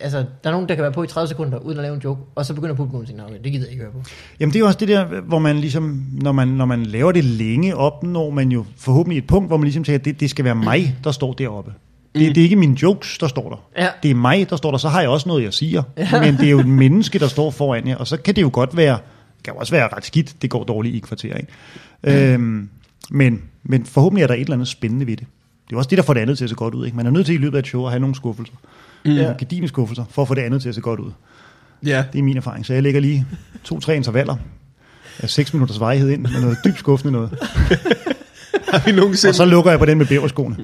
[SPEAKER 1] altså, der er nogen, der kan være på i 30 sekunder, uden at lave en joke, og så begynder publikum at tænke, "Nå, okay, det gider jeg ikke høre på.
[SPEAKER 2] Jamen det er jo også det der, hvor man ligesom, når man, når man laver det længe, opnår man jo forhåbentlig et punkt, hvor man ligesom siger, at det, det skal være mig, der står deroppe. Det, det er ikke mine jokes, der står der.
[SPEAKER 1] Ja.
[SPEAKER 2] Det er mig, der står der. Så har jeg også noget, jeg siger. Ja. Men det er jo et menneske, der står foran jer. Og så kan det jo godt være, det kan jo også være ret skidt, det går dårligt i et kvarter. Ikke? Øhm, men, men forhåbentlig er der et eller andet spændende ved det. Det er jo også det, der får det andet til at se godt ud. Ikke? Man er nødt til i løbet af et show at have nogle skuffelser. Mm. Ja. Gedigende skuffelser, for at få det andet til at se godt ud.
[SPEAKER 3] Ja.
[SPEAKER 2] Det er min erfaring. Så jeg lægger lige to-tre intervaller af 6 minutters varighed ind med noget dybt skuffende noget.
[SPEAKER 3] Har vi
[SPEAKER 2] Og
[SPEAKER 3] nogensinde,
[SPEAKER 2] så lukker jeg på den med bæverskoene.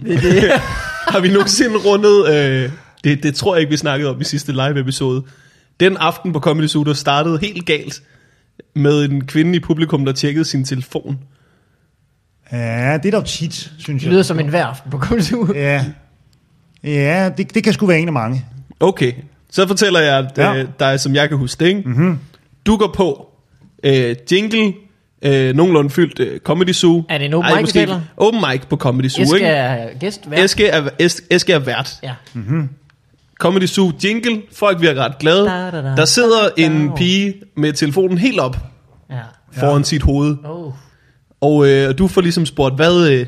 [SPEAKER 3] har vi nogensinde rundet... Øh, det, det tror jeg ikke, vi snakkede om i sidste live-episode. Den aften på Comedy Zoo, der startede helt galt med en kvinde i publikum, der tjekkede sin telefon.
[SPEAKER 2] Ja, det er dog tit, synes
[SPEAKER 1] Det lyder
[SPEAKER 2] jeg.
[SPEAKER 1] som en hver aften på kultur.
[SPEAKER 2] Ja, ja det, det kan sgu være en af mange.
[SPEAKER 3] Okay, så fortæller jeg at,
[SPEAKER 2] Ja.
[SPEAKER 3] ja. øh, dig, som jeg kan huske det, ikke? Mm-hmm. Du går på øh, jingle, øh, nogenlunde fyldt øh, Comedy Zoo.
[SPEAKER 1] Er det en open mic, vi
[SPEAKER 3] måske
[SPEAKER 1] taler?
[SPEAKER 3] ikke. Open mic på Comedy Zoo,
[SPEAKER 1] Jeg skal
[SPEAKER 3] ikke?
[SPEAKER 1] have gæst hver.
[SPEAKER 3] Eske er, es, Eske er vært.
[SPEAKER 1] Ja.
[SPEAKER 2] Mm.
[SPEAKER 3] Comedy Zoo jingle, folk bliver ret glade.
[SPEAKER 1] Da, da, da.
[SPEAKER 3] Der sidder en
[SPEAKER 1] da.
[SPEAKER 3] pige med telefonen helt op
[SPEAKER 1] ja.
[SPEAKER 3] foran sit hoved.
[SPEAKER 1] Oh.
[SPEAKER 3] Og øh, du får ligesom spurgt, hvad, øh,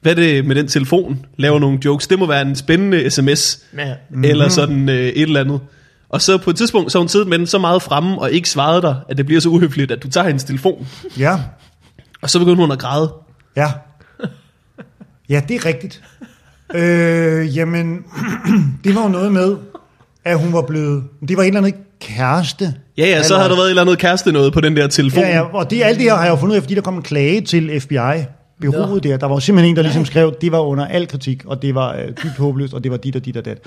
[SPEAKER 3] hvad er det med den telefon? Laver nogle jokes. Det må være en spændende sms.
[SPEAKER 1] Men,
[SPEAKER 3] mm-hmm. eller sådan øh, et eller andet. Og så på et tidspunkt, så har hun siddet med den så meget fremme og ikke svaret dig, at det bliver så uhøfligt, at du tager hendes telefon.
[SPEAKER 2] Ja,
[SPEAKER 3] Og så begynder hun at græde.
[SPEAKER 2] ja. Ja, det er rigtigt. Øh, jamen, det var jo noget med, at hun var blevet... Det var en eller anden kæreste.
[SPEAKER 3] Ja, ja, så
[SPEAKER 2] Eller-
[SPEAKER 3] har der været et eller andet kæreste noget på den der telefon.
[SPEAKER 2] Ja, ja, og det, alt det her har jeg jo fundet ud af, fordi der kom en klage til FBI. Byrået der, der var jo simpelthen en, der ligesom skrev, det var under al kritik, og det var øh, dybt håbløst, og det var dit og dit og dat.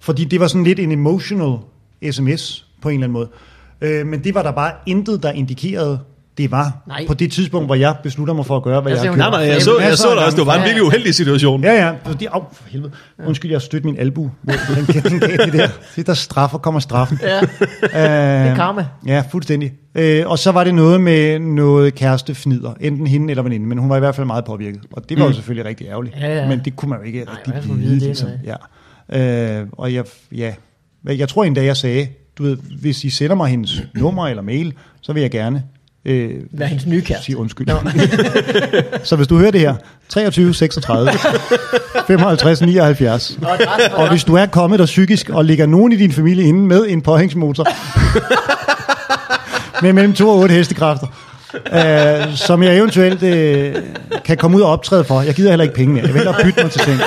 [SPEAKER 2] Fordi det var sådan lidt en emotional sms på en eller anden måde. Øh, men det var der bare intet, der indikerede, det var
[SPEAKER 1] Nej.
[SPEAKER 2] på det tidspunkt, hvor jeg beslutter mig for at gøre, hvad
[SPEAKER 1] Jeg
[SPEAKER 2] jeg,
[SPEAKER 1] ser,
[SPEAKER 2] jeg
[SPEAKER 1] hun
[SPEAKER 3] Nej, nej, jeg så, jeg så det også. Det var bare en virkelig uheldig situation. Ja.
[SPEAKER 2] Ja, ja. Så de, au, for helvede. Undskyld, jeg stødte min albu. Den, den, den, den der. Det der straffer kommer straffen.
[SPEAKER 1] ja.
[SPEAKER 2] det
[SPEAKER 1] er karma.
[SPEAKER 2] Ja, fuldstændig. Øh, og så var det noget med noget kæreste fnider, enten hende eller veninde, men hun var i hvert fald meget påvirket. Og det var jo selvfølgelig rigtig ærgerligt,
[SPEAKER 1] Mm. Ja, ja.
[SPEAKER 2] men det kunne man jo ikke Nej,
[SPEAKER 1] hvordan
[SPEAKER 2] rigtig
[SPEAKER 1] skulle man
[SPEAKER 2] vide.
[SPEAKER 1] vide det,
[SPEAKER 2] Ligesom. Ja. Øh, og jeg, ja. jeg tror endda, jeg sagde, du ved, hvis I sender mig hendes nummer eller mail, så vil jeg gerne øh,
[SPEAKER 1] Vær hendes nye kæreste.
[SPEAKER 2] sige undskyld. så hvis du hører det her, 23, 36, 55, 79.
[SPEAKER 1] Og der er-
[SPEAKER 2] Og hvis du er kommet og psykisk og ligger nogen i din familie inde med en påhængsmotor med mellem 2 og 8 hestekræfter, øh, som jeg eventuelt øh, kan komme ud og optræde for. Jeg gider heller ikke penge mere. Jeg vil hellere bytte mig til ting.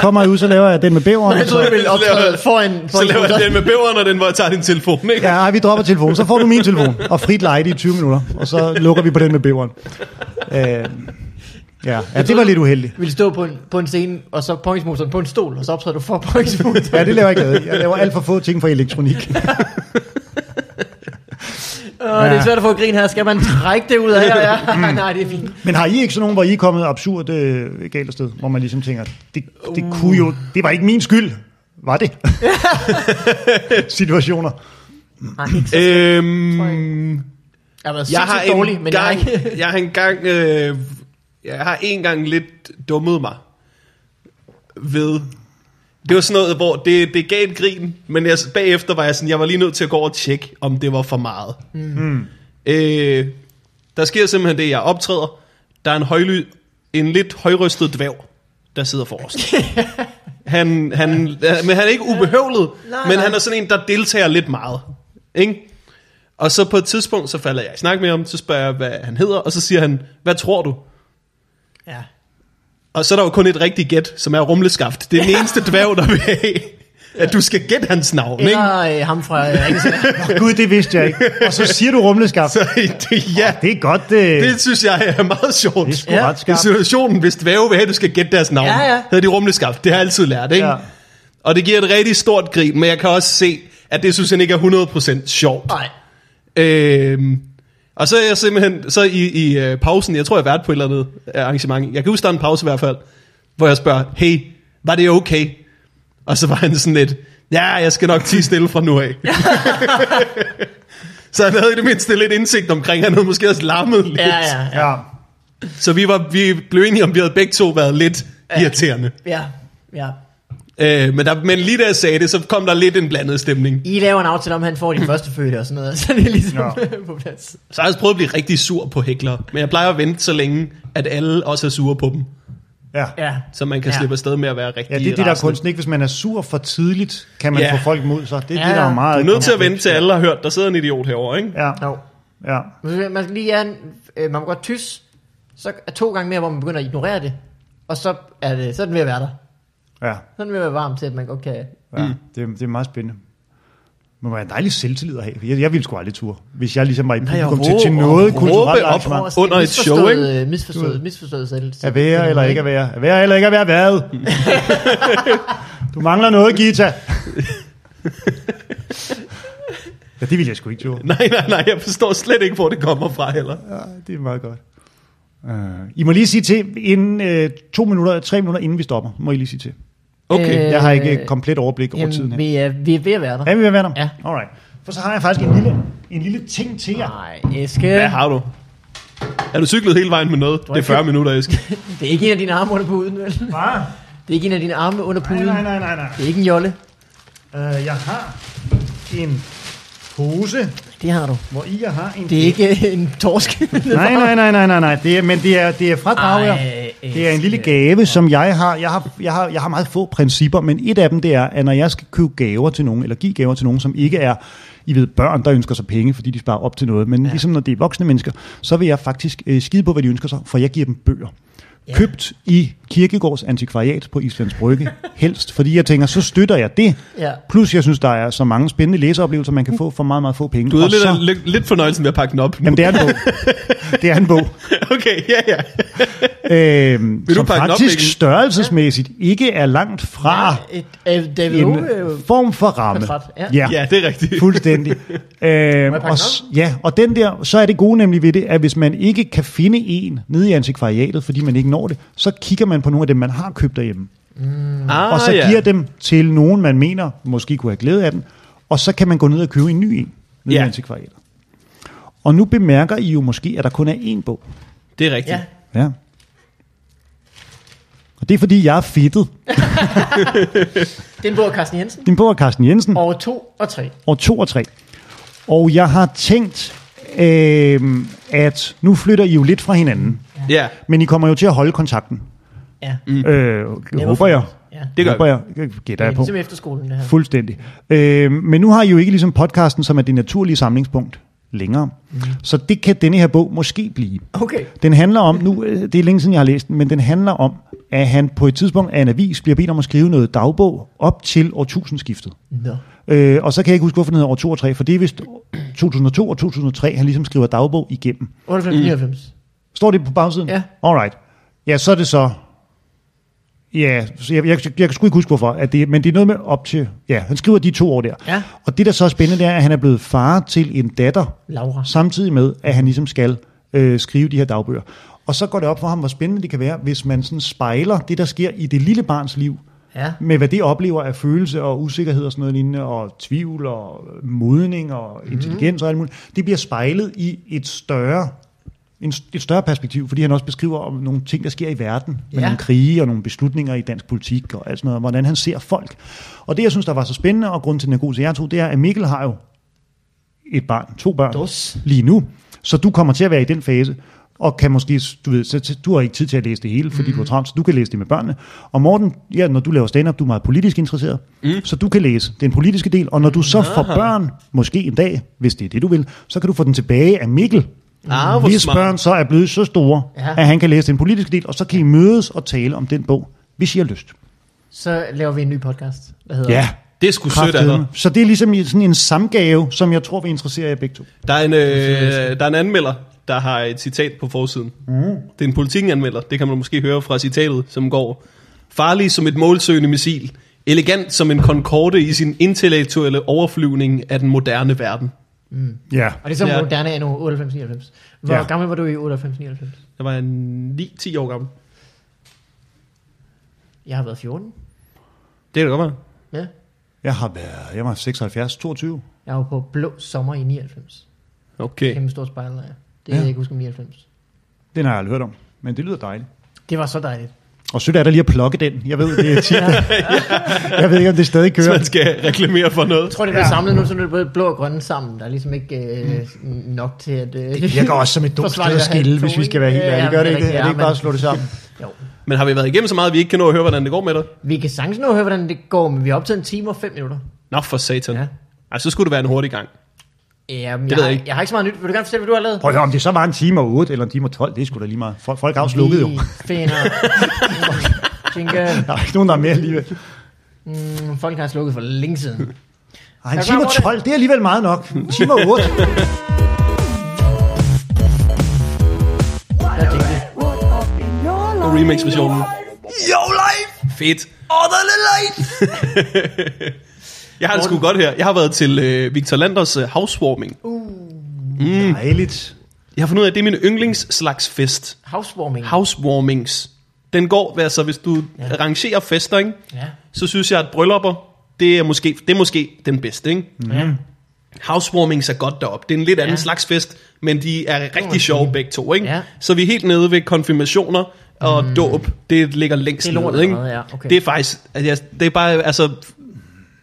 [SPEAKER 2] Kommer jeg ud, så laver jeg den med bæveren.
[SPEAKER 1] Jeg
[SPEAKER 2] og
[SPEAKER 1] troede,
[SPEAKER 2] Så,
[SPEAKER 1] jeg ville optræde foran...
[SPEAKER 3] Så laver jeg den med bæveren, og den var, tager din telefon, ikke? Ja.
[SPEAKER 2] ja, ej, vi dropper telefonen. Så får du min telefon og frit lejde i 20 minutter. Og så lukker vi på den med bæveren. Øh, ja. ja, det var lidt uheldigt.
[SPEAKER 1] ville stå på en, på en scene, og så pointsmotoren på en stol, og så optræder du for pointsmotoren.
[SPEAKER 2] Ja, det laver jeg ikke. Jeg laver alt for få ting for elektronik.
[SPEAKER 1] Åh, det er svært at få grin her. Skal man trække det ud af her? Ja. Nej, det er fint.
[SPEAKER 2] Men har I ikke sådan nogen, hvor I er kommet absurd øh, galt af sted, hvor man ligesom tænker, det, det uh. kunne jo, det var ikke min skyld, var det? Situationer.
[SPEAKER 1] Nej, ikke så.
[SPEAKER 3] Øhm,
[SPEAKER 1] Jeg har været
[SPEAKER 3] jeg har
[SPEAKER 1] sindssygt dårlig, men jeg har
[SPEAKER 3] gang,
[SPEAKER 1] ikke...
[SPEAKER 3] jeg har engang, øh, jeg har en gang lidt dummet mig ved, det var sådan noget, hvor det, det gav et grin, men jeg, bagefter var jeg sådan, jeg var lige nødt til at gå over og tjekke, om det var for meget. Mm. Øh, der sker simpelthen det, jeg optræder, der er en, højly, en lidt højrystet dværg, der sidder forrest. han, han, men han er ikke ubehøvlet,
[SPEAKER 1] Nej,
[SPEAKER 3] men
[SPEAKER 1] nej.
[SPEAKER 3] han er sådan en, der deltager lidt meget. Ikke? Og så på et tidspunkt, så falder jeg i snak med ham, så spørger jeg, hvad han hedder, og så siger han, hvad tror du?
[SPEAKER 1] Ja.
[SPEAKER 3] Og så er der jo kun et rigtigt gæt, som er rumleskaft. Det er den eneste dværg, der vil have, at du skal gætte hans navn, ikke?
[SPEAKER 1] Eller øh, ham fra... Øh, Ringens Herre.
[SPEAKER 2] Nå, Gud, det vidste jeg ikke. Og så siger du rumleskaft.
[SPEAKER 3] Så det, ja,
[SPEAKER 2] Det er godt, øh, det,
[SPEAKER 3] det synes jeg er meget sjovt.
[SPEAKER 2] det er sgu
[SPEAKER 1] Ja.
[SPEAKER 2] ja. ret
[SPEAKER 3] Det er
[SPEAKER 2] skarpt.
[SPEAKER 3] situationen, hvis dværge vil have, at du skal gætte deres navn.
[SPEAKER 1] Ja, ja.
[SPEAKER 3] Hedder de rumleskaft. Det har jeg altid lært, ikke?
[SPEAKER 2] Ja.
[SPEAKER 3] Ja. Og det giver et rigtig stort grin, men jeg kan også se, at det synes han ikke er 100% sjovt.
[SPEAKER 1] Nej.
[SPEAKER 3] Øhm, og så er jeg simpelthen, så i, i øh, pausen, jeg tror jeg har været på et eller andet øh, arrangement, jeg kan huske, der er en pause i hvert fald, hvor jeg spørger, hey, var det okay? Og så var han sådan lidt, ja, jeg skal nok tige stille fra nu af. så han havde i det mindste lidt indsigt omkring, han havde måske også larmet lidt.
[SPEAKER 1] Ja, ja, ja.
[SPEAKER 2] Ja.
[SPEAKER 3] Så vi, var, vi blev enige om, vi havde begge to været lidt irriterende.
[SPEAKER 1] Ja, ja.
[SPEAKER 3] Øh, men, der, men lige da jeg sagde det, så kom der lidt en blandet stemning.
[SPEAKER 1] I laver en aftale om, at han får de første fødte og sådan noget, så det er ligesom
[SPEAKER 2] Nå.
[SPEAKER 1] på plads.
[SPEAKER 3] Så har jeg også prøvet at blive rigtig sur på hæklere, men jeg plejer at vente så længe, at alle også er sure på dem,
[SPEAKER 2] Ja.
[SPEAKER 1] Ja.
[SPEAKER 3] så man kan
[SPEAKER 1] Ja.
[SPEAKER 3] ja. slippe afsted med at være rigtig
[SPEAKER 2] Ja, det er det, der er
[SPEAKER 3] rasende.
[SPEAKER 2] kunsten. Ikke? Hvis man er sur for tidligt, kan man
[SPEAKER 3] Ja.
[SPEAKER 2] få folk mod sig. Det er
[SPEAKER 1] Ja,
[SPEAKER 2] det, der
[SPEAKER 1] ja.
[SPEAKER 2] er meget...
[SPEAKER 3] Du er nødt til at vente til alle har hørt, der sidder en idiot herovre, ikke?
[SPEAKER 2] Ja,
[SPEAKER 1] No.
[SPEAKER 2] ja.
[SPEAKER 1] Man skal lige have en, øh, man må godt tys, så er to gange mere, hvor man begynder at ignorere det, og så er, det, så er den ved at være der.
[SPEAKER 2] ja.
[SPEAKER 1] Så er den ved at være varm til, at man godt kan...
[SPEAKER 2] Ja, mm. det, er- det er meget spændende. Men man er en dejlig selvtillid at have. Jeg, jeg ville sgu aldrig tur, hvis jeg ligesom var i publikum til,
[SPEAKER 1] råbe
[SPEAKER 2] til
[SPEAKER 1] og
[SPEAKER 2] noget
[SPEAKER 3] råbe
[SPEAKER 2] kulturelt
[SPEAKER 3] op
[SPEAKER 2] arrangement.
[SPEAKER 3] fra- Under et show,
[SPEAKER 1] Misforstået, øh, Misforstået, misforstået selv.
[SPEAKER 2] At være eller ikke at være. At være eller ikke at være været. du mangler noget, Gita. ja, det ville jeg sgu ikke turde.
[SPEAKER 3] Nej, nej, nej, jeg forstår slet ikke, hvor det kommer fra heller.
[SPEAKER 2] Ja, det er meget godt. Uh, I må lige sige til, inden øh, to minutter, tre minutter, inden vi stopper, må I lige sige til.
[SPEAKER 3] Okay.
[SPEAKER 1] Øh,
[SPEAKER 2] Jeg har ikke øh, komplet overblik over tiden
[SPEAKER 1] Jamen,
[SPEAKER 2] her.
[SPEAKER 1] vi er, vi er ved at være der.
[SPEAKER 2] Er vi ved at være der?
[SPEAKER 1] Ja.
[SPEAKER 2] Alright. For så har jeg faktisk en lille, en lille ting til jer.
[SPEAKER 1] Nej, Eske.
[SPEAKER 3] Hvad har du? Er du cyklet hele vejen med noget? Det er 40 minutter, Esk.
[SPEAKER 1] Det er ikke en af dine arme under puden, vel?
[SPEAKER 2] Hvad?
[SPEAKER 1] Det er ikke en af dine arme under
[SPEAKER 2] Nej,
[SPEAKER 1] puden.
[SPEAKER 2] nej, nej, nej, nej.
[SPEAKER 1] Det er ikke en jolle.
[SPEAKER 2] Uh, jeg har en pose,
[SPEAKER 1] Det har du.
[SPEAKER 2] hvor I jeg har en...
[SPEAKER 1] Det er ikke øh, en torsk.
[SPEAKER 2] Nej, nej, nej, nej, nej, nej. Det er, men det er, det er fradrag,
[SPEAKER 1] Ej,
[SPEAKER 2] jeg. Det er en lille
[SPEAKER 1] elsker.
[SPEAKER 2] gave, som jeg har. Jeg har, jeg har. jeg har meget få principper, men et af dem det er, at når jeg skal købe gaver til nogen, eller give gaver til nogen, som ikke er, I ved, børn, der ønsker sig penge, fordi de sparer op til noget, men ja. ligesom når det er voksne mennesker, så vil jeg faktisk øh, skide på, hvad de ønsker sig, for jeg giver dem bøger. Ja. Købt i Kirkegårds antikvariat på Islands Brygge, helst, fordi jeg tænker, så støtter jeg det.
[SPEAKER 1] Ja.
[SPEAKER 2] Plus, jeg synes, der er så mange spændende læseoplevelser, man kan få for meget, meget få penge.
[SPEAKER 3] Du
[SPEAKER 2] Og
[SPEAKER 3] havde lidt,
[SPEAKER 2] så,
[SPEAKER 3] af- lidt, lidt fornøjelsen ved at pakke den op.
[SPEAKER 2] jamen, det er en bog. Det er en bog.
[SPEAKER 3] Okay, ja, ja.
[SPEAKER 2] øh,
[SPEAKER 3] du
[SPEAKER 2] som
[SPEAKER 3] pakke den op,
[SPEAKER 2] faktisk
[SPEAKER 3] Mikkel?
[SPEAKER 2] størrelsesmæssigt ikke er langt fra
[SPEAKER 1] Et, øh, David
[SPEAKER 2] Ah. en
[SPEAKER 1] Ove, øh,
[SPEAKER 2] form for ramme.
[SPEAKER 1] portræt, ja.
[SPEAKER 3] Ja, det er rigtigt.
[SPEAKER 2] Fuldstændig. øhm,
[SPEAKER 1] pakke
[SPEAKER 2] og, s- ja, og den der, så er det gode nemlig ved det, at hvis man ikke kan finde en nede i antikvariatet, fordi man ikke når det, så kigger man på nogle af dem, man har købt derhjemme.
[SPEAKER 3] Ah,
[SPEAKER 2] og så giver dem til nogen, man mener måske kunne have glæde af den, og så kan man gå ned og købe en ny en nede
[SPEAKER 3] Ja.
[SPEAKER 2] i antikvariatet. Og nu bemærker I jo måske, at der kun er én bog.
[SPEAKER 3] Det er rigtigt.
[SPEAKER 1] Ja.
[SPEAKER 2] Ja. Og det er fordi, jeg er fedtet.
[SPEAKER 1] Den bor Carsten Jensen.
[SPEAKER 2] Din bog er Carsten Jensen,
[SPEAKER 1] Over to og tre.
[SPEAKER 2] år 2 og 3. Og jeg har tænkt, øh, at nu flytter I jo lidt fra hinanden.
[SPEAKER 3] Ja,
[SPEAKER 2] Men I kommer jo til at holde kontakten.
[SPEAKER 1] Ja.
[SPEAKER 2] Mm. Øh, håber
[SPEAKER 1] hvorfor?
[SPEAKER 2] jeg.
[SPEAKER 1] ja.
[SPEAKER 3] det gør
[SPEAKER 2] håber
[SPEAKER 3] vi.
[SPEAKER 2] jeg. Øh, Gætter
[SPEAKER 1] Det
[SPEAKER 2] jeg
[SPEAKER 1] er
[SPEAKER 2] på.
[SPEAKER 1] ligesom efterskolen, det her.
[SPEAKER 2] Fuldstændig. Øh, men nu har I jo ikke ligesom podcasten, som er det naturlige samlingspunkt længere. Mm. Så det kan denne her bog måske blive.
[SPEAKER 1] Okay.
[SPEAKER 2] Den handler om, nu øh, det er længe siden jeg har læst den, men den handler om, at han på et tidspunkt af en avis bliver bedt om at skrive noget dagbog op til årtusindskiftet.
[SPEAKER 1] Nå.
[SPEAKER 2] Øh, og så kan jeg ikke huske, hvorfor den hedder år 2 og 3, for det er vist 2002 og 2003, han ligesom skriver dagbog igennem.
[SPEAKER 1] 98, 99.
[SPEAKER 2] Står det på bagsiden?
[SPEAKER 1] Ja.
[SPEAKER 2] Alright. Ja, så er det så... Ja, så jeg, jeg, jeg, jeg kan sgu ikke huske, hvorfor. At det, men det er noget med op til... Ja, han skriver de to år der.
[SPEAKER 1] Ja.
[SPEAKER 2] Og det, der så er spændende, det er, at han er blevet far til en datter,
[SPEAKER 1] Laura.
[SPEAKER 2] samtidig med, at han ligesom skal øh, skrive de her dagbøger. Og så går det op for ham, hvor spændende det kan være, hvis man sådan spejler det, der sker i det lille barns liv,
[SPEAKER 1] Ja.
[SPEAKER 2] med hvad det oplever af følelse og usikkerhed og sådan noget lignende, og tvivl og modning og intelligens og alt muligt, det bliver spejlet i et større, en, et større perspektiv, fordi han også beskriver om nogle ting, der sker i verden, med
[SPEAKER 1] Ja.
[SPEAKER 2] nogle krige og nogle beslutninger i dansk politik og alt sådan noget, og hvordan han ser folk. Og det, jeg synes, der var så spændende, og grund til, at den er god til jer to, det er, at Mikkel har jo et barn, to børn,
[SPEAKER 1] Dos.
[SPEAKER 2] lige nu. Så du kommer til at være i den fase, og kan måske, du ved, så så du har ikke tid til at læse det hele, fordi mm. du har travlt, så du kan læse det med børnene. Og Morten, ja, når du laver stand-up, du er meget politisk interesseret, mm. så du kan læse den politiske del, og når du så får børn, måske en dag, hvis det er det, du vil, så kan du få den tilbage af Mikkel,
[SPEAKER 3] Ah, hvor
[SPEAKER 2] hvis
[SPEAKER 3] smart.
[SPEAKER 2] børn så er blevet så store,
[SPEAKER 1] Ja.
[SPEAKER 2] ja. at han kan læse den politiske del, og så kan I mødes og tale om den bog, hvis I har lyst.
[SPEAKER 1] Så laver vi en ny podcast, der hedder...
[SPEAKER 2] Ja,
[SPEAKER 3] det er sgu sødt af dig.
[SPEAKER 2] kraftedeme. Så det er ligesom sådan en samgave, som jeg tror vil interessere jer begge to.
[SPEAKER 3] Der er, en, øh, der er en anmelder, der har et citat på forsiden. Mm. Det er en politikanmelder, det kan man måske høre fra citatet, som går. Farlig som et målsøgende missil. Elegant som en Concorde i sin intellektuelle overflyvning af den moderne verden.
[SPEAKER 2] Ja.
[SPEAKER 1] Og det er som
[SPEAKER 3] Ja.
[SPEAKER 1] ja. moderne er nu 98-99. Hvor
[SPEAKER 2] Ja.
[SPEAKER 1] ja. gammel var du i 98-99?
[SPEAKER 3] Jeg var en 9-10 år gammel.
[SPEAKER 1] Jeg har været 14.
[SPEAKER 3] Det kan det godt være.
[SPEAKER 1] Ja.
[SPEAKER 2] Jeg har været, jeg var 76, 22.
[SPEAKER 1] Jeg var på blå sommer i 99.
[SPEAKER 3] Okay.
[SPEAKER 1] Kæmpe stor spejler, ja. Det kan ja.
[SPEAKER 2] Ja.
[SPEAKER 1] jeg ikke huske om 99.
[SPEAKER 2] Den har jeg aldrig hørt om, men det lyder dejligt.
[SPEAKER 1] Det var så dejligt.
[SPEAKER 2] Og sødt er der lige at plukke den. Jeg ved, det er tit. jeg ved ikke, om det stadig
[SPEAKER 3] Så
[SPEAKER 2] kører.
[SPEAKER 3] man skal reklamere for noget.
[SPEAKER 1] Jeg tror, det bliver samlet nu, så det er både blå og grønne sammen. Der er ligesom ikke øh, nok til at... Øh, det
[SPEAKER 2] Jeg går Mm. også som et dumt sted at skille, hvis vi skal være helt ærlige. Gør det ikke det? Er det ikke bare at slå det sammen?
[SPEAKER 1] Jo.
[SPEAKER 3] Men har vi været igennem så meget, at vi ikke kan nå at høre, hvordan det går med dig?
[SPEAKER 1] Vi kan sagtens nå at høre, hvordan det går, men vi har optaget en time og fem minutter.
[SPEAKER 3] Nå for satan. Ja.
[SPEAKER 1] Ja.
[SPEAKER 3] Ej, så skulle det være en hurtig gang.
[SPEAKER 1] Ja, men
[SPEAKER 3] ved
[SPEAKER 1] jeg,
[SPEAKER 3] jeg
[SPEAKER 1] har,
[SPEAKER 3] ikke.
[SPEAKER 1] jeg har ikke så meget nyt. Vil du gerne fortælle, hvad du har lavet?
[SPEAKER 2] Prøv at høre, om det så var en time og 8 eller en time og 12, det er sgu da lige meget. Folk, folk har jo slukket jo.
[SPEAKER 1] Vi finder... Tænker,
[SPEAKER 2] Der er ikke nogen, der er med alligevel.
[SPEAKER 1] mm, folk har slukket for længe siden.
[SPEAKER 2] Ej, en
[SPEAKER 1] Jeg
[SPEAKER 2] time
[SPEAKER 1] kommer
[SPEAKER 2] og
[SPEAKER 1] det.
[SPEAKER 2] 12, det er alligevel meget nok. En time og 8.
[SPEAKER 1] Jeg tænkte,
[SPEAKER 3] Og remix-versionen. Yo, life! Fedt. Oh, the light! jeg har det sgu godt her. Jeg har været til øh, Victor Landers øh, housewarming.
[SPEAKER 2] Dejligt.
[SPEAKER 3] Jeg har fundet ud af, at det er min yndlingsslags fest.
[SPEAKER 1] housewarming.
[SPEAKER 3] Housewarmings. Den går, altså hvis du ja. arrangerer fester, ikke?
[SPEAKER 1] Ja.
[SPEAKER 2] Mm.
[SPEAKER 3] så synes jeg, at bryllupper, det er måske, det er måske den bedste. Ikke?
[SPEAKER 1] ja.
[SPEAKER 3] Housewarmings er godt derop. Det er en lidt anden
[SPEAKER 1] Ja.
[SPEAKER 3] slags fest, men de er rigtig sjove begge to. Ikke?
[SPEAKER 1] Ja.
[SPEAKER 3] Så vi er helt nede ved konfirmationer og mm. dåb. Det ligger længst
[SPEAKER 1] Det er lort
[SPEAKER 3] nede. Ikke?
[SPEAKER 1] allerede, ja. Okay.
[SPEAKER 3] Det er faktisk... Altså, jeg- det er bare, altså,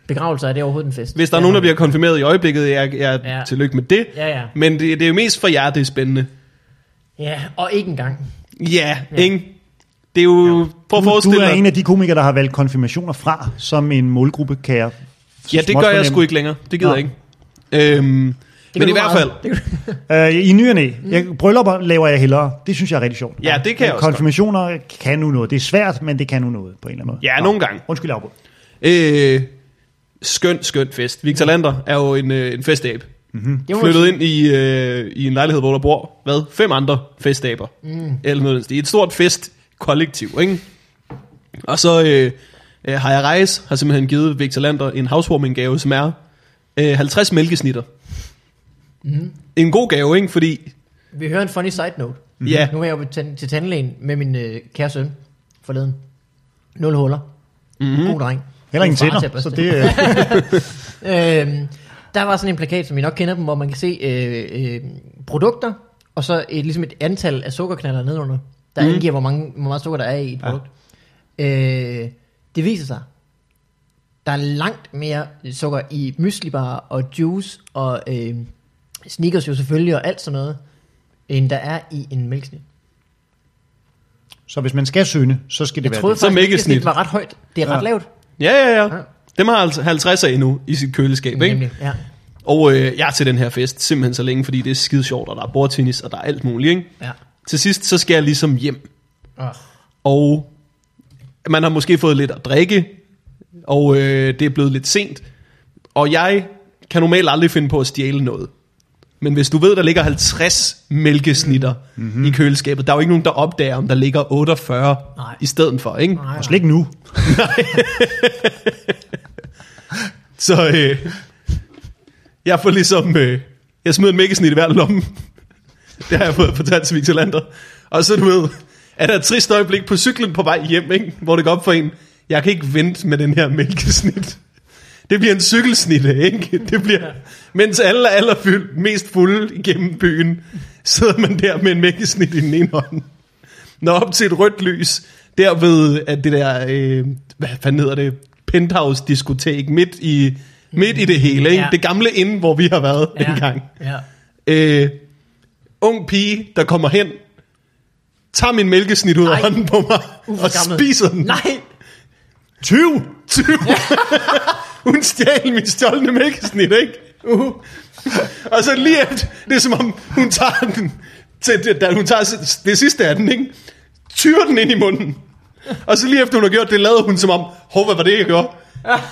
[SPEAKER 1] Begravelser, er det overhovedet en fest?
[SPEAKER 3] hvis der er
[SPEAKER 1] Ja.
[SPEAKER 3] nogen, der bliver konfirmeret i øjeblikket, jeg, jeg ja.
[SPEAKER 1] Ja.
[SPEAKER 3] tillykke med det.
[SPEAKER 1] Ja, ja.
[SPEAKER 3] Men det, det er jo mest for jer, det er spændende.
[SPEAKER 1] Ja, og ikke engang.
[SPEAKER 3] Ja, ja. ikke? Det er jo... Ja. Prøv at
[SPEAKER 2] Du, du
[SPEAKER 3] forestille
[SPEAKER 2] er
[SPEAKER 3] dig.
[SPEAKER 2] en af de komikere, der har valgt konfirmationer fra som en målgruppe, kan jeg
[SPEAKER 3] Ja, det gør jeg sgu
[SPEAKER 2] småt
[SPEAKER 3] ikke længere. Det gider
[SPEAKER 2] Nå.
[SPEAKER 3] jeg ikke. Øhm, men i
[SPEAKER 1] du
[SPEAKER 3] hvert
[SPEAKER 1] meget.
[SPEAKER 3] fald,
[SPEAKER 2] fornemme. Øh, I ny og næ.
[SPEAKER 1] Mm.
[SPEAKER 2] Jeg, bryllupper laver jeg hellere. Det synes jeg er rigtig sjovt.
[SPEAKER 3] Ja, det kan jeg også
[SPEAKER 2] Konfirmationer kan nu noget. Det er svært, men det kan nu noget på en eller anden måde.
[SPEAKER 3] Ja, nogle gange.
[SPEAKER 2] Undskyld, afbrud.
[SPEAKER 3] øh, skøn, skøn fest. Victor Lander er jo en, øh, en festabe.
[SPEAKER 1] Det må
[SPEAKER 3] Flyttet ind i, øh, i en lejlighed, hvor der bor, hvad, fem andre festaber. Mm. Eller noget i den stil. Et stort festkollektiv, ikke? Og så øh, øh, har jeg rejs, har simpelthen givet Victor Lander en housewarming gave, som er øh, 50 mælkesnitter. Mm.
[SPEAKER 1] Mm-hmm.
[SPEAKER 3] En god gave, ikke? Fordi,
[SPEAKER 1] Vi hører en funny side note.
[SPEAKER 3] mm. ja,
[SPEAKER 1] Nu var jeg jo til, til tandlægen med min øh, kære søn forleden. Nul huller.
[SPEAKER 3] Mhm.
[SPEAKER 1] Mm-hmm. God dreng.
[SPEAKER 2] Heller ingen
[SPEAKER 1] God far til at
[SPEAKER 2] tænder,
[SPEAKER 1] børste
[SPEAKER 2] så det øh,
[SPEAKER 1] øhm, der var sådan en plakat, som I nok kender dem, hvor man kan se øh, øh, produkter, og så et, ligesom et antal af sukkerknaller nedenunder, der mm.
[SPEAKER 3] Mhm.
[SPEAKER 1] angiver, hvor, mange, hvor meget sukker der er i et produkt. Ja. Øh, det viser sig, der er langt mere sukker i müslibar og juice og øh, sneakers jo selvfølgelig og alt sådan noget, end der er i en mælkesnit.
[SPEAKER 2] Så hvis man skal søne, så skal det
[SPEAKER 1] Jeg
[SPEAKER 2] være
[SPEAKER 1] troede
[SPEAKER 2] det.
[SPEAKER 3] Så
[SPEAKER 1] faktisk, at
[SPEAKER 3] mælkesnit.
[SPEAKER 1] det var ret højt. Det er ret
[SPEAKER 2] Ja.
[SPEAKER 1] lavt.
[SPEAKER 3] ja, ja, ja.
[SPEAKER 1] Ja.
[SPEAKER 3] Dem har altså 50 af endnu i sit køleskab, ikke?
[SPEAKER 1] Nemlig, ja.
[SPEAKER 3] Og øh, jeg er til den her fest simpelthen så længe, fordi det er skide sjovt, og der er bordtennis, og der er alt muligt. Ikke?
[SPEAKER 1] ja.
[SPEAKER 3] Til sidst, så skal jeg ligesom hjem,
[SPEAKER 1] Oh.
[SPEAKER 3] og man har måske fået lidt at drikke, og øh, det er blevet lidt sent, og jeg kan normalt aldrig finde på at stjæle noget. Men hvis du ved, der ligger 50 mælkesnitter
[SPEAKER 1] Mhm.
[SPEAKER 3] mm-hmm. i køleskabet, der er jo ikke nogen, der opdager, om der ligger 48
[SPEAKER 1] Nej.
[SPEAKER 3] i stedet for, ikke?
[SPEAKER 1] Nej,
[SPEAKER 2] Og slet ikke nu.
[SPEAKER 3] Så øh, jeg får ligesom... Øh, jeg smider en mækkesnit i hver lomme. Det har jeg fået fortalt til Victor Lander. Og så du ved, er der et trist øjeblik på cyklen på vej hjem, ikke? hvor det går op for en, jeg kan ikke vente med den her mælkesnit. Det bliver en cykelsnitte, ikke? Det bliver, mens alle er allerfyldt, mest fulde igennem byen, sidder man der med en mælkesnit i den ene hånd når op til et rødt lys, der ved, at det der, øh, hvad fanden hedder det, penthouse-diskotek midt i, midt i det hele, ikke?
[SPEAKER 1] Ja.
[SPEAKER 3] det gamle inde, hvor vi har været ja.
[SPEAKER 1] ja.
[SPEAKER 3] en gang.
[SPEAKER 1] Ja.
[SPEAKER 3] Øh, ung pige, der kommer hen, tager min mælkesnit ud af
[SPEAKER 1] Ej.
[SPEAKER 3] hånden på mig,
[SPEAKER 1] Uh, hvor
[SPEAKER 3] og
[SPEAKER 1] gammel.
[SPEAKER 3] spiser den.
[SPEAKER 1] Nej,
[SPEAKER 3] 20! 20! Hun stjal min stjålne mælkesnit, ikke? Uh. Og så lige efter, det er som om, hun tager den, til, det- da hun tager s- det sidste af den, ikke? Tyrer den ind i munden. Og så lige efter hun har gjort det, lavede hun som om, hov, hvad var det, jeg gjorde?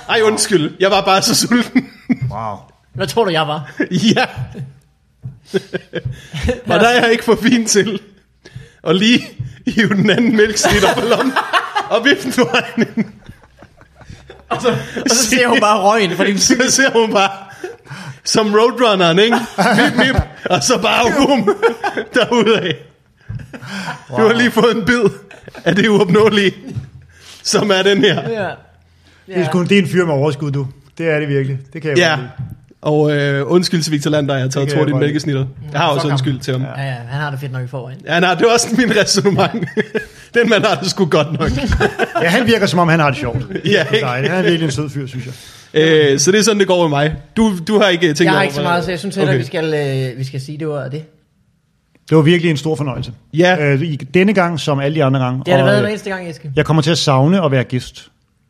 [SPEAKER 3] Ej, undskyld, jeg var bare så sulten.
[SPEAKER 2] Wow.
[SPEAKER 1] hvad tror du, jeg var?
[SPEAKER 3] ja. Og der er jeg ikke for fin til. Og lige hive den anden mælkesnit op på lommen, og vifte den foran hende.
[SPEAKER 1] Og så, og så ser hun bare røgen fra din
[SPEAKER 3] Så ser hun bare, som roadrunneren, ikke? Vip, vip, og så bare boom, derudad. Du har lige fået en bid af det uopnåelige, som er den her.
[SPEAKER 1] Ja.
[SPEAKER 2] Det, er sgu, det er en fyr med overskud, du. Det er det virkelig. Det kan jeg
[SPEAKER 3] Ja,
[SPEAKER 2] godt lide.
[SPEAKER 3] og øh, undskyld til Victor Lander, jeg har taget
[SPEAKER 2] Det kan
[SPEAKER 3] tråd i
[SPEAKER 2] jeg godt
[SPEAKER 3] mælkesnitter. Jeg har også
[SPEAKER 1] Fuck ham.
[SPEAKER 3] undskyld til ham.
[SPEAKER 1] Ja, ja, han har det fedt nok i forvejen.
[SPEAKER 3] Ja, nej, det var også min resonemang. Den mand har det sgu godt nok.
[SPEAKER 2] Ja, han virker som om, han har det sjovt.
[SPEAKER 3] Ja, ikke?
[SPEAKER 2] Nej, han er virkelig en sød fyr, synes jeg.
[SPEAKER 3] øh, så det er sådan, det går med mig. Du, du har ikke øh, tænkt
[SPEAKER 1] Jeg har
[SPEAKER 3] over,
[SPEAKER 1] ikke så
[SPEAKER 3] hvad-
[SPEAKER 1] meget, så jeg synes heller, okay.
[SPEAKER 3] Okay.
[SPEAKER 1] vi, skal, øh, vi skal sige, det var det.
[SPEAKER 2] Det var virkelig en stor fornøjelse.
[SPEAKER 3] Ja.
[SPEAKER 2] Øh, i- denne gang, som alle de andre gange.
[SPEAKER 1] Det har det
[SPEAKER 2] Og,
[SPEAKER 1] været
[SPEAKER 2] øh,
[SPEAKER 1] hver eneste gang, Eske.
[SPEAKER 2] Jeg kommer til at savne at være gæst.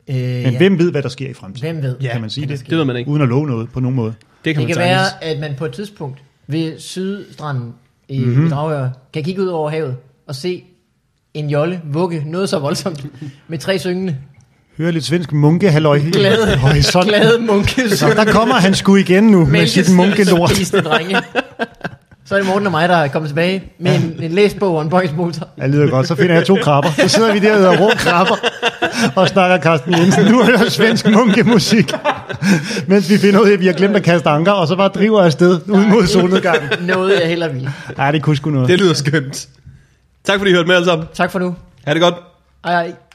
[SPEAKER 1] Øh,
[SPEAKER 2] Men
[SPEAKER 1] ja.
[SPEAKER 2] ja. hvem ved, hvad der sker i fremtiden?
[SPEAKER 1] hvem ved?
[SPEAKER 2] kan man sige det?
[SPEAKER 3] Det ved man ikke.
[SPEAKER 2] Uden at love noget på nogen måde.
[SPEAKER 3] Det
[SPEAKER 1] Det
[SPEAKER 3] kan man
[SPEAKER 1] kan
[SPEAKER 3] sagtens.
[SPEAKER 1] være, at man på et tidspunkt ved sydstranden i
[SPEAKER 2] Mhm.
[SPEAKER 1] mm-hmm. Dragør kan kigge ud over havet og se en jolle vugge noget så voldsomt med tre syngende
[SPEAKER 2] Høre lidt svensk munke, halløj.
[SPEAKER 1] Glade- glade munke
[SPEAKER 2] Så der kommer han sgu igen nu med sit munkelort.
[SPEAKER 1] Isende drenge. Så er det Morten og mig, der er kommet tilbage med en, en læsbog og en boysmotor.
[SPEAKER 2] Ja, det lyder godt. Så finder jeg to krabber. Så sidder vi der og rå krabber og snakker Carsten Jensen. Nu er der svensk munkemusik. Mens vi finder ud af, at vi har glemt at kaste anker, og så bare driver afsted ud mod solnedgangen.
[SPEAKER 1] Noget jeg heller vil.
[SPEAKER 2] Nej, det kunne sgu noget.
[SPEAKER 3] Det lyder skønt. Tak fordi I hørte med alle sammen.
[SPEAKER 1] Tak for nu.
[SPEAKER 3] Ha' det godt.
[SPEAKER 1] Ej, ej.